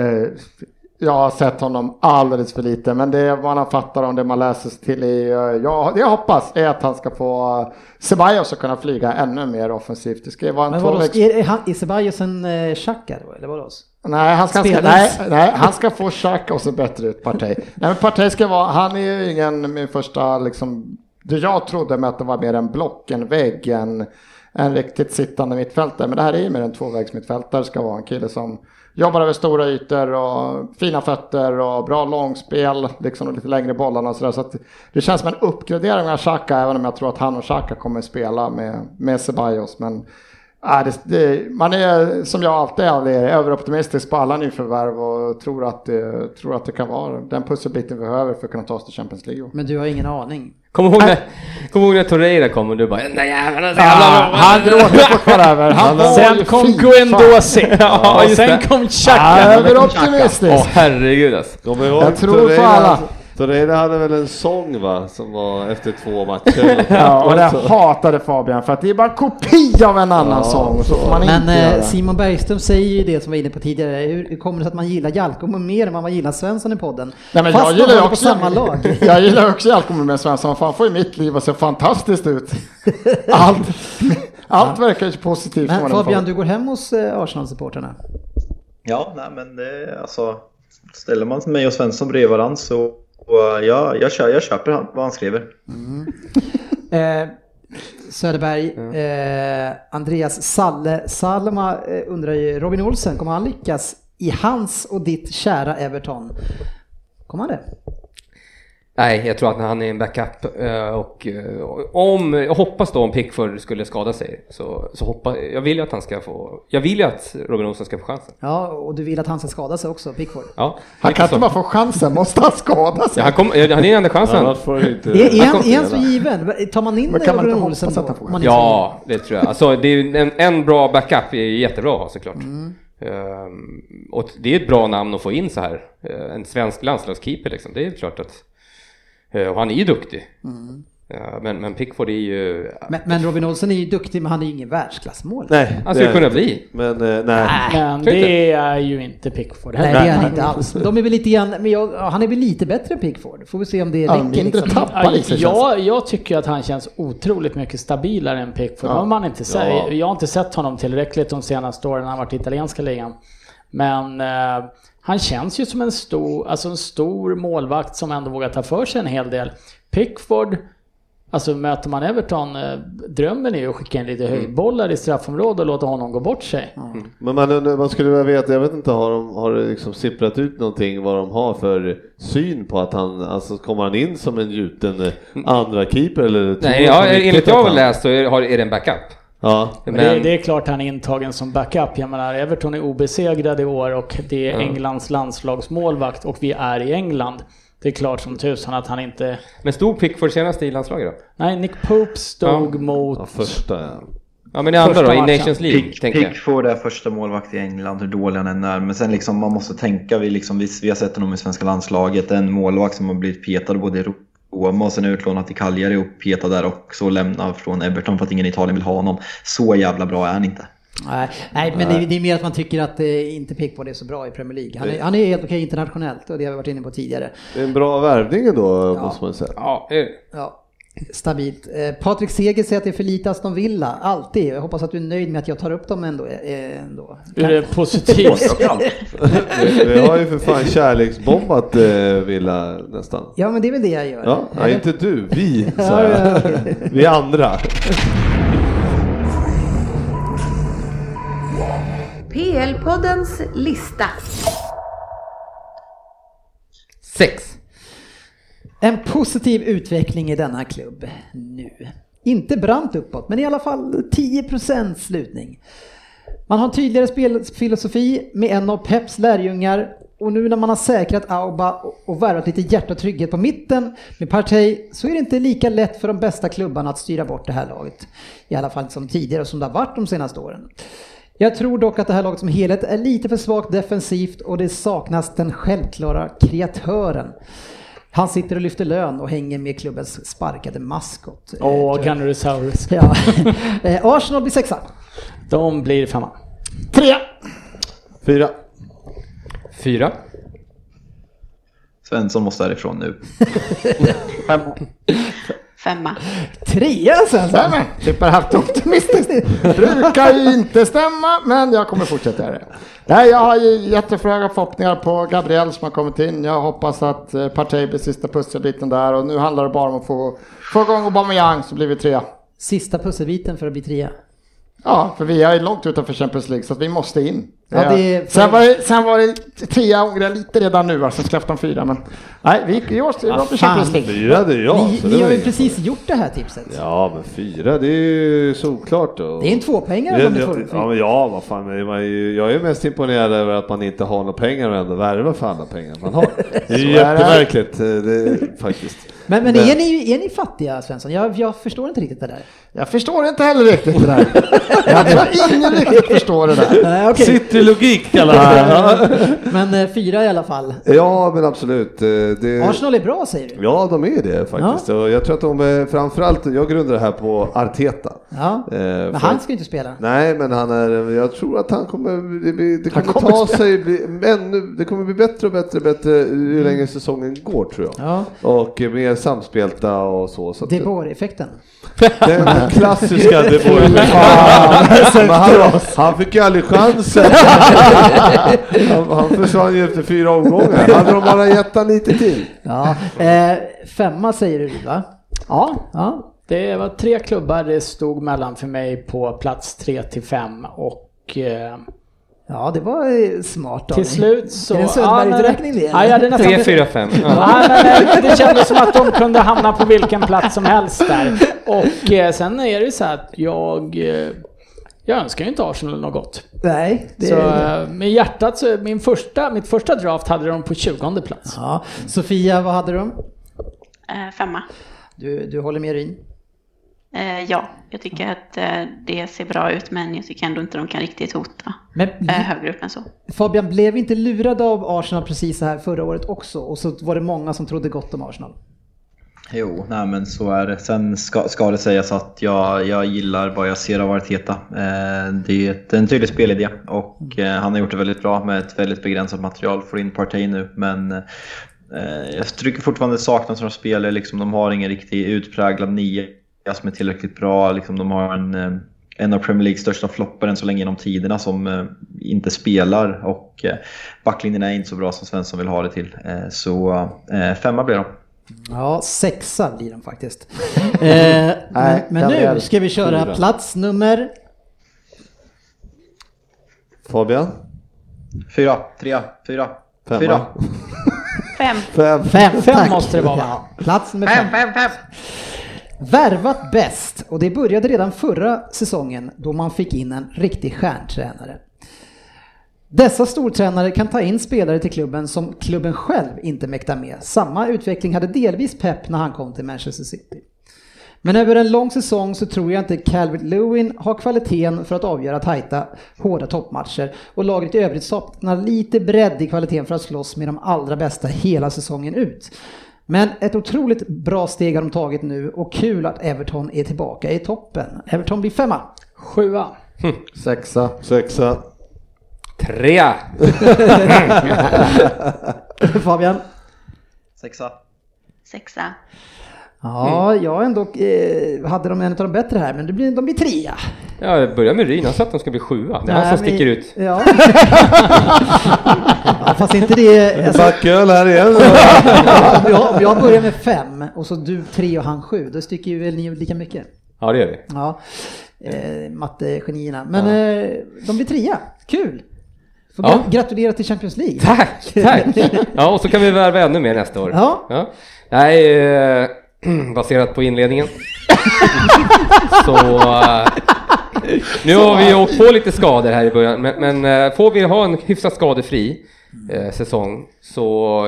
Speaker 6: jag har sett honom alldeles för lite, men det vad man fattar om det man läser sig till är eh, jag, det jag hoppas är att han ska få eh, Ceballos att kunna flyga ännu mer offensivt. Det ska ju vara en
Speaker 2: Men vadå,
Speaker 6: tvåvägs...
Speaker 2: är, är, han- är Ceballos en eh, Xhaka då, eller vadå?
Speaker 6: Nej, han ska,
Speaker 2: Spelas.
Speaker 6: nej, nej, han ska få Xhaka och se bättre ut, Partey. nej, men Partey ska vara, han är ju ingen, min första liksom, det jag trodde med att det var mer en block, en vägg, en, en riktigt sittande mittfältare. Men det här är ju mer en tvåvägsmittfältare, ska vara en kille som jobbar över stora ytor och fina fötter och bra långspel, liksom och lite längre bollar och sådär. Så att det känns som en uppgradering av Xhaka, även om jag tror att han och Xhaka kommer spela med, med Ceballos. Men Ja, det, det, man är som jag alltid är överoptimistisk på alla nyförvärv och tror att, det, tror att det kan vara den pusselbiten vi behöver för att kunna ta oss till Champions League.
Speaker 2: Men du har ingen aning.
Speaker 3: Kom ihåg när, kom ihåg när Torreira kom och du bara den där jäveln är så jävla
Speaker 6: Ah,
Speaker 3: bra."
Speaker 6: han gråter fortfarande över. Han var ju
Speaker 4: Sen kom
Speaker 6: fin, fan.
Speaker 4: Guendouzi.
Speaker 3: Ja,
Speaker 4: och
Speaker 3: just
Speaker 4: sen
Speaker 3: det.
Speaker 4: kom
Speaker 6: Ah,
Speaker 4: Xhaka.
Speaker 6: Överoptimistisk.
Speaker 3: Åh herregud alltså.
Speaker 5: Kommer ihåg,
Speaker 6: Jag tror på alla.
Speaker 5: Torreira hade väl en sång va, som var efter två matcher. Alltså.
Speaker 6: Ja, och det hatade Fabian för att det är bara en kopia av en annan
Speaker 5: Ja,
Speaker 6: sång. Så får man
Speaker 2: Men
Speaker 6: inte göra.
Speaker 2: eh, Simon Bergström säger ju det som vi var inne på tidigare. Hur, hur kommer det sig att man gillar Jalkomo mer än vad man gillar Svensson i podden?
Speaker 6: Nej, men
Speaker 2: Fast
Speaker 6: jag
Speaker 2: de
Speaker 6: gillar
Speaker 2: håller
Speaker 6: ju
Speaker 2: på
Speaker 6: också,
Speaker 2: samma lag.
Speaker 6: jag gillar också Jalkomo med Svensson, för han får ju mitt liv att se fantastiskt ut. Allt, allt verkar ju positivt.
Speaker 2: Men
Speaker 6: från den
Speaker 2: Fabian,
Speaker 6: formen.
Speaker 2: du går hem hos eh, Arsenal-supportrarna.
Speaker 8: Ja, nej men det, alltså ställer man mig och Svensson bredvid varandra så och ja, jag, kö, jag köper han- vad han skriver.
Speaker 2: Eh, Söderberg, eh, Andreas Salle, Salma eh, undrar ju, Robin Olsen, kommer han lyckas i hans och ditt kära Everton? Kommer han det?
Speaker 3: Nej, jag tror att han är en backup eh, och eh, om, jag hoppas då om Pickford skulle skada sig så, så hoppas, jag vill ju att han ska få, jag vill ju att Robin Olsen ska få chansen.
Speaker 2: Ja, och du vill att han ska skada sig också, Pickford.
Speaker 3: Ja,
Speaker 6: han kan
Speaker 3: lite
Speaker 6: inte
Speaker 3: så.
Speaker 6: bara få chansen, måste han skada sig?
Speaker 3: Ja, han, kom, ja, han är ju enda chansen.
Speaker 5: Annars får du inte...
Speaker 2: Är, är, han,
Speaker 3: kom-
Speaker 2: är han så given? Tar man in
Speaker 6: Men kan man
Speaker 2: Robin
Speaker 6: inte
Speaker 2: Olsen
Speaker 6: hoppas
Speaker 2: då?
Speaker 6: att han får
Speaker 2: Om man inte-
Speaker 3: Ja, det tror jag. Alltså, det är ju en, en bra backup är ju jättebra att ha såklart.
Speaker 2: Mm.
Speaker 3: Ehm, och det är ett bra namn att få in så här. Eh, en svensk landslagskeeper liksom. Det är klart att... eh, och han är ju duktig.
Speaker 2: Mm.
Speaker 3: Eh, men, men Pickford är ju...
Speaker 2: Men, men Robin Olsen är ju duktig, men han är ju ingen världsklassmål.
Speaker 5: Nej,
Speaker 3: Han
Speaker 5: det
Speaker 3: skulle
Speaker 5: är-
Speaker 3: kunna bli.
Speaker 5: Men eh, nej.
Speaker 4: Men det är ju inte Pickford
Speaker 2: Nej,
Speaker 4: heller.
Speaker 2: det är han inte alls. De är väl lite grann, men jag, ja, han är väl lite bättre än Pickford. Får vi se om det
Speaker 6: Ja,
Speaker 2: räcker. liksom.
Speaker 6: mindre liksom. tapp.
Speaker 4: Ja,
Speaker 6: Paris, det känns
Speaker 4: jag, jag tycker att han känns otroligt mycket stabilare än Pickford. Det har man inte sett.
Speaker 5: Ja.
Speaker 4: Jag har inte sett honom tillräckligt de senaste åren när han varit i italienska ligan. Men eh, han känns ju som en stor, alltså en stor målvakt som ändå vågar ta för sig en hel del. Pickford, alltså möter man Everton, eh, drömmen är ju att skicka in lite höjdbollar i straffområdet och låta honom gå bort sig.
Speaker 3: Mm.
Speaker 5: Men man, undrar- man skulle vilja veta, jag vet inte, har, de, har det liksom sipprat ut någonting vad de har för syn på att han, alltså kommer han in som en gjuten eh, andra keeper eller? tror
Speaker 3: Mm. Nej,
Speaker 5: de på
Speaker 3: ja,
Speaker 5: riktigt
Speaker 3: enligt jag
Speaker 5: att
Speaker 3: har
Speaker 5: han-
Speaker 3: läst så är, har- är det en backup.
Speaker 5: Ja,
Speaker 3: Men,
Speaker 4: Men det, det är klart han är intagen som backup. Jag menar, Everton är obesegrade i år och det är Englands landslagsmålvakt och vi är i England. Det är klart som tusan att han inte...
Speaker 3: men stod Pickford senast i landslaget då?
Speaker 4: Nej, Nick Pope stod mot...
Speaker 5: ja första ja.
Speaker 3: Ja, men i andra då?
Speaker 4: Första
Speaker 3: I
Speaker 4: matchen.
Speaker 3: Nations League,
Speaker 8: Pick,
Speaker 3: tänker jag.
Speaker 8: Pickford är första målvakt i England, hur dålig han än är. Men sen liksom, man måste tänka, vi, liksom, vi, vi har sett honom i svenska landslaget, en målvakt som har blivit petad både i Roma och sen utlånad till Cagliari och petad där också och lämnad från Everton för att ingen i Italien vill ha honom. Så jävla bra är han inte.
Speaker 2: Nej, nej, men det, det är mer att man tycker att eh, inte Pickford är så bra i Premier League. Han är, han är helt okej internationellt och det har vi varit inne på tidigare.
Speaker 5: Det är en bra värvning då måste man säga.
Speaker 3: Ja, det är det.
Speaker 2: Ja. Stabilt. Eh, Patrik Seger säger att det är för lite Aston Villa, alltid. Jag hoppas att du är nöjd med att jag tar upp dem ändå. eh, ändå.
Speaker 4: Ur det positivt.
Speaker 5: Vi, vi har ju för fan kärleksbombat eh, Villa nästan.
Speaker 2: Ja, men det är väl det jag gör.
Speaker 5: Ja, nej, inte du, vi. Så
Speaker 2: Ja, ja,
Speaker 5: här. Vi andra.
Speaker 1: PL-poddens lista.
Speaker 2: Sex. En positiv utveckling i denna klubb nu. Inte brant uppåt, men i alla fall 10% slutning. Man har en tydligare spelfilosofi med en av Peps lärjungar och nu när man har säkrat Auba och värvat lite hjärta och trygghet på mitten med Partey så är det inte lika lätt för de bästa klubbarna att styra bort det här laget. I alla fall som tidigare och som det har varit de senaste åren. Jag tror dock att det här laget som helhet är lite för svagt defensivt och det saknas den självklara kreatören. Han sitter och lyfter lön och hänger med klubbens sparkade maskot. eh,
Speaker 4: Åh,
Speaker 2: tror jag.
Speaker 4: Gunnerosaurus.
Speaker 2: Ja. Eh, Arsenal blir sexa.
Speaker 4: De blir femma.
Speaker 6: Tre!
Speaker 5: Fyra.
Speaker 3: Fyra.
Speaker 8: Svensson måste härifrån nu.
Speaker 7: Femma.
Speaker 2: Trea sen! så.
Speaker 6: Stämmer!
Speaker 3: typ
Speaker 6: Tippar halvt optimistiskt. Brukar ju inte stämma, men jag kommer fortsätta göra det. Nej, jag har ju jättefröga förhoppningar på Gabriel som har kommit in. Jag hoppas att eh, Partey blir sista pusselbiten där och nu handlar det bara om att få, få igång Aubameyang så blir vi trea.
Speaker 2: Sista pusselbiten för att bli trea.
Speaker 6: Ja, för vi är långt utanför Champions League så att vi måste in. Eh,
Speaker 2: Ja, det är-
Speaker 6: sen, var det, sen var det trea ångrar jag lite redan nu, alltså Skellefteå fyra. Men nej, vi, i år ska vi vara för Champions League.
Speaker 5: Fyra, det är jag.
Speaker 2: ni
Speaker 5: så det
Speaker 2: ni
Speaker 5: var
Speaker 2: har ju
Speaker 5: inget.
Speaker 2: precis gjort det här tipset.
Speaker 5: Ja, men fyra, det är ju solklart. Då.
Speaker 2: Det är en tvåpoängare om du får
Speaker 5: Ja, men ja, vad fan, men man är ju, jag är ju mest imponerad över att man inte har några pengar och ändå värvar för alla pengar man har. Det är ju
Speaker 6: Så är det.
Speaker 5: jättemärkligt eh, det, faktiskt.
Speaker 2: Men, men är, ni, är ni fattiga Svensson? Jag, jag förstår inte riktigt det där.
Speaker 6: Jag förstår inte heller riktigt det där. Jag tror ingen riktigt förstår det där.
Speaker 2: Nej, okej.
Speaker 5: Citylogik kallar det
Speaker 2: Men eh, fyra i alla fall.
Speaker 5: Ja, men absolut. eh, Det,
Speaker 2: Arsenal är bra säger du?
Speaker 5: Ja, de är det faktiskt. Och jag tror att de eh, framförallt, jag grundar det här på Arteta.
Speaker 2: Ja.
Speaker 5: Eh,
Speaker 2: Men
Speaker 5: för-
Speaker 2: han ska ju inte spela.
Speaker 5: Nej, men han är, jag tror att han kommer, det, blir- det kommer,
Speaker 6: kommer
Speaker 5: ta sig, bli, ännu, det kommer bli bättre och bättre och bättre ju längre säsongen går tror jag.
Speaker 2: Mm. Ja.
Speaker 5: Och eh, mer samspelta och så. så att-
Speaker 2: Det var effekten.
Speaker 5: Den klassiska De Boer. Men han, han fick ju aldrig chansen. Han, han försvann ju efter fyra omgångar. Hade de bara gett han lite till.
Speaker 2: Ja. Eh, femma säger du va?
Speaker 4: Ja,
Speaker 2: Ja.
Speaker 4: det var tre klubbar det stod mellan för mig på plats tre till fem och eh,
Speaker 2: Ja, det var eh, smart av
Speaker 4: till
Speaker 2: dig.
Speaker 4: slut så...
Speaker 2: Är det en Söderberg-uträkning det, eller?
Speaker 4: Ja, jag hade nästan...
Speaker 3: Tre, fyra, fem. Ja.
Speaker 4: Nej, men, eh, det kändes som att de kunde hamna på vilken plats som helst där. Och eh, sen är det ju så här att jag... eh, Jag önskar ju inte Arsenal något gott.
Speaker 2: Nej, det
Speaker 4: Så
Speaker 2: är det.
Speaker 4: eh, med hjärtat så, min första, mitt första draft hade de på 20 plats.
Speaker 2: Ja. Sofia, vad hade du?
Speaker 7: Eh, femma.
Speaker 2: Du, du håller med Ryn?
Speaker 7: Eh, ja, jag tycker att eh, det ser bra ut men jag tycker ändå inte de kan riktigt hota
Speaker 2: Men
Speaker 7: eh, högre upp än så.
Speaker 2: Fabian, blev inte lurad av Arsenal precis så här förra året också? Och så var det många som trodde gott om Arsenal.
Speaker 8: Jo, nej men så är det. Sen ska, ska det sägas att jag, jag gillar vad jag ser av Arteta. Eh, det är ett, en tydlig spelidé och eh, han har gjort det väldigt bra med ett väldigt begränsat material. Får in Partey nu men eh, jag tycker fortfarande det saknas några spelare. Liksom, de har ingen riktig utpräglad nia som är tillräckligt bra. Liksom, de har en, eh, en av Premier Leagues största floppar än så länge genom tiderna som eh, inte spelar och eh, backlinjen är inte så bra som Svensson vill ha det till. Eh, så eh, femma blir de.
Speaker 2: Ja, sexa blir de faktiskt. eh, men, men nu
Speaker 6: Gabriel,
Speaker 2: ska vi köra plats nummer...
Speaker 5: Fabian?
Speaker 8: Fyra, trea, fyra.
Speaker 5: Femma.
Speaker 8: Fyra.
Speaker 7: Fem.
Speaker 5: Fem.
Speaker 2: Fem,
Speaker 4: Fem
Speaker 2: tack.
Speaker 4: måste det vara, va?
Speaker 2: Ja, plats nummer fem. Värvat bäst och det började redan förra säsongen då man fick in en riktig stjärntränare. Dessa stortränare kan ta in spelare till klubben som klubben själv inte mäktar med. Samma utveckling hade delvis Pep när han kom till Manchester City. Men över en lång säsong så tror jag inte Calvert Lewin har kvaliteten för att avgöra tajta, hårda toppmatcher och laget i övrigt saknar lite bredd i kvaliteten för att slåss med de allra bästa hela säsongen ut. Men ett otroligt bra steg har de tagit nu och kul att Everton är tillbaka i toppen. Everton blir femma.
Speaker 4: Sjua.
Speaker 6: Sexa.
Speaker 5: Sexa.
Speaker 3: Trea.
Speaker 2: Fabian?
Speaker 8: Sexa.
Speaker 7: Sexa.
Speaker 3: Mm.
Speaker 2: Ja, jag ändå eh, hade de en av de bättre här, men det blir, de blir trea.
Speaker 3: Ja, börja med Ryn. Han sa att de ska bli sjua. Det är han som
Speaker 2: Nej,
Speaker 3: sticker
Speaker 2: men-
Speaker 3: ut.
Speaker 2: Ja. ja, fast inte det... Alltså,
Speaker 5: Backöl här igen.
Speaker 2: om, jag, om jag börjar med fem och så du tre och han sju, då sticker ju väl ni ut lika mycket.
Speaker 3: Ja, det gör vi.
Speaker 2: Ja, eh, mattegenierna. Men eh, de blir trea, kul! Får
Speaker 3: Ja.
Speaker 2: Gratulera till Champions League!
Speaker 3: Tack, tack! Ja, och så kan vi värva ännu mer nästa år.
Speaker 2: Ja.
Speaker 3: Nej, eh, baserat på inledningen. så... Eh, nu har vi ju åkt på lite skador här i början, men, men eh, får vi ha en hyfsat skadefri eh, säsong så...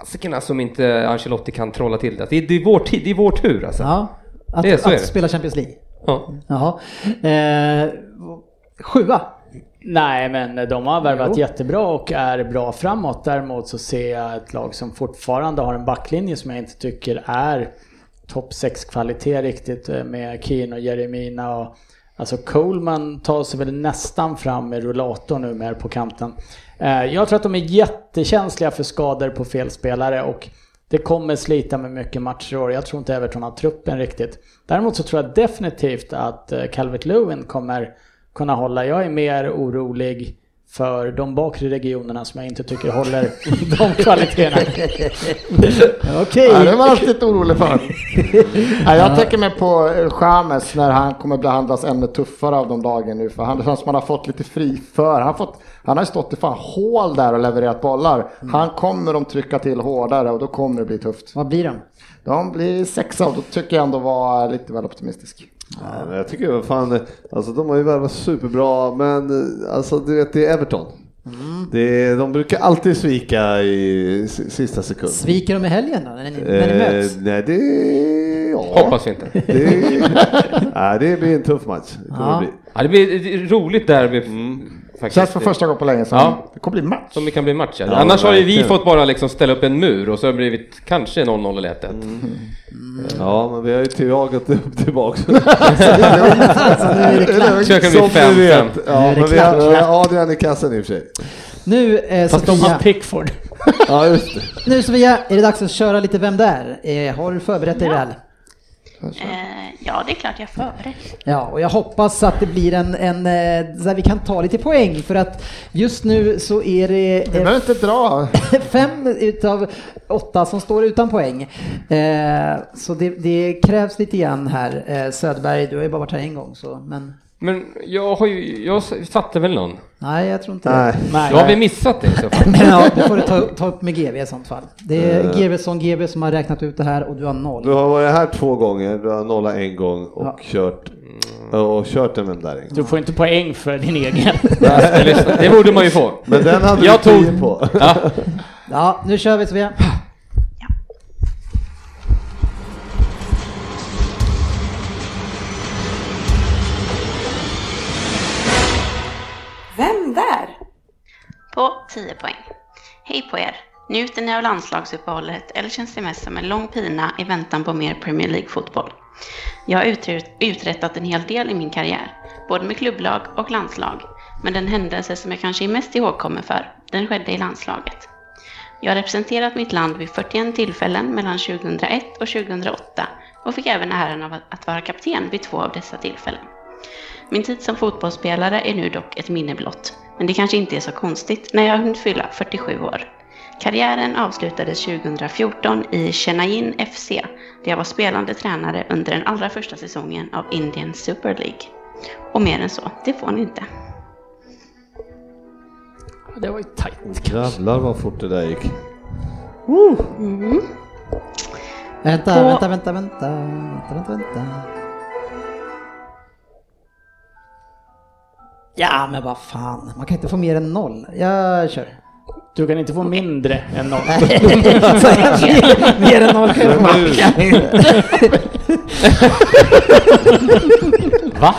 Speaker 3: Fasikerna som inte Ancelotti kan trolla till det. Det är, det är, vår, tid, det är vår tur alltså. Ja.
Speaker 2: Ja, att,
Speaker 3: Det är- så är
Speaker 2: att
Speaker 3: det.
Speaker 2: spela Champions League. Jaha. Eh, sjua.
Speaker 4: Nej, men de har värvat
Speaker 2: Jo.
Speaker 4: jättebra och är bra framåt. Däremot så ser jag ett lag som fortfarande har en backlinje som jag inte tycker är topp 6-kvalitet riktigt eh, med Keane och Jeremina och Alltså Coleman tar sig väl nästan fram med rullator nu mer på kanten. Eh, Jag tror att de är jättekänsliga för skador på fel spelare och det kommer slita med mycket matcher i år. Jag tror inte Everton har truppen riktigt. Däremot så tror jag definitivt att Calvert Lewin kommer kunna hålla. Jag är mer orolig för de bakre regionerna som jag inte tycker håller de kvaliteterna.
Speaker 2: Okej.
Speaker 6: Nej, det var jag alltid lite orolig för. Nej, jag tänker mig på eh, James när han kommer behandlas ännu tuffare av de lagen nu. För han, det känns som han har fått lite fri för. Han har, fått, han har ju stått i fan hål där och levererat bollar. Han kommer de trycka till hårdare och då kommer det bli tufft.
Speaker 2: Vad blir de?
Speaker 6: De blir sexa och då tycker jag ändå var lite väl optimistisk.
Speaker 5: Ja, men jag tycker vad fan, alltså de har ju värvat superbra, men eh, alltså du vet det är Everton. Det är, de brukar alltid svika i s- sista sekund. Eh,
Speaker 2: Sviker de i helgen då? När ni, när ni
Speaker 3: Eh,
Speaker 2: möts?
Speaker 5: nej, det är... Ja.
Speaker 3: Hoppas vi inte.
Speaker 5: Det, nej, det blir en tuff match. Det kommer
Speaker 2: Ja.
Speaker 5: det bli. Mm.
Speaker 3: Ja, det blir ett roligt derby faktiskt.
Speaker 6: Känns för första gången på länge sedan.
Speaker 3: Ja.
Speaker 6: Det kommer bli match.
Speaker 3: Som det kan bli match. Ja. Annars har ju vi
Speaker 5: verkligen.
Speaker 3: fått bara liksom ställa upp en mur och så har det blivit kanske 0-0 eller 1-1.
Speaker 5: Mm.
Speaker 3: Eh,
Speaker 5: Ja, men vi har ju tilljagat upp tillbaka.
Speaker 2: Alltså,
Speaker 3: Försöker bli
Speaker 5: Som
Speaker 3: fem,
Speaker 5: ni
Speaker 3: fem.
Speaker 5: vet. Ja, men vi har eh, Adrian i kassen i och för sig.
Speaker 2: Nu, eh,
Speaker 4: Fast de har
Speaker 2: Sofia,
Speaker 4: Pickford.
Speaker 5: Ja, just det.
Speaker 2: nu Sofia, är det dags att köra lite Vem där? Eh, har du förberett dig
Speaker 7: Ja.
Speaker 2: väl?
Speaker 7: Eh, ja, det är klart jag förberett.
Speaker 2: Ja, och jag hoppas att det blir en, en eh, där vi kan ta lite poäng för att just nu så är det
Speaker 6: Vi
Speaker 2: eh,
Speaker 6: behöver inte dra.
Speaker 2: fem utav åtta som står utan poäng. Eh, så det, det krävs lite grann här. Eh, Söderberg, du har ju bara varit här en gång så, men
Speaker 3: Men jag har ju, jag satte väl någon?
Speaker 2: nej, jag tror inte det.
Speaker 5: Nej.
Speaker 4: Nej.
Speaker 3: Då har vi missat det i så fall.
Speaker 2: Men ja, det får du ta, upp- ta upp med GB i sånt fall. Det är
Speaker 6: Eh.
Speaker 2: GB som GB som har räknat ut det här och du har
Speaker 5: Du
Speaker 2: noll.
Speaker 5: har varit här två gånger, du har nollat en gång och kört mm, och kört en vändaring.
Speaker 4: Du får inte poäng för din egen.
Speaker 3: Lyssna, det borde man ju få.
Speaker 5: Men den hade
Speaker 3: Jag
Speaker 5: du
Speaker 3: tog-
Speaker 5: tio på.
Speaker 2: Ja, nu kör vi Sofia.
Speaker 1: Vem där?
Speaker 7: På 10 poäng. Hej på er! Njuter ni av landslagsuppehållet eller känns det mest som en lång pina i väntan på mer Premier League-fotboll? Jag har utrett- uträttat en hel del i min karriär, både med klubblag och landslag. Men den händelse som jag kanske är mest ihågkommen för, den skedde i landslaget. Jag har representerat mitt land vid 41 tillfällen mellan 2001 och 2008 och fick även äran av att- att vara kapten vid två av dessa tillfällen. Min tid som fotbollsspelare är nu dock ett minne blott, men det kanske inte är så konstigt när jag har hunnit fylla 47 år. Karriären avslutades 2014 i Chennaiin FC, där jag var spelande tränare under den allra första säsongen av Indian Super League. Och mer än så, det får ni inte.
Speaker 4: Det var ju tajt.
Speaker 5: Jävlar vad fort det där gick.
Speaker 3: Mm.
Speaker 2: Vänta,
Speaker 7: På-
Speaker 2: vänta, vänta, vänta, vänta, vänta, vänta. Ja, men vad fan, man kan inte få mer än noll. Jag kör.
Speaker 4: Du kan inte få mindre än noll.
Speaker 2: Så jag blir mer än noll själv.
Speaker 4: Va?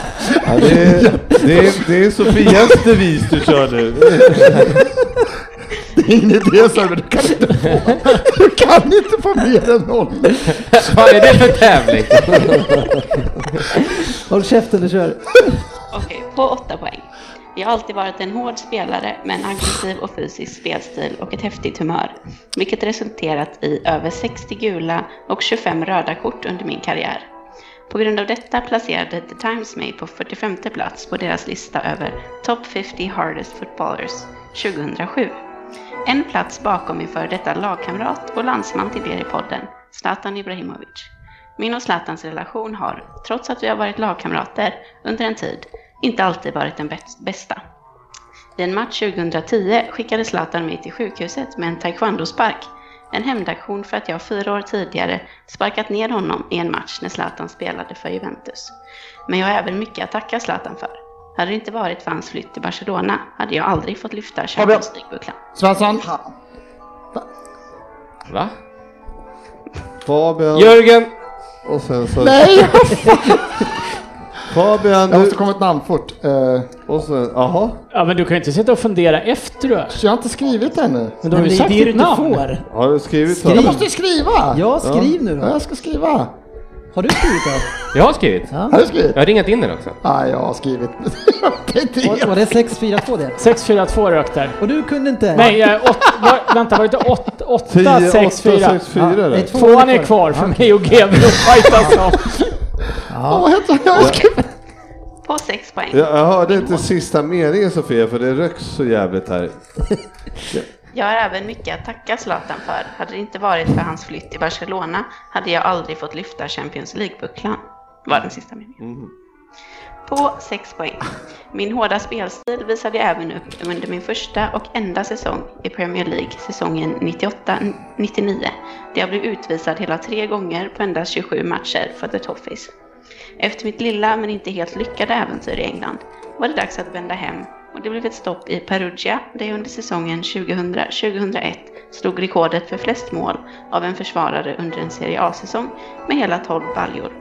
Speaker 5: Ja, det, är, det, är, det är Sofias devis du kör nu.
Speaker 6: Det är ingen idé Sören, du kan inte få. Du kan inte få mer än noll.
Speaker 3: Vad är det för tävling?
Speaker 2: Håll käften, du kör.
Speaker 7: Okej, på åtta poäng. Jag har alltid varit en hård spelare med en aggressiv och fysisk spelstil och ett häftigt humör, vilket resulterat i över 60 gula och 25 röda kort under min karriär. På grund av detta placerade The Times mig på 45 plats på deras lista över Top 50 Hardest Footballers 2007. En plats bakom min före detta lagkamrat och landsman till er i podden, Zlatan Ibrahimovic. Min och Zlatans relation har, trots att vi har varit lagkamrater under en tid, inte alltid varit den bäst- bästa. I en match 2010 skickade Zlatan mig till sjukhuset med en taekwondo-spark. En hämndaktion för att jag fyra år tidigare sparkat ner honom i en match när Zlatan spelade för Juventus. Men jag har även mycket att tacka Zlatan för. Hade det inte varit för hans flytt till Barcelona hade jag aldrig fått lyfta Champions League-bucklan.
Speaker 6: Svensson,
Speaker 3: Va?
Speaker 5: Fabian
Speaker 3: Jörgen!
Speaker 5: och sen så...
Speaker 6: nej!
Speaker 5: Fabian
Speaker 6: Jag måste
Speaker 5: du,
Speaker 6: komma ett namn fort. Eh,
Speaker 5: och sen... Jaha?
Speaker 4: Ja, men du kan ju inte sitta och fundera efter du är.
Speaker 6: så jag har inte skrivit det ännu.
Speaker 4: Men du
Speaker 12: Men
Speaker 4: har ju
Speaker 12: det är
Speaker 4: sagt
Speaker 12: det du
Speaker 4: ditt
Speaker 12: inte
Speaker 4: namn.
Speaker 12: får.
Speaker 5: Har du skrivit?
Speaker 12: Skriv.
Speaker 6: Jag måste ju skriva!
Speaker 12: Ja, skriv nu
Speaker 6: Ja,
Speaker 12: då.
Speaker 6: jag ska skriva.
Speaker 12: Har du skrivit det?
Speaker 3: Jag har skrivit.
Speaker 6: Har du skrivit?
Speaker 3: Jag har ringat in den också.
Speaker 6: Nej, jag har skrivit. det är
Speaker 12: Var,
Speaker 6: inte
Speaker 12: var det 642 det?
Speaker 4: 6-4-2 rök där.
Speaker 12: Och du kunde inte?
Speaker 4: Nej, eh, åt, var, vänta, var det inte 8,
Speaker 5: 10,
Speaker 4: 6, 4?
Speaker 5: 6, 4
Speaker 12: det är
Speaker 5: eller?
Speaker 12: två
Speaker 4: Tvåan är kvar för mig och GB att fightas om.
Speaker 6: Ja, vad heter jag? har skrivit.
Speaker 7: På sex poäng.
Speaker 5: Jag, jag hörde inte sista meningen Sofia, för det röks så jävligt här.
Speaker 7: Jag har även mycket att tacka Zlatan för. Hade det inte varit för hans flytt till Barcelona hade jag aldrig fått lyfta Champions League-bucklan. Var den sista meningen. På 6 poäng. Min hårda spelstil visade jag även upp under min första och enda säsong i Premier League, säsongen 98-99, där jag blev utvisad hela tre gånger på endast 27 matcher för The Toffees. Efter mitt lilla men inte helt lyckade äventyr i England var det dags att vända hem och det blev ett stopp i Perugia där jag under säsongen 2000-2001 slog rekordet för flest mål av en försvarare under en Serie A-säsong med hela 12 baljor.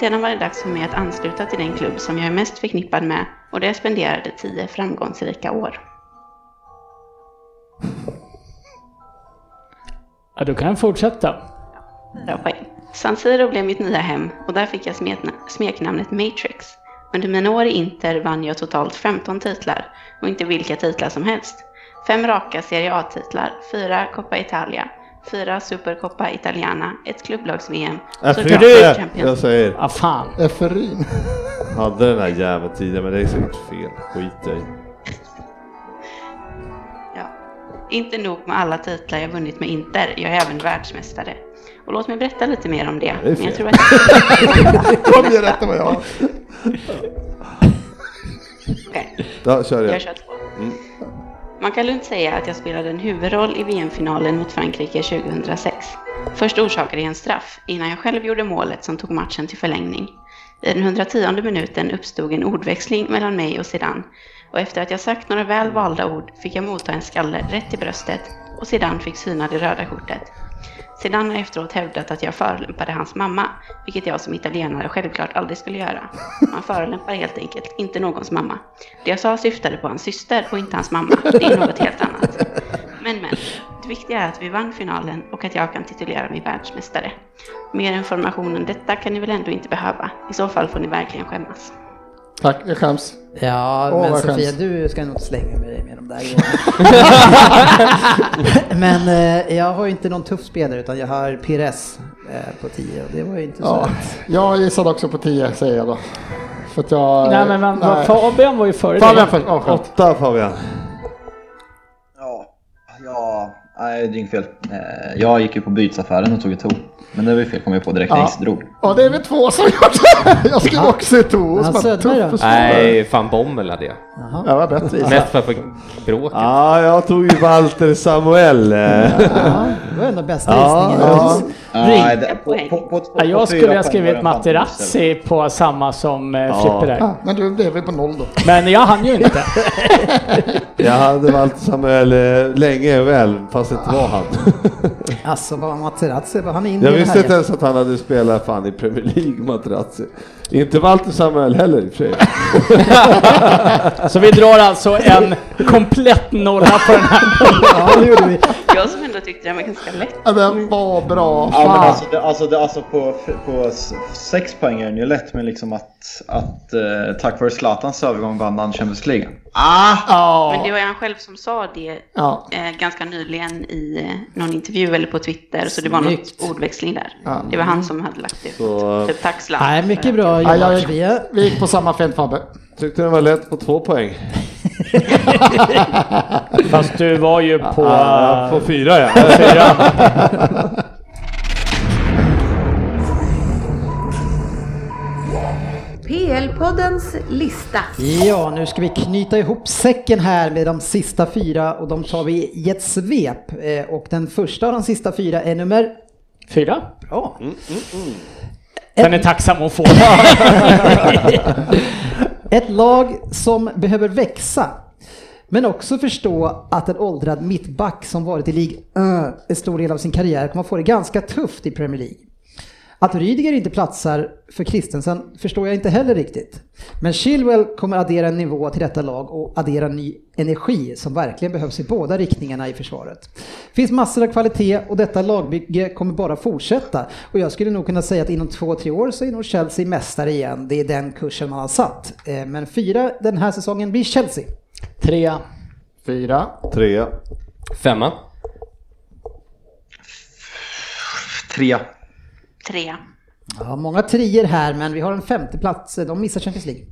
Speaker 7: Sedan var det dags för mig att ansluta till den klubb som jag är mest förknippad med och där jag spenderade 10 framgångsrika år.
Speaker 4: Ja, du kan fortsätta.
Speaker 7: Fyra poäng. San Siro blev mitt nya hem och där fick jag smetna- smeknamnet Matrix. Under mina år i Inter vann jag totalt 15 titlar och inte vilka titlar som helst. Fem raka Serie A-titlar, fyra Coppa Italia, fyra Supercoppa Italiana, ett klubblags-VM
Speaker 5: Äh,
Speaker 7: såklart
Speaker 5: Frippe,
Speaker 7: Champions
Speaker 5: jag säger.
Speaker 4: Ah, fan.
Speaker 6: Efferin.
Speaker 5: Hade den här jäveln tidigare, men det är säkert fel. Skit i.
Speaker 7: Ja. Inte nog med alla titlar jag vunnit med Inter, jag är även världsmästare. Och låt mig berätta lite mer om det.
Speaker 5: Det är
Speaker 7: Men jag tror
Speaker 5: fel.
Speaker 7: att...
Speaker 6: Kom igen, rätta vad jag har.
Speaker 7: Okej.
Speaker 5: Ja, kör
Speaker 7: Jag
Speaker 5: igen.
Speaker 7: kör två. Man kan lugnt säga att jag spelade en huvudroll i VM-finalen mot Frankrike 2006. Först orsakade jag en straff innan jag själv gjorde målet som tog matchen till förlängning. I den 110 minuten uppstod en ordväxling mellan mig och Zidane och efter att jag sagt några väl valda ord fick jag motta en skalle rätt i bröstet och Zidane fick syna det röda kortet. Zidane har efteråt hävdat att jag förolämpade hans mamma, vilket jag som italienare självklart aldrig skulle göra. Man förolämpar helt enkelt inte någons mamma. Det jag sa syftade på hans syster och inte hans mamma. Det är något helt annat. Men men, det viktiga är att vi vann finalen och att jag kan titulera mig världsmästare. Mer information om detta kan ni väl ändå inte behöva. I så fall får ni verkligen skämmas.
Speaker 6: Tack, jag skäms.
Speaker 12: Ja,
Speaker 6: Åh,
Speaker 12: men
Speaker 6: vad
Speaker 12: Sofia,
Speaker 6: skäms.
Speaker 12: du ska nog inte slänga med dig med de där grejerna. Men eh, jag har ju inte någon tuff spelare utan jag har PRS eh, på 10 och det var ju inte så
Speaker 6: Ja,
Speaker 12: lätt.
Speaker 6: jag gissade också på 10 säger jag då. För att jag...
Speaker 4: Nej, men vänta,
Speaker 6: nej.
Speaker 4: Fabian var ju före
Speaker 6: Fabian
Speaker 4: dig.
Speaker 6: först. Åh, skönt.
Speaker 5: Åtta Fabian.
Speaker 8: Ja, ja, nej, dyngfel. Eh, Jag gick ju på bytesaffären och tog ett tog. Men det var ju fel, kom jag på direkt när jag
Speaker 6: Ja.
Speaker 8: drog.
Speaker 6: Ja, det är väl två som gjort det. Jag skrev också i to.
Speaker 12: Ja,
Speaker 6: som bara,
Speaker 12: Söderberg
Speaker 6: tuff
Speaker 12: då?
Speaker 6: försvarare.
Speaker 3: Nej, fan Bommel hade jag.
Speaker 6: Ja, det var bättre gissat.
Speaker 3: Mest för att få bråket.
Speaker 5: Ja, jag tog ju Walter Samuel. Eh,
Speaker 12: Ja, det var ändå bästa
Speaker 5: Ja,
Speaker 12: gissningen.
Speaker 5: ja.
Speaker 8: Nej, det- på- på- på- på-
Speaker 4: Ja,
Speaker 8: på
Speaker 4: jag
Speaker 8: fyra
Speaker 4: skulle ha
Speaker 8: poäng var
Speaker 4: skrivit
Speaker 8: det fan tusen.
Speaker 4: Materazzi på samma som eh,
Speaker 5: Ja.
Speaker 4: Frippe där.
Speaker 6: Ah, Men du blev väl på noll då?
Speaker 4: Men jag hann ju inte.
Speaker 5: Jag hade Walter Samuel eh, länge och väl, fast det inte var han.
Speaker 12: Alltså vad Materazzi, vad han är inne
Speaker 5: Jag
Speaker 12: i det
Speaker 5: visste inte
Speaker 12: här.
Speaker 5: ens att han hade spelat fan i Premier League, Materazzi. Inte Walter Samuel heller i och för sig.
Speaker 4: Så vi drar alltså en alltså komplett nolla på den här.
Speaker 12: Ja, det gjorde vi.
Speaker 7: Jag som ändå ändå tyckte den var ganska lätt.
Speaker 6: Ja, Den var bra.
Speaker 8: Ja, men
Speaker 6: Fan.
Speaker 8: alltså, det, alltså, det, alltså på, på s- sex poäng är den ju lätt, men liksom att, att eh, tack vare Zlatans övergång vann han Champions League.
Speaker 7: Ah. Men det
Speaker 6: Ja.
Speaker 7: var ju han själv som sa det
Speaker 6: Ja.
Speaker 7: eh, ganska nyligen i eh, någon intervju eller på Twitter. Så det var något ordväxling där. Det var han som hade lagt ut.
Speaker 5: Så-
Speaker 7: Typ tack Zlatan
Speaker 2: Nej,
Speaker 7: för
Speaker 2: mycket
Speaker 7: att-
Speaker 2: bra
Speaker 6: Ja, jag
Speaker 2: jobbat. Vi är...
Speaker 6: gick, vi gick på samma fält Fabbe.
Speaker 5: Tyckte den var lätt på två poäng.
Speaker 4: Fast du var ju på...
Speaker 5: Ja, på fyra ja.
Speaker 1: PL-poddens lista.
Speaker 2: Ja, nu ska vi knyta ihop säcken här med de sista fyra och de tar vi i ett svep. Eh, Och den första av de sista fyra är nummer...
Speaker 4: Fyra?
Speaker 2: Ja.
Speaker 4: Den är tacksam att få.
Speaker 2: Ett lag som behöver växa, men också förstå att en åldrad mittback som varit i Ligue 1 en stor del av sin karriär kommer att få det ganska tufft i Premier League. Att Rydiger inte platsar för Christensen förstår jag inte heller riktigt. Men Chilwell kommer addera en nivå till detta lag och addera ny energi som verkligen behövs i båda riktningarna i försvaret. Finns massor av kvalitet och detta lagbygge kommer bara fortsätta. Och jag skulle nog kunna säga att inom två, tre år så är nog Chelsea mästare igen. Det är den kursen man har satt. Eh, Men fyra den här säsongen blir Chelsea.
Speaker 4: Trea.
Speaker 6: Fyra.
Speaker 5: Trea.
Speaker 3: Femma.
Speaker 8: Tre.
Speaker 7: Tre.
Speaker 2: Ja, många trier här men vi har en femte plats. De missar Champions League.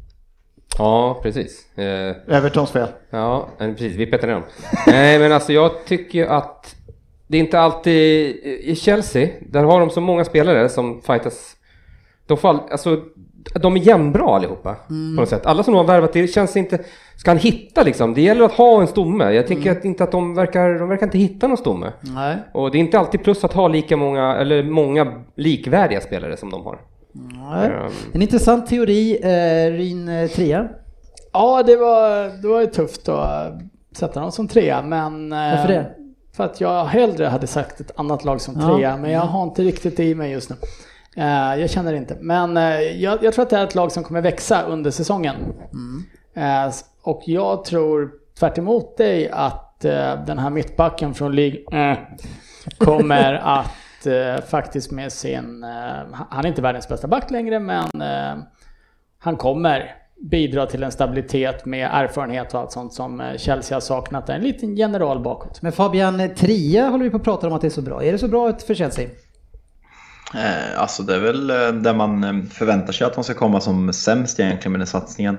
Speaker 3: Ja, precis. Eh,
Speaker 6: Evertons fel.
Speaker 3: Ja, eh, precis. Vi petar ner dem. Nej, men alltså jag tycker ju att det är inte alltid... eh, I Chelsea, där har de så många spelare som fightas. De, får all, alltså, de är jämnbra allihopa på något sätt. Alla som de har värvat, det känns inte... Ska han hitta liksom? Det gäller att ha en stomme. Jag tycker att inte att de verkar... De verkar inte hitta någon stomme.
Speaker 2: Nej.
Speaker 3: Och det är inte alltid plus att ha lika många, eller många likvärdiga spelare som de har. Ehm.
Speaker 2: En intressant teori, eh, Ryn eh, trea.
Speaker 4: Ja, det var, det var ju tufft att eh, sätta dem som trea, men... eh,
Speaker 2: Varför det?
Speaker 4: För att jag hellre hade sagt ett annat lag som
Speaker 2: Ja.
Speaker 4: trea, men jag har inte riktigt det i mig just nu. Eh, jag känner det inte. Men eh, jag, jag tror att det är ett lag som kommer växa under säsongen. Eh, s- och jag tror, tvärt emot dig, att eh, den här mittbacken från League eh, kommer att eh, faktiskt med sin... Eh, han är inte världens bästa back längre, men... Eh, han kommer bidra till en stabilitet med erfarenhet och allt sånt som eh, Chelsea har saknat. En liten general bakåt.
Speaker 2: Men Fabian, eh, trea håller vi på att prata om att det är så bra. Är det så bra ut för Chelsea?
Speaker 8: Eh, Alltså det är väl eh, där man eh, förväntar sig att de ska komma som sämst egentligen med den satsningen.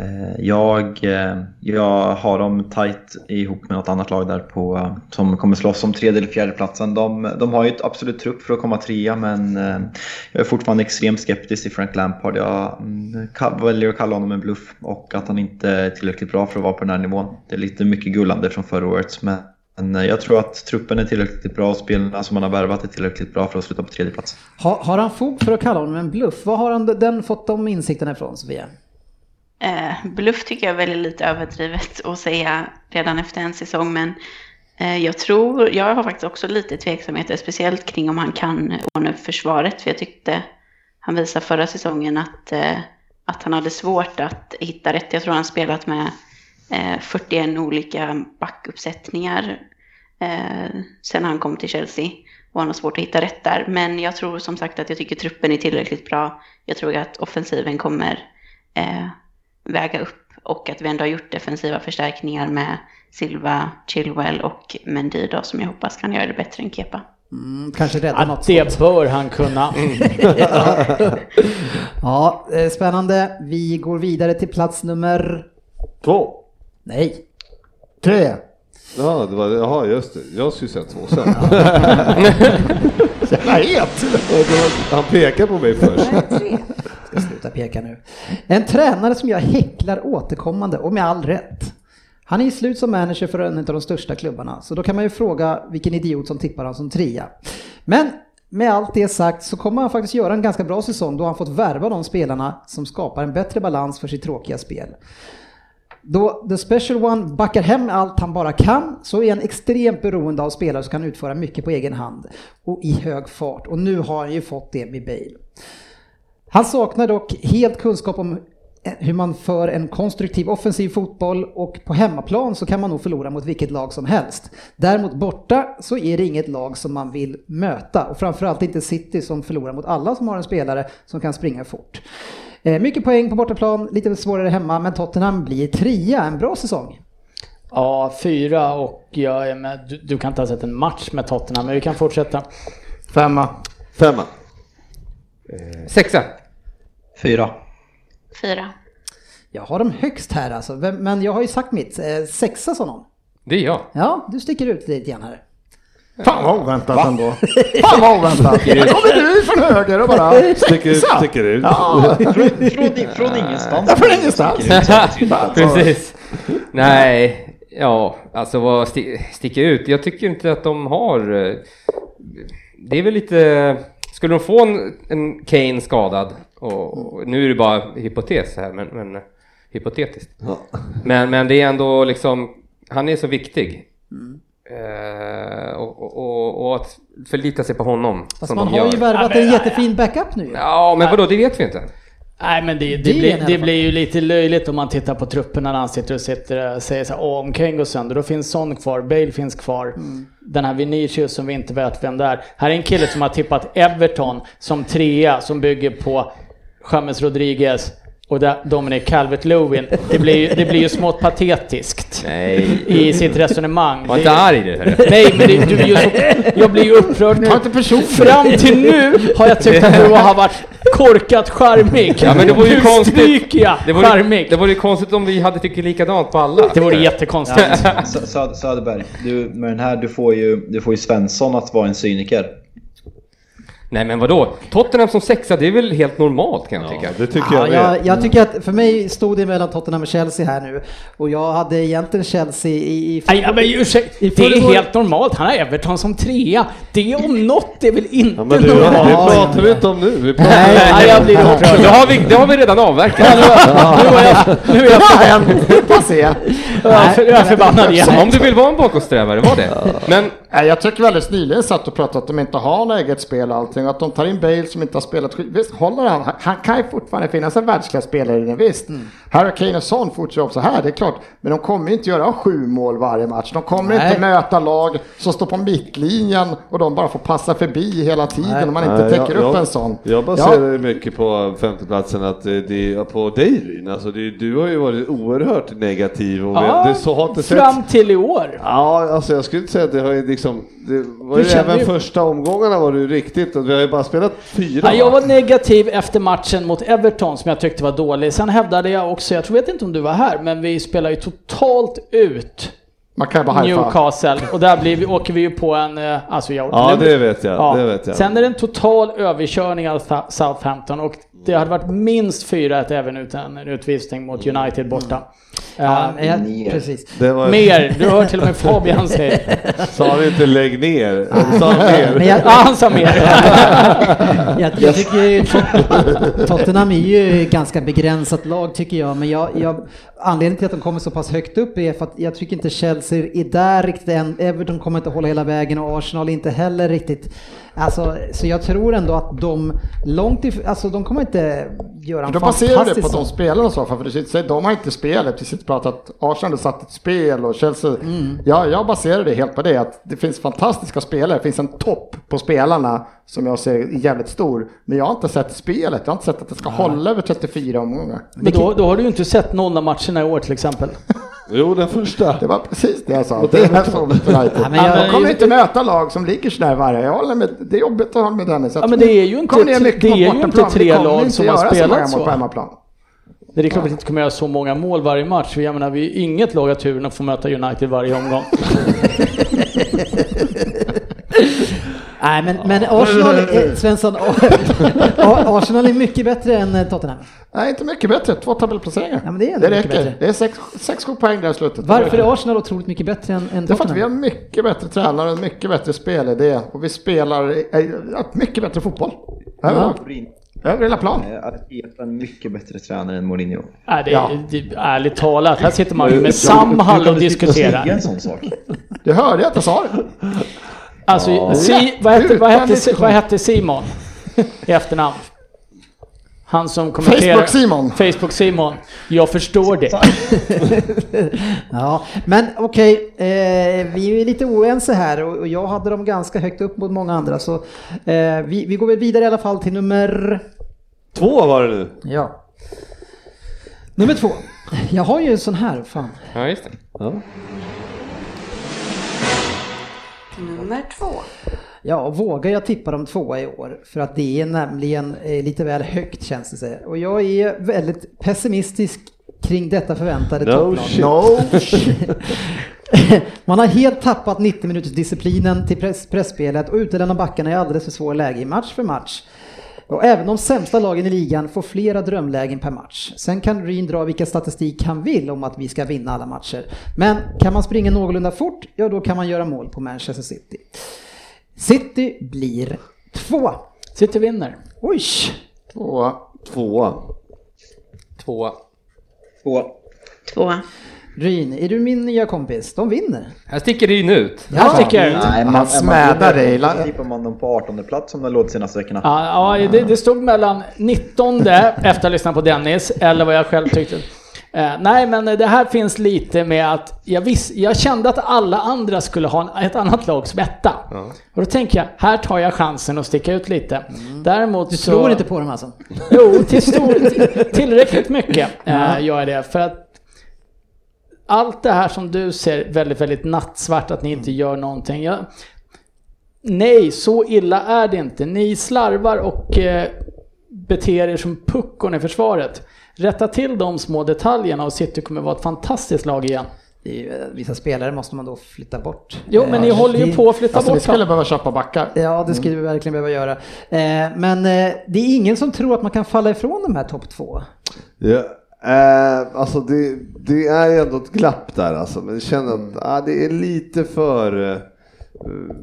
Speaker 8: Eh, Jag, eh, jag har dem tight ihop med något annat lag där på, eh, som kommer slåss om tredje eller fjärde platsen. De, de har ju ett absolut trupp för att komma trea men eh, jag är fortfarande extremt skeptisk till Frank Lampard. Jag mm, ka- väljer att kalla honom en bluff och att han inte är tillräckligt bra för att vara på den här nivån. Det är lite mycket gullande från förra året men men eh, jag tror att truppen är tillräckligt bra och spelarna som man har värvat är tillräckligt bra för att sluta på tredje plats.
Speaker 2: Ha, har han fog för att kalla honom en bluff? Var har han den fått de insikterna ifrån, Sofia?
Speaker 7: Eh, bluff tycker jag är väldigt lite överdrivet att säga redan efter en säsong, men eh, jag tror, jag har faktiskt också lite tveksamheter, speciellt kring om han kan ordna upp försvaret, för jag tyckte han visade förra säsongen att, eh, att han hade svårt att hitta rätt. Jag tror han spelat med eh, 41 olika backuppsättningar eh, sen han kom till Chelsea och han har svårt att hitta rätt där. Men jag tror som sagt att jag tycker truppen är tillräckligt bra. Jag tror att offensiven kommer eh, väga upp och att vi ändå har gjort defensiva förstärkningar med Silva, Chilwell och Mendy då, som jag hoppas kan göra det bättre än Kepa.
Speaker 2: Mm, kanske rädda något.
Speaker 4: Att det bör han kunna.
Speaker 2: Ja, eh, spännande. Vi går vidare till plats nummer...
Speaker 5: Två.
Speaker 2: Nej.
Speaker 6: Tre.
Speaker 5: Ja, det var, jaha, just det. Jag skulle säga två sen.
Speaker 6: Jävla het.
Speaker 5: Han pekar på mig först.
Speaker 2: Ska sluta peka nu. En tränare som jag häcklar återkommande och med all rätt. Han är ju slut som manager för en av de största klubbarna, så då kan man ju fråga vilken idiot som tippar han som trea. Men med allt det sagt så kommer han faktiskt göra en ganska bra säsong då han fått värva de spelarna som skapar en bättre balans för sitt tråkiga spel. Då The Special One backar hem allt han bara kan så är han extremt beroende av spelare som kan utföra mycket på egen hand och i hög fart. Och nu har han ju fått det med Bale. Han saknar dock helt kunskap om eh, hur man för en konstruktiv offensiv fotboll och på hemmaplan så kan man nog förlora mot vilket lag som helst. Däremot borta så är det inget lag som man vill möta och framförallt inte City som förlorar mot alla som har en spelare som kan springa fort. Eh, Mycket poäng på bortaplan, lite svårare hemma, men Tottenham blir trea, en bra säsong.
Speaker 4: Ja, fyra och jag är med. Du, du kan inte ha sett en match med Tottenham, men vi kan fortsätta.
Speaker 6: Femma.
Speaker 5: Femma.
Speaker 3: Sexa.
Speaker 8: Fyra.
Speaker 7: Fyra.
Speaker 2: Jag har dem högst här alltså, vem- men jag har ju sagt mitt. Eh, Sexa sa någon.
Speaker 3: Det är jag.
Speaker 2: Ja, du sticker ut lite grann här.
Speaker 6: Fan vad oväntat ändå. Fan vad oväntat. Här kommer du från höger och bara...
Speaker 5: Sticker ut,
Speaker 6: Sexa.
Speaker 5: sticker ut.
Speaker 6: Ja,
Speaker 8: Från, från ingenstans.
Speaker 6: från ingenstans.
Speaker 3: Precis. Nej, ja, alltså vad sti sticker ut? Jag tycker inte att de har... eh, Det är väl lite... Skulle de få en, en Kane skadad, och, och nu är det bara hypotes här, men, men hypotetiskt. Men, men det är ändå liksom, han är så viktig. Eh, och, och- och, och att förlita sig på honom.
Speaker 2: Fast
Speaker 3: som
Speaker 2: man
Speaker 3: de
Speaker 2: har
Speaker 3: gör.
Speaker 2: ju värvat en jättefin backup nu.
Speaker 3: Ja, men vadå, det vet vi inte.
Speaker 4: Nej men det, det,
Speaker 2: Det är en i
Speaker 4: blir,
Speaker 2: alla
Speaker 4: det
Speaker 2: fall.
Speaker 4: blir ju lite löjligt om man tittar på trupperna när han sitter och sitter och säger så här, "Åh, om Kane går sönder, då finns Son kvar, Bale finns kvar.
Speaker 2: Mm.
Speaker 4: Den här Vinicius som vi inte vet vem det är. Här är en kille som har tippat Everton som trea, som bygger på James Rodriguez och där Dominic Calvert-Lewin. Det blir, ju- det blir ju smått patetiskt
Speaker 3: Nej.
Speaker 4: i sitt resonemang.
Speaker 3: Var
Speaker 4: Det-
Speaker 3: inte arg du. hörru.
Speaker 4: Nej, men det, du är ju så, jag blir ju upprörd nu.
Speaker 6: Ta inte personligt.
Speaker 4: Fram till nu har jag tyckt att du har varit korkat charmig.
Speaker 3: Ja, men det vore ju
Speaker 4: nu
Speaker 3: konstigt.
Speaker 4: stryker jag
Speaker 3: Det vore,
Speaker 4: charmig.
Speaker 3: det vore ju konstigt om vi hade tyckt likadant på alla.
Speaker 4: Det vore jättekonstigt.
Speaker 8: Sö- Sö- eh, Söderberg, du, med den här, du får, ju, du får ju Svensson att vara en cyniker.
Speaker 3: Nej men vadå? Tottenham som sexa, det är väl helt normalt kan jag tycka.
Speaker 5: Det tycker
Speaker 2: Ja,
Speaker 5: jag
Speaker 2: jag,
Speaker 5: med.
Speaker 2: jag tycker att för mig stod det mellan Tottenham och Chelsea här nu och jag hade egentligen Chelsea i... i
Speaker 4: Nej, ja, men ursäkta.
Speaker 2: I
Speaker 4: Det är
Speaker 2: förrgår-
Speaker 4: helt normalt. Han har Everton som trea. Det om något är väl inte
Speaker 5: Ja, men du, det
Speaker 4: normalt.
Speaker 5: pratar vi inte om nu. Vi pratar
Speaker 4: Nej, nej, jag blir upprörd.
Speaker 3: Det har vi, det har vi redan avverkat.
Speaker 4: Nu är jag, nu är jag,
Speaker 6: Passé.
Speaker 4: jag, jag är förbannad igen.
Speaker 3: Om du vill vara en bakåtsträvare, var det. Men
Speaker 6: Nej, jag tycker väldigt nyligen satt och pratade att de inte har något eget spel och allting. Och att de tar in Bale som inte har spelat skit. Visst, håller han. han- Han kan ju fortfarande finnas en världsklasspelare i den, visst. Här har Kane och Son fortsatt så här, det är klart. Men de kommer ju inte göra sju mål varje match. De kommer
Speaker 2: Nej.
Speaker 6: inte möta lag som står på mittlinjen och de bara får passa förbi hela tiden om man inte
Speaker 5: Nej,
Speaker 6: täcker
Speaker 5: jag-
Speaker 6: upp
Speaker 5: jag-
Speaker 6: en sån.
Speaker 5: Jag
Speaker 6: Ja.
Speaker 5: baserar det mycket på femteplatsen att eh, det är på dig Ryn. Alltså det, du har ju varit oerhört negativ och
Speaker 4: Ja,
Speaker 5: det, så har inte sett.
Speaker 4: Fram till i år.
Speaker 5: Ja, alltså jag skulle inte säga att det har ju liksom, det var
Speaker 4: Du
Speaker 5: ju
Speaker 4: känner
Speaker 5: även
Speaker 4: ju-
Speaker 5: första omgångarna var det ju riktigt och vi har ju bara spelat fyra.
Speaker 4: Ja, jag
Speaker 5: va?
Speaker 4: var negativ efter matchen mot Everton som jag tyckte var dålig. Sen hävdade jag också, jag tror vet inte om du var här, men vi spelar ju totalt ut
Speaker 6: Man kan ju bara hajfa.
Speaker 4: Newcastle. Och där blir vi, åker vi ju på en... eh, Alltså jag,
Speaker 5: Ja,
Speaker 4: nu-
Speaker 5: det vet jag.
Speaker 4: Ja.
Speaker 5: Det vet jag.
Speaker 4: Sen är det en total överkörning av Tha- Southampton och det hade varit minst 4-1 även utan en utvisning mot United borta.
Speaker 2: ja,
Speaker 4: Eh,
Speaker 2: men jag,
Speaker 8: ner.
Speaker 2: precis.
Speaker 5: det var,
Speaker 4: mer, du hör till och med Fabian säga.
Speaker 5: Sa han inte lägg ner? Sa han
Speaker 2: Men
Speaker 5: ner?
Speaker 2: jag,
Speaker 4: Ja, han sa mer.
Speaker 2: jag, jag tycker ju Tot- Tottenham är ju ett ganska begränsat lag tycker jag, men jag, jag, anledningen till att de kommer så pass högt upp är för att jag tycker inte Chelsea är där riktigt än. Everton kommer inte hålla hela vägen och Arsenal inte heller riktigt. Alltså, så jag tror ändå att de långt if- alltså de kommer inte göra en
Speaker 6: Då baserar du
Speaker 2: fantastisk
Speaker 6: det på att de
Speaker 2: säsong.
Speaker 6: spelar och så, för du säger de har inte spelet. Vi sitter och pratar att Arsenal har satt ett spel och Chelsea.
Speaker 4: Mm.
Speaker 6: Ja, jag baserar det helt på det, att det finns fantastiska spelare. Det finns en topp på spelarna som jag ser är jävligt stor. Men jag har inte sett spelet. Jag har inte sett att det ska hålla över 34 omgångar.
Speaker 4: Men då, då har du ju inte sett någon av matcherna i år till exempel.
Speaker 5: Jo, den första.
Speaker 6: Det var precis det jag sa. Det är så med United.
Speaker 2: Ja, men jag-
Speaker 6: De kommer ju inte möta lag som ligger sådär varje. Jag håller med. Det är jobbigt att hålla med Dennis. Jag
Speaker 4: Ja, men
Speaker 6: tror-
Speaker 4: det är ju inte-
Speaker 6: Kom ner mycket
Speaker 4: det
Speaker 6: på
Speaker 4: är ju
Speaker 6: bortaplan.
Speaker 4: inte tre
Speaker 6: Vi kommer
Speaker 4: lag
Speaker 6: inte
Speaker 4: som har
Speaker 6: göra
Speaker 4: spelat
Speaker 6: många mål
Speaker 4: så.
Speaker 6: på hemmaplan.
Speaker 4: Det är klart att vi inte kommer göra så många mål varje match. Jag menar, vi är inget lag av turen att få möta United varje omgång.
Speaker 2: Nej, men, men Arsenal, eh, Svensson, Arsenal är mycket bättre än eh, Tottenham.
Speaker 6: Nej, inte mycket bättre. Två tabellplaceringar.
Speaker 2: Ja, men det är ändå
Speaker 6: det
Speaker 2: mycket
Speaker 6: räcker.
Speaker 2: bättre.
Speaker 6: Det är sex, sex sju poäng där i slutet.
Speaker 2: Varför
Speaker 6: det?
Speaker 2: är Arsenal otroligt mycket bättre än, än
Speaker 6: Det är för att vi har
Speaker 2: Tottenham?
Speaker 6: mycket bättre tränare och en mycket bättre spelidé. Och vi spelar eh, ja, mycket bättre fotboll. Överlag. Över hela plan.
Speaker 8: Eh, Arteta är en mycket bättre tränare än Mourinho.
Speaker 4: Nej, det,
Speaker 6: Ja.
Speaker 4: är det, ärligt talat, här sitter man ju med Samhall och
Speaker 8: Det är
Speaker 4: diskuterar.
Speaker 8: en sån sak.
Speaker 6: Det hörde jag att jag sa. det.
Speaker 4: Alltså, si, vad, hette, vad,
Speaker 6: Utan
Speaker 4: hette,
Speaker 6: diskussion.
Speaker 4: vad hette Simon i efternamn? Han som kommenterar...
Speaker 6: Facebook-Simon.
Speaker 4: Facebook-Simon. Jag förstår det.
Speaker 2: Ja, men okej, eh, vi är ju lite oense här och, och jag hade dem ganska högt upp mot många andra så eh, vi, vi går väl vidare i alla fall till nummer...
Speaker 5: Två var det nu.
Speaker 2: Ja. Nummer två. Jag har ju en sån här, fan.
Speaker 3: Ja, just det.
Speaker 5: Ja.
Speaker 7: Nummer två.
Speaker 2: Ja, och vågar jag tippa dem tvåa i år? För att det är nämligen eh, lite väl högt känns det sig. Och jag är väldigt pessimistisk kring detta förväntade
Speaker 5: No
Speaker 2: topplag.
Speaker 5: shit.
Speaker 6: No
Speaker 2: Man har helt tappat 90 minuters disciplinen till press, pressspelet och utelämnar backarna i alldeles för svåra läge i match för match. Och även de sämsta lagen i ligan får flera drömlägen per match. Sen kan Ryn dra vilka statistik han vill om att vi ska vinna alla matcher. Men kan man springa någorlunda fort, ja då kan man göra mål på Manchester City. City blir två.
Speaker 4: City vinner.
Speaker 2: Oj!
Speaker 6: Tvåa.
Speaker 5: Tvåa.
Speaker 3: Tvåa.
Speaker 8: Två.
Speaker 13: Tvåa.
Speaker 2: Ryn, är du min nya kompis? De vinner.
Speaker 3: Här sticker det ju ut.
Speaker 4: Jag sticker ut.
Speaker 8: Nej, man,
Speaker 6: Han smädar dig.
Speaker 8: Man, man, tippar man dem på 18 plats som det låg de senaste veckorna.
Speaker 4: Ja, ja det, det stod mellan 19 efter att ha lyssnat på Dennis, eller vad jag själv tyckte. Eh, nej, men det här finns lite med att jag, visst, jag kände att alla andra skulle ha en, ett annat lags etta. Och då tänker jag, här tar jag chansen att sticka ut lite. Däremot
Speaker 2: Du
Speaker 4: så...
Speaker 2: tror inte på dem alltså?
Speaker 4: Jo, till stor, till- tillräckligt mycket eh, gör jag det. För att allt det här som du ser väldigt, väldigt nattsvart, att ni inte
Speaker 2: Mm.
Speaker 4: gör någonting. Jag, nej, så illa är det inte. Ni slarvar och eh, beter er som puckon i försvaret. Rätta till de små detaljerna och City kommer vara ett fantastiskt lag igen.
Speaker 2: Det är ju, eh, vissa spelare måste man då flytta bort.
Speaker 4: Jo, men ni
Speaker 2: Eh,
Speaker 4: håller ju
Speaker 2: det-
Speaker 4: på att flytta
Speaker 6: Alltså vi
Speaker 4: bort
Speaker 6: skulle behöva köpa backar.
Speaker 2: Ja, det skulle vi verkligen behöva göra. Eh, men eh, det är ingen som tror att man kan falla ifrån de här topp två.
Speaker 5: Ja. Eh, alltså det, det är ju ändå ett glapp där alltså, men jag känner att ah, det är lite för... eh,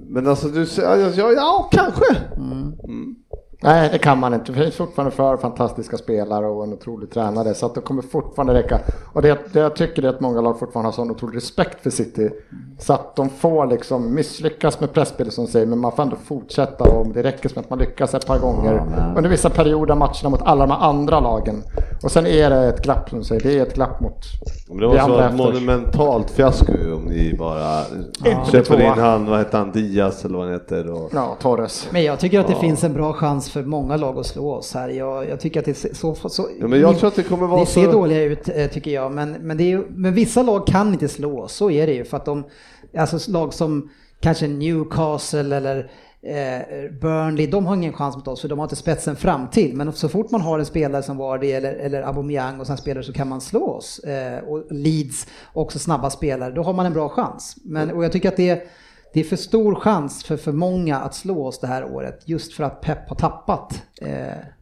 Speaker 5: Men alltså du säger, ja, ja, ja kanske.
Speaker 4: Mm.
Speaker 2: Mm.
Speaker 6: Nej, det kan man inte. Det finns fortfarande för fantastiska spelare och en otrolig tränare. Så att det kommer fortfarande räcka. Och det, det jag tycker är att många lag fortfarande har sån otrolig respekt för City. Så att de får liksom misslyckas med pressspel som säger, men man får ändå fortsätta. Och om det räcker som att man lyckas ett par gånger under vissa perioder av matcherna mot alla de här andra lagen. Och sen är det ett glapp som du säger, det är ett glapp mot
Speaker 5: Men det var
Speaker 6: Vi
Speaker 5: så
Speaker 6: andra
Speaker 5: ett
Speaker 6: efter.
Speaker 5: monumentalt fiasko ju om ni bara
Speaker 6: Ja.
Speaker 5: köper in
Speaker 6: Tvåa.
Speaker 5: han, vad heter han, Diaz eller vad han heter. Och...
Speaker 6: ja, Torres.
Speaker 2: Men jag tycker att det finns en bra chans för många lag att slå oss här. Jag, jag tycker att det ser så... så
Speaker 5: Ja, men jag tror att det kommer vara
Speaker 2: det ser
Speaker 5: så-
Speaker 2: dåliga ut eh, tycker jag, men, men, det är, ju- men vissa lag kan inte slå oss, så är det ju. För att de, alltså lag som kanske Newcastle eller eh, Burnley, de har ingen chans mot oss för de har inte spetsen fram till. Men så fort man har en spelare som Vardy eller, eller Aubameyang och sådana spelare så kan man slå oss. Eh, och Leeds, också snabba spelare, då har man en bra chans. Men, och jag tycker att det är, det är för stor chans för för många att slå oss det här året just för att Pep har tappat eh,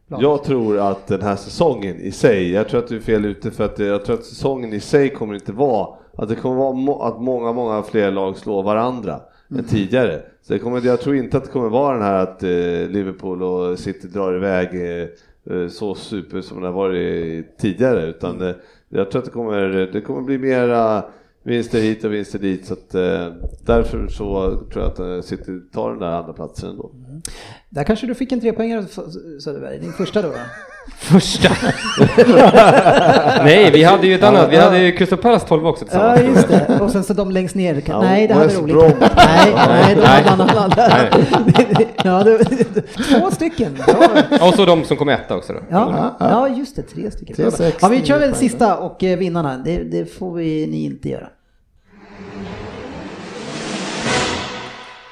Speaker 2: laget.
Speaker 5: Jag tror att den här säsongen i sig, jag tror att du är fel ute för att jag tror att säsongen i sig kommer inte vara att det kommer vara må, att många, många fler lag slår varandra
Speaker 2: Mm.
Speaker 5: än tidigare. Så det kommer, jag tror inte att det kommer vara den här att eh, Liverpool och City drar iväg eh, eh, så super som det har varit tidigare utan
Speaker 2: Mm.
Speaker 5: eh, jag tror att det kommer, det kommer bli mera vinster hit och vinster dit så att eh, därför så tror jag att eh, City tar den där andra platsen ändå.
Speaker 2: Där kanske du fick en trepoängare F- Söderberg, din första då? va? Första?
Speaker 3: Nej, vi hade ju ett annat. Vi hade ju Crystal Palace 12 också
Speaker 2: Ja
Speaker 3: tillsammans.
Speaker 2: just det, och sen så de längst ner.
Speaker 5: Ja,
Speaker 2: nej det hade
Speaker 5: West
Speaker 2: roligt.
Speaker 5: Brom.
Speaker 2: Nej, nej, de
Speaker 3: Nej.
Speaker 2: hade han alla. ja, det, två stycken. Ja,
Speaker 3: Och så de som kom etta också då.
Speaker 2: ja, ja just det, tre stycken.
Speaker 6: Tre, sex,
Speaker 2: ja, vi kör
Speaker 6: nio
Speaker 2: väl sista och eh, vinnarna, det, det får vi, ni inte göra.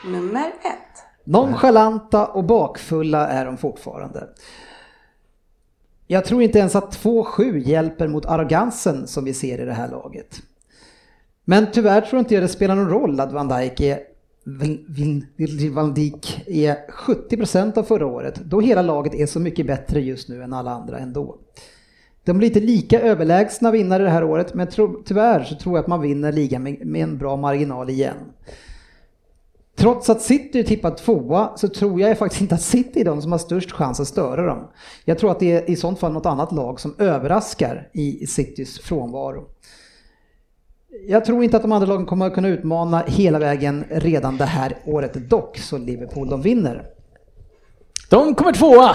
Speaker 7: Nummer ett.
Speaker 2: Nonchalanta och bakfulla är de fortfarande. Jag tror inte ens att 2-7 hjälper mot arrogansen som vi ser i det här laget. Men tyvärr tror inte jag det spelar någon roll att Van Dijk är Vin- Vin- Virgil van Dijk är 70% av förra året, då hela laget är så mycket bättre just nu än alla andra ändå. De blir inte lika överlägsna vinnare det här året, men tro, tyvärr så tror jag att man vinner ligan med, med en bra marginal igen. Trots att City är tippat tvåa så tror jag faktiskt inte att City är de som har störst chans att störa dem. Jag tror att det är i sånt fall något annat lag som överraskar i Citys frånvaro. Jag tror inte att de andra lagen kommer att kunna utmana hela vägen redan det här året dock, så Liverpool de vinner.
Speaker 4: De kommer tvåa.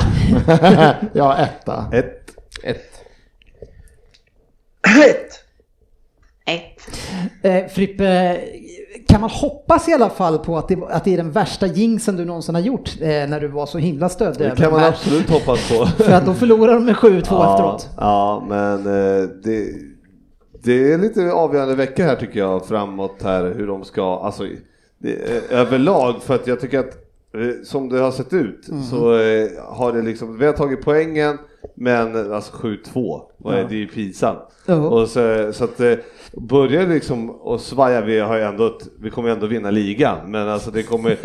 Speaker 6: ja, etta.
Speaker 5: Ett.
Speaker 3: Ett.
Speaker 8: Ett!
Speaker 14: Ett.
Speaker 2: Eh, Frippe, kan man hoppas i alla fall på att det, att det är den värsta jinxen du någonsin har gjort eh, när du var så himla stöddig
Speaker 5: Det
Speaker 2: över
Speaker 5: kan
Speaker 2: de
Speaker 5: man
Speaker 2: här?
Speaker 5: absolut hoppas på.
Speaker 2: För att då förlorar de med 7-2 efteråt.
Speaker 5: Ja, men eh, det, det är lite avgörande veckor här tycker jag framåt här hur de ska, alltså i- det, eh, överlag för att jag tycker att eh, som det har sett ut så eh, har det liksom, vi har tagit poängen men alltså 7-2, vad är det? det är ju pinsamt.
Speaker 2: Ja.
Speaker 5: Och så, så att eh, börjar det liksom och svaja, vi har ju ändå, ett- vi kommer ju ändå vinna ligan men alltså det kommer,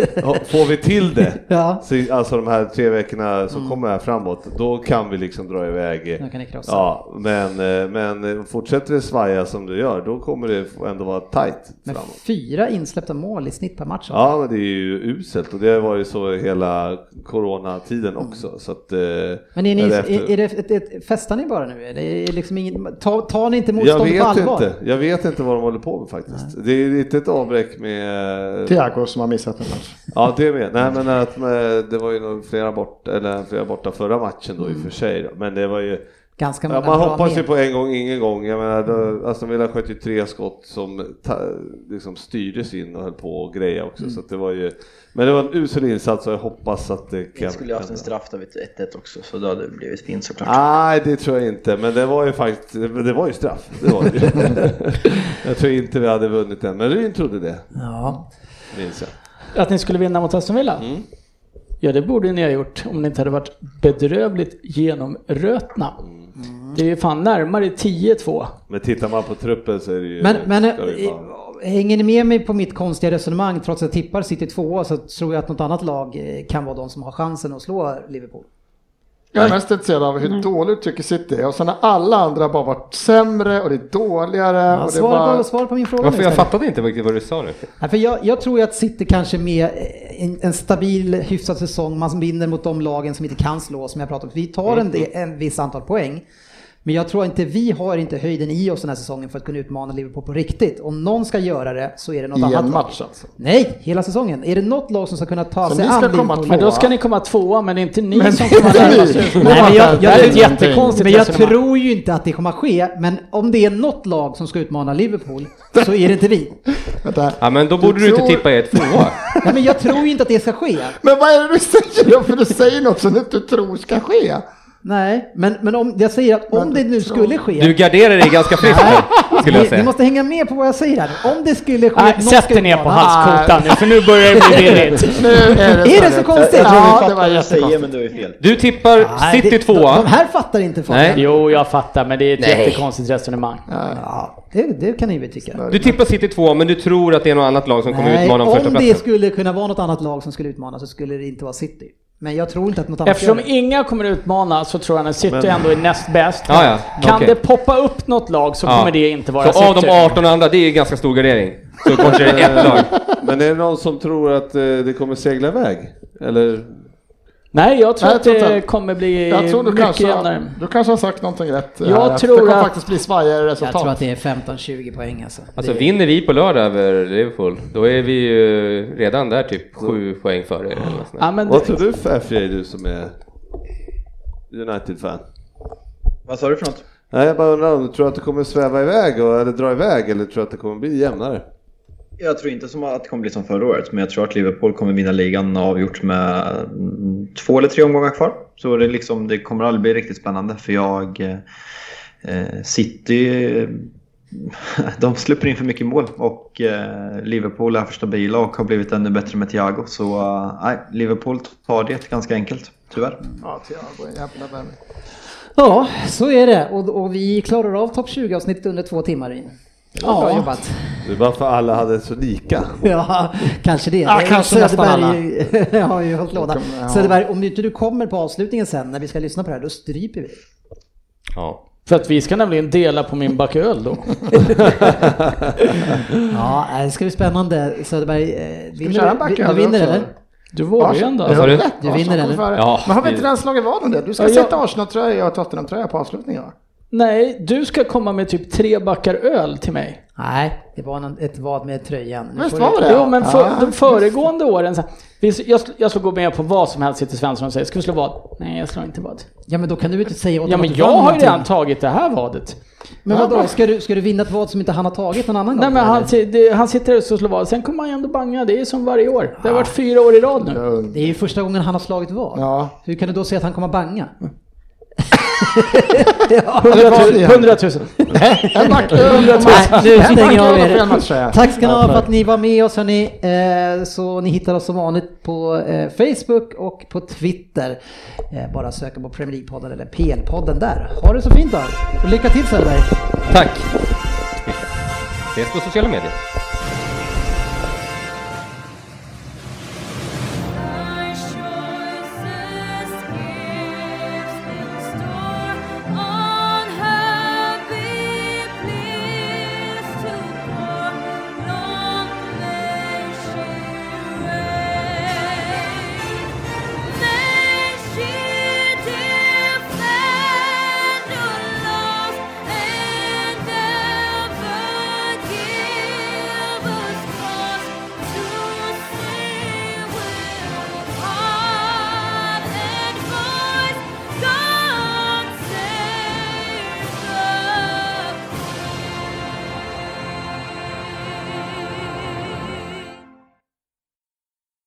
Speaker 5: får vi till det
Speaker 2: Ja. Mm.
Speaker 5: så, alltså de här tre veckorna som kommer här framåt, då kan vi liksom dra iväg.
Speaker 2: Då kan ni krossa.
Speaker 5: Ja, men, eh, men eh, fortsätter det svaja som du gör, då kommer det ändå vara tight
Speaker 2: Med
Speaker 5: framåt.
Speaker 2: fyra insläppta mål i snitt per match.
Speaker 5: Ja, men det är ju uselt och det var ju så hela coronatiden också. Så att, eh,
Speaker 2: Mm. Men är ni,
Speaker 5: eller efter-
Speaker 2: är, är det, ett- ett- festar ni bara nu? Är det är liksom ingen, ta, tar ni inte
Speaker 5: jag
Speaker 2: motståndet på
Speaker 5: vet
Speaker 2: allvar?
Speaker 5: inte, jag vet inte vad de håller på med faktiskt. Det är lite ett avbräck med... eh,
Speaker 6: Thiago som har missat en match.
Speaker 5: Ja, det med. Nej, men att eh, det var ju nog flera, bort, eller flera borta förra matchen då i och för sig. Då. Men det var ju...
Speaker 2: Mm. Ganska många
Speaker 5: Ja, man
Speaker 2: bra
Speaker 5: hoppas ju
Speaker 2: med.
Speaker 5: på en gång, ingen gång. Jag menar, då, Aston Villa sköt ju tre skott som ta, liksom styrdes in och höll på och greja också.
Speaker 2: Mm.
Speaker 5: Så att det var ju, men det var en usel insats och jag hoppas att det kan...
Speaker 8: Vi skulle ju haft en straff där vid 1-1 också, så då hade det blivit fint såklart.
Speaker 5: Nej, det tror jag inte. Men det var ju faktiskt, det var ju straff. Det var det. ju. jag tror inte vi hade vunnit den, men Ryn trodde det,
Speaker 2: Ja.
Speaker 5: minns jag.
Speaker 4: Att ni skulle vinna mot Aston Villa?
Speaker 3: Mm.
Speaker 4: Ja, det borde ni ha gjort om ni inte hade varit bedrövligt genomrötna.
Speaker 3: Mm.
Speaker 4: Det är ju fan närmare 10-2.
Speaker 5: Men tittar man på truppen så är det ju...
Speaker 2: Men, men
Speaker 5: ska det ju vara-
Speaker 2: eh, hänger ni med mig på mitt konstiga resonemang? Trots att jag tippar City tvåa så tror jag att något annat lag eh, kan vara de som har chansen att slå Liverpool.
Speaker 6: Jag är mest intresserad av hur dåligt tycker City är. Och sen har alla andra bara varit sämre och det är dåligare.
Speaker 2: Ja,
Speaker 6: och det är
Speaker 2: svara,
Speaker 6: bara...
Speaker 2: på, svara på min fråga nu
Speaker 3: Varför? Jag
Speaker 2: istället.
Speaker 3: fattade inte riktigt vad du sa nu.
Speaker 2: Nej, för jag, jag tror ju att City kanske med eh, en, en stabil, hyfsad säsong, man vinner mot de lagen som inte kan slå, som jag pratade om. Vi tar en,
Speaker 6: Mm.
Speaker 2: del- en viss antal poäng. Men jag tror inte vi har inte höjden i oss den här säsongen för att kunna utmana Liverpool på riktigt. Om någon ska göra det så är det något
Speaker 6: I
Speaker 2: annat
Speaker 6: en
Speaker 2: lag.
Speaker 6: match alltså.
Speaker 2: Nej, hela säsongen. Är det något lag som ska kunna ta
Speaker 6: Som
Speaker 2: sig
Speaker 6: vi
Speaker 2: an
Speaker 6: ska komma
Speaker 2: Liverpool?
Speaker 4: Men då
Speaker 6: Tvåa.
Speaker 4: ska ni komma tvåa, men det är inte ni
Speaker 6: Men
Speaker 4: som
Speaker 6: inte
Speaker 4: kommer
Speaker 6: vi.
Speaker 4: närmast
Speaker 6: Nej,
Speaker 4: er.
Speaker 6: men
Speaker 4: Nej, men jag, jag,
Speaker 6: det är
Speaker 4: det är ett
Speaker 6: någonting.
Speaker 4: jättekonstigt
Speaker 2: Men jag
Speaker 4: resonemang.
Speaker 2: tror ju inte att det kommer att ske. Men om det är något lag som ska utmana Liverpool så är det inte vi.
Speaker 6: Vänta.
Speaker 3: Ja, men då borde du,
Speaker 6: tror-
Speaker 3: inte tippa er tvåa.
Speaker 2: Nej, men jag tror ju inte att det ska ske.
Speaker 6: Men vad är det du säger? För du säger något som du inte tror ska ske.
Speaker 2: Nej, men, men om, jag säger att om
Speaker 6: Men
Speaker 2: det nu
Speaker 6: tror-
Speaker 2: skulle ske.
Speaker 3: Du garderar dig ganska friskt här, skulle jag
Speaker 2: Ni, ni
Speaker 3: säga.
Speaker 2: måste hänga med på vad jag säger här. Om det skulle ske.
Speaker 4: Nej,
Speaker 2: att någon
Speaker 4: sätt
Speaker 2: ska
Speaker 4: er ner på
Speaker 2: utmana-
Speaker 4: halskotan nu, för nu börjar det bli billigt.
Speaker 6: Nu är det,
Speaker 2: Är det så konstigt?
Speaker 6: Jag, jag
Speaker 8: Jag fattar
Speaker 2: Ja,
Speaker 6: tror vi fattar vad
Speaker 8: vad du
Speaker 6: jag
Speaker 8: säger,
Speaker 6: säger.
Speaker 8: men du är fel.
Speaker 3: Du tippar
Speaker 2: Nej,
Speaker 3: City
Speaker 2: det, de, de
Speaker 3: tvåa.
Speaker 2: här fattar inte Fabian.
Speaker 3: Nej.
Speaker 4: Jo, jag fattar, men det är ett
Speaker 3: Nej.
Speaker 4: jättekonstigt resonemang.
Speaker 2: Ja, det, det kan ni väl tycka.
Speaker 3: Du tippar City tvåa, men du tror att det är något annat lag som kommer
Speaker 2: Nej,
Speaker 3: utmana om första
Speaker 2: om det
Speaker 3: platsen.
Speaker 2: skulle kunna vara något annat lag som skulle utmana så skulle det inte vara City. Men jag tror inte att något annat
Speaker 4: Eftersom
Speaker 2: gör det.
Speaker 4: inga kommer utmana så tror jag att City ändå är näst bäst.
Speaker 3: Ja, ja.
Speaker 4: Kan
Speaker 3: Okej.
Speaker 4: det poppa upp något lag så
Speaker 3: Ja.
Speaker 4: kommer det inte vara
Speaker 3: Så av
Speaker 4: City.
Speaker 3: de 18 andra, det är ganska stor gardering. Så kanske det är ett lag.
Speaker 5: Men är det någon som tror att eh, det kommer segla iväg? Eller?
Speaker 4: Nej, jag tror
Speaker 6: Nej, jag
Speaker 4: att
Speaker 6: tror inte
Speaker 4: det
Speaker 6: det.
Speaker 4: kommer bli
Speaker 6: Jag tror du
Speaker 4: mycket
Speaker 6: kanske,
Speaker 4: jämnare.
Speaker 6: du kanske har sagt någonting rätt.
Speaker 4: Jag
Speaker 6: här, att
Speaker 4: tror
Speaker 6: det kommer
Speaker 4: att-
Speaker 6: faktiskt bli svajigare resultat.
Speaker 2: Jag tror att det är 15-20 poäng alltså.
Speaker 3: Alltså
Speaker 2: Det-
Speaker 3: vinner vi på lördag över Liverpool, då är vi ju redan där typ sju poäng före. er eller något sånt där.
Speaker 4: Ja, men
Speaker 5: Vad tror du för FJ du som är United-fan?
Speaker 8: Vad sa du för något?
Speaker 5: Nej, jag bara undrar om du tror att det kommer sväva iväg och, eller dra iväg eller tror du att det kommer bli jämnare?
Speaker 8: Jag tror inte som att det kommer bli som förra året, men jag tror att Liverpool kommer vinna ligan avgjort med mm, två eller tre omgångar kvar. Så det, är liksom, det kommer aldrig bli riktigt spännande för jag... Eh, City... eh, De släpper in för mycket mål och eh, Liverpool är för stabila och har blivit ännu bättre med Thiago. Så eh, nej, Liverpool tar det ganska enkelt, tyvärr.
Speaker 6: Ja, Thiago är en jävla vän.
Speaker 2: Ja, så är det. Och, och vi klarar av topp 20-avsnittet under två timmar in. Ja. Bra jobbat.
Speaker 5: Det är bara för alla hade så lika.
Speaker 2: Ja, kanske det.
Speaker 6: Ja, kanske nästan
Speaker 2: Söderberg har ju hållit låda.
Speaker 6: kommer- ja.
Speaker 2: Söderberg, om inte du kommer på avslutningen sen när vi ska lyssna på det här, då stryper vi.
Speaker 3: Ja.
Speaker 4: För att vi ska nämligen dela på min baköl då.
Speaker 2: Ja, äh, det ska bli spännande. Söderberg, eh,
Speaker 6: köra en
Speaker 2: vinner du?
Speaker 6: backhand
Speaker 2: Du vinner
Speaker 6: också?
Speaker 2: eller?
Speaker 4: Du vågar ju ändå.
Speaker 3: Vad sa du?
Speaker 2: Du vinner, eller?
Speaker 3: Ja,
Speaker 6: Ja, Alltså, men har vi
Speaker 3: det-
Speaker 6: inte redan slagit vad om det? Du ska
Speaker 4: Ja, jag-
Speaker 6: sätta Arsenal-tröja och Tottenham-tröja på avslutningen va?
Speaker 4: Nej, du ska komma med typ tre backar öl till mig.
Speaker 2: Nej, det var någon, ett vad med tröjan. Nu
Speaker 12: Visst
Speaker 2: får
Speaker 12: var
Speaker 2: du-
Speaker 12: det?
Speaker 4: Jo, men för,
Speaker 12: Ja.
Speaker 4: de föregående åren, så här, visst, jag, sl- jag slår gå med på vad som helst till Svensson och säger, ska vi slå vad? Nej, jag slår inte vad.
Speaker 2: Ja men då kan du väl inte säga åt
Speaker 4: Ja,
Speaker 2: dem
Speaker 4: men
Speaker 2: att du
Speaker 4: jag
Speaker 2: vann
Speaker 4: har ju
Speaker 2: någonting.
Speaker 4: redan tagit det här vadet.
Speaker 2: Men vadå, ska du, ska du vinna ett vad som inte han har tagit någon annan
Speaker 4: Nej,
Speaker 2: gång?
Speaker 4: men han,
Speaker 2: eller?
Speaker 4: si- det, han sitter där och slår vad, sen kommer han ju ändå banga, det är som varje år. Det har varit fyra år i rad nu.
Speaker 2: Det är ju första gången han har slagit vad.
Speaker 12: Ja.
Speaker 2: Hur kan du då säga att han kommer att banga?
Speaker 4: 100
Speaker 12: vad
Speaker 4: 000.
Speaker 12: igen?
Speaker 4: 100 000.
Speaker 12: En back öl och
Speaker 2: Nej, nu
Speaker 12: En
Speaker 2: stänger jag av
Speaker 12: back öl och
Speaker 2: er.
Speaker 12: fel match säger jag.
Speaker 2: Tack ska ni ha för att ni var med oss hörni. Eh, Så ni hittar oss som vanligt på eh, Facebook och på Twitter. Eh, Bara söka på Premier League-podden eller PL-podden där. Ha det så fint då! Och lycka till Söderberg!
Speaker 3: Tack! Ses på sociala medier.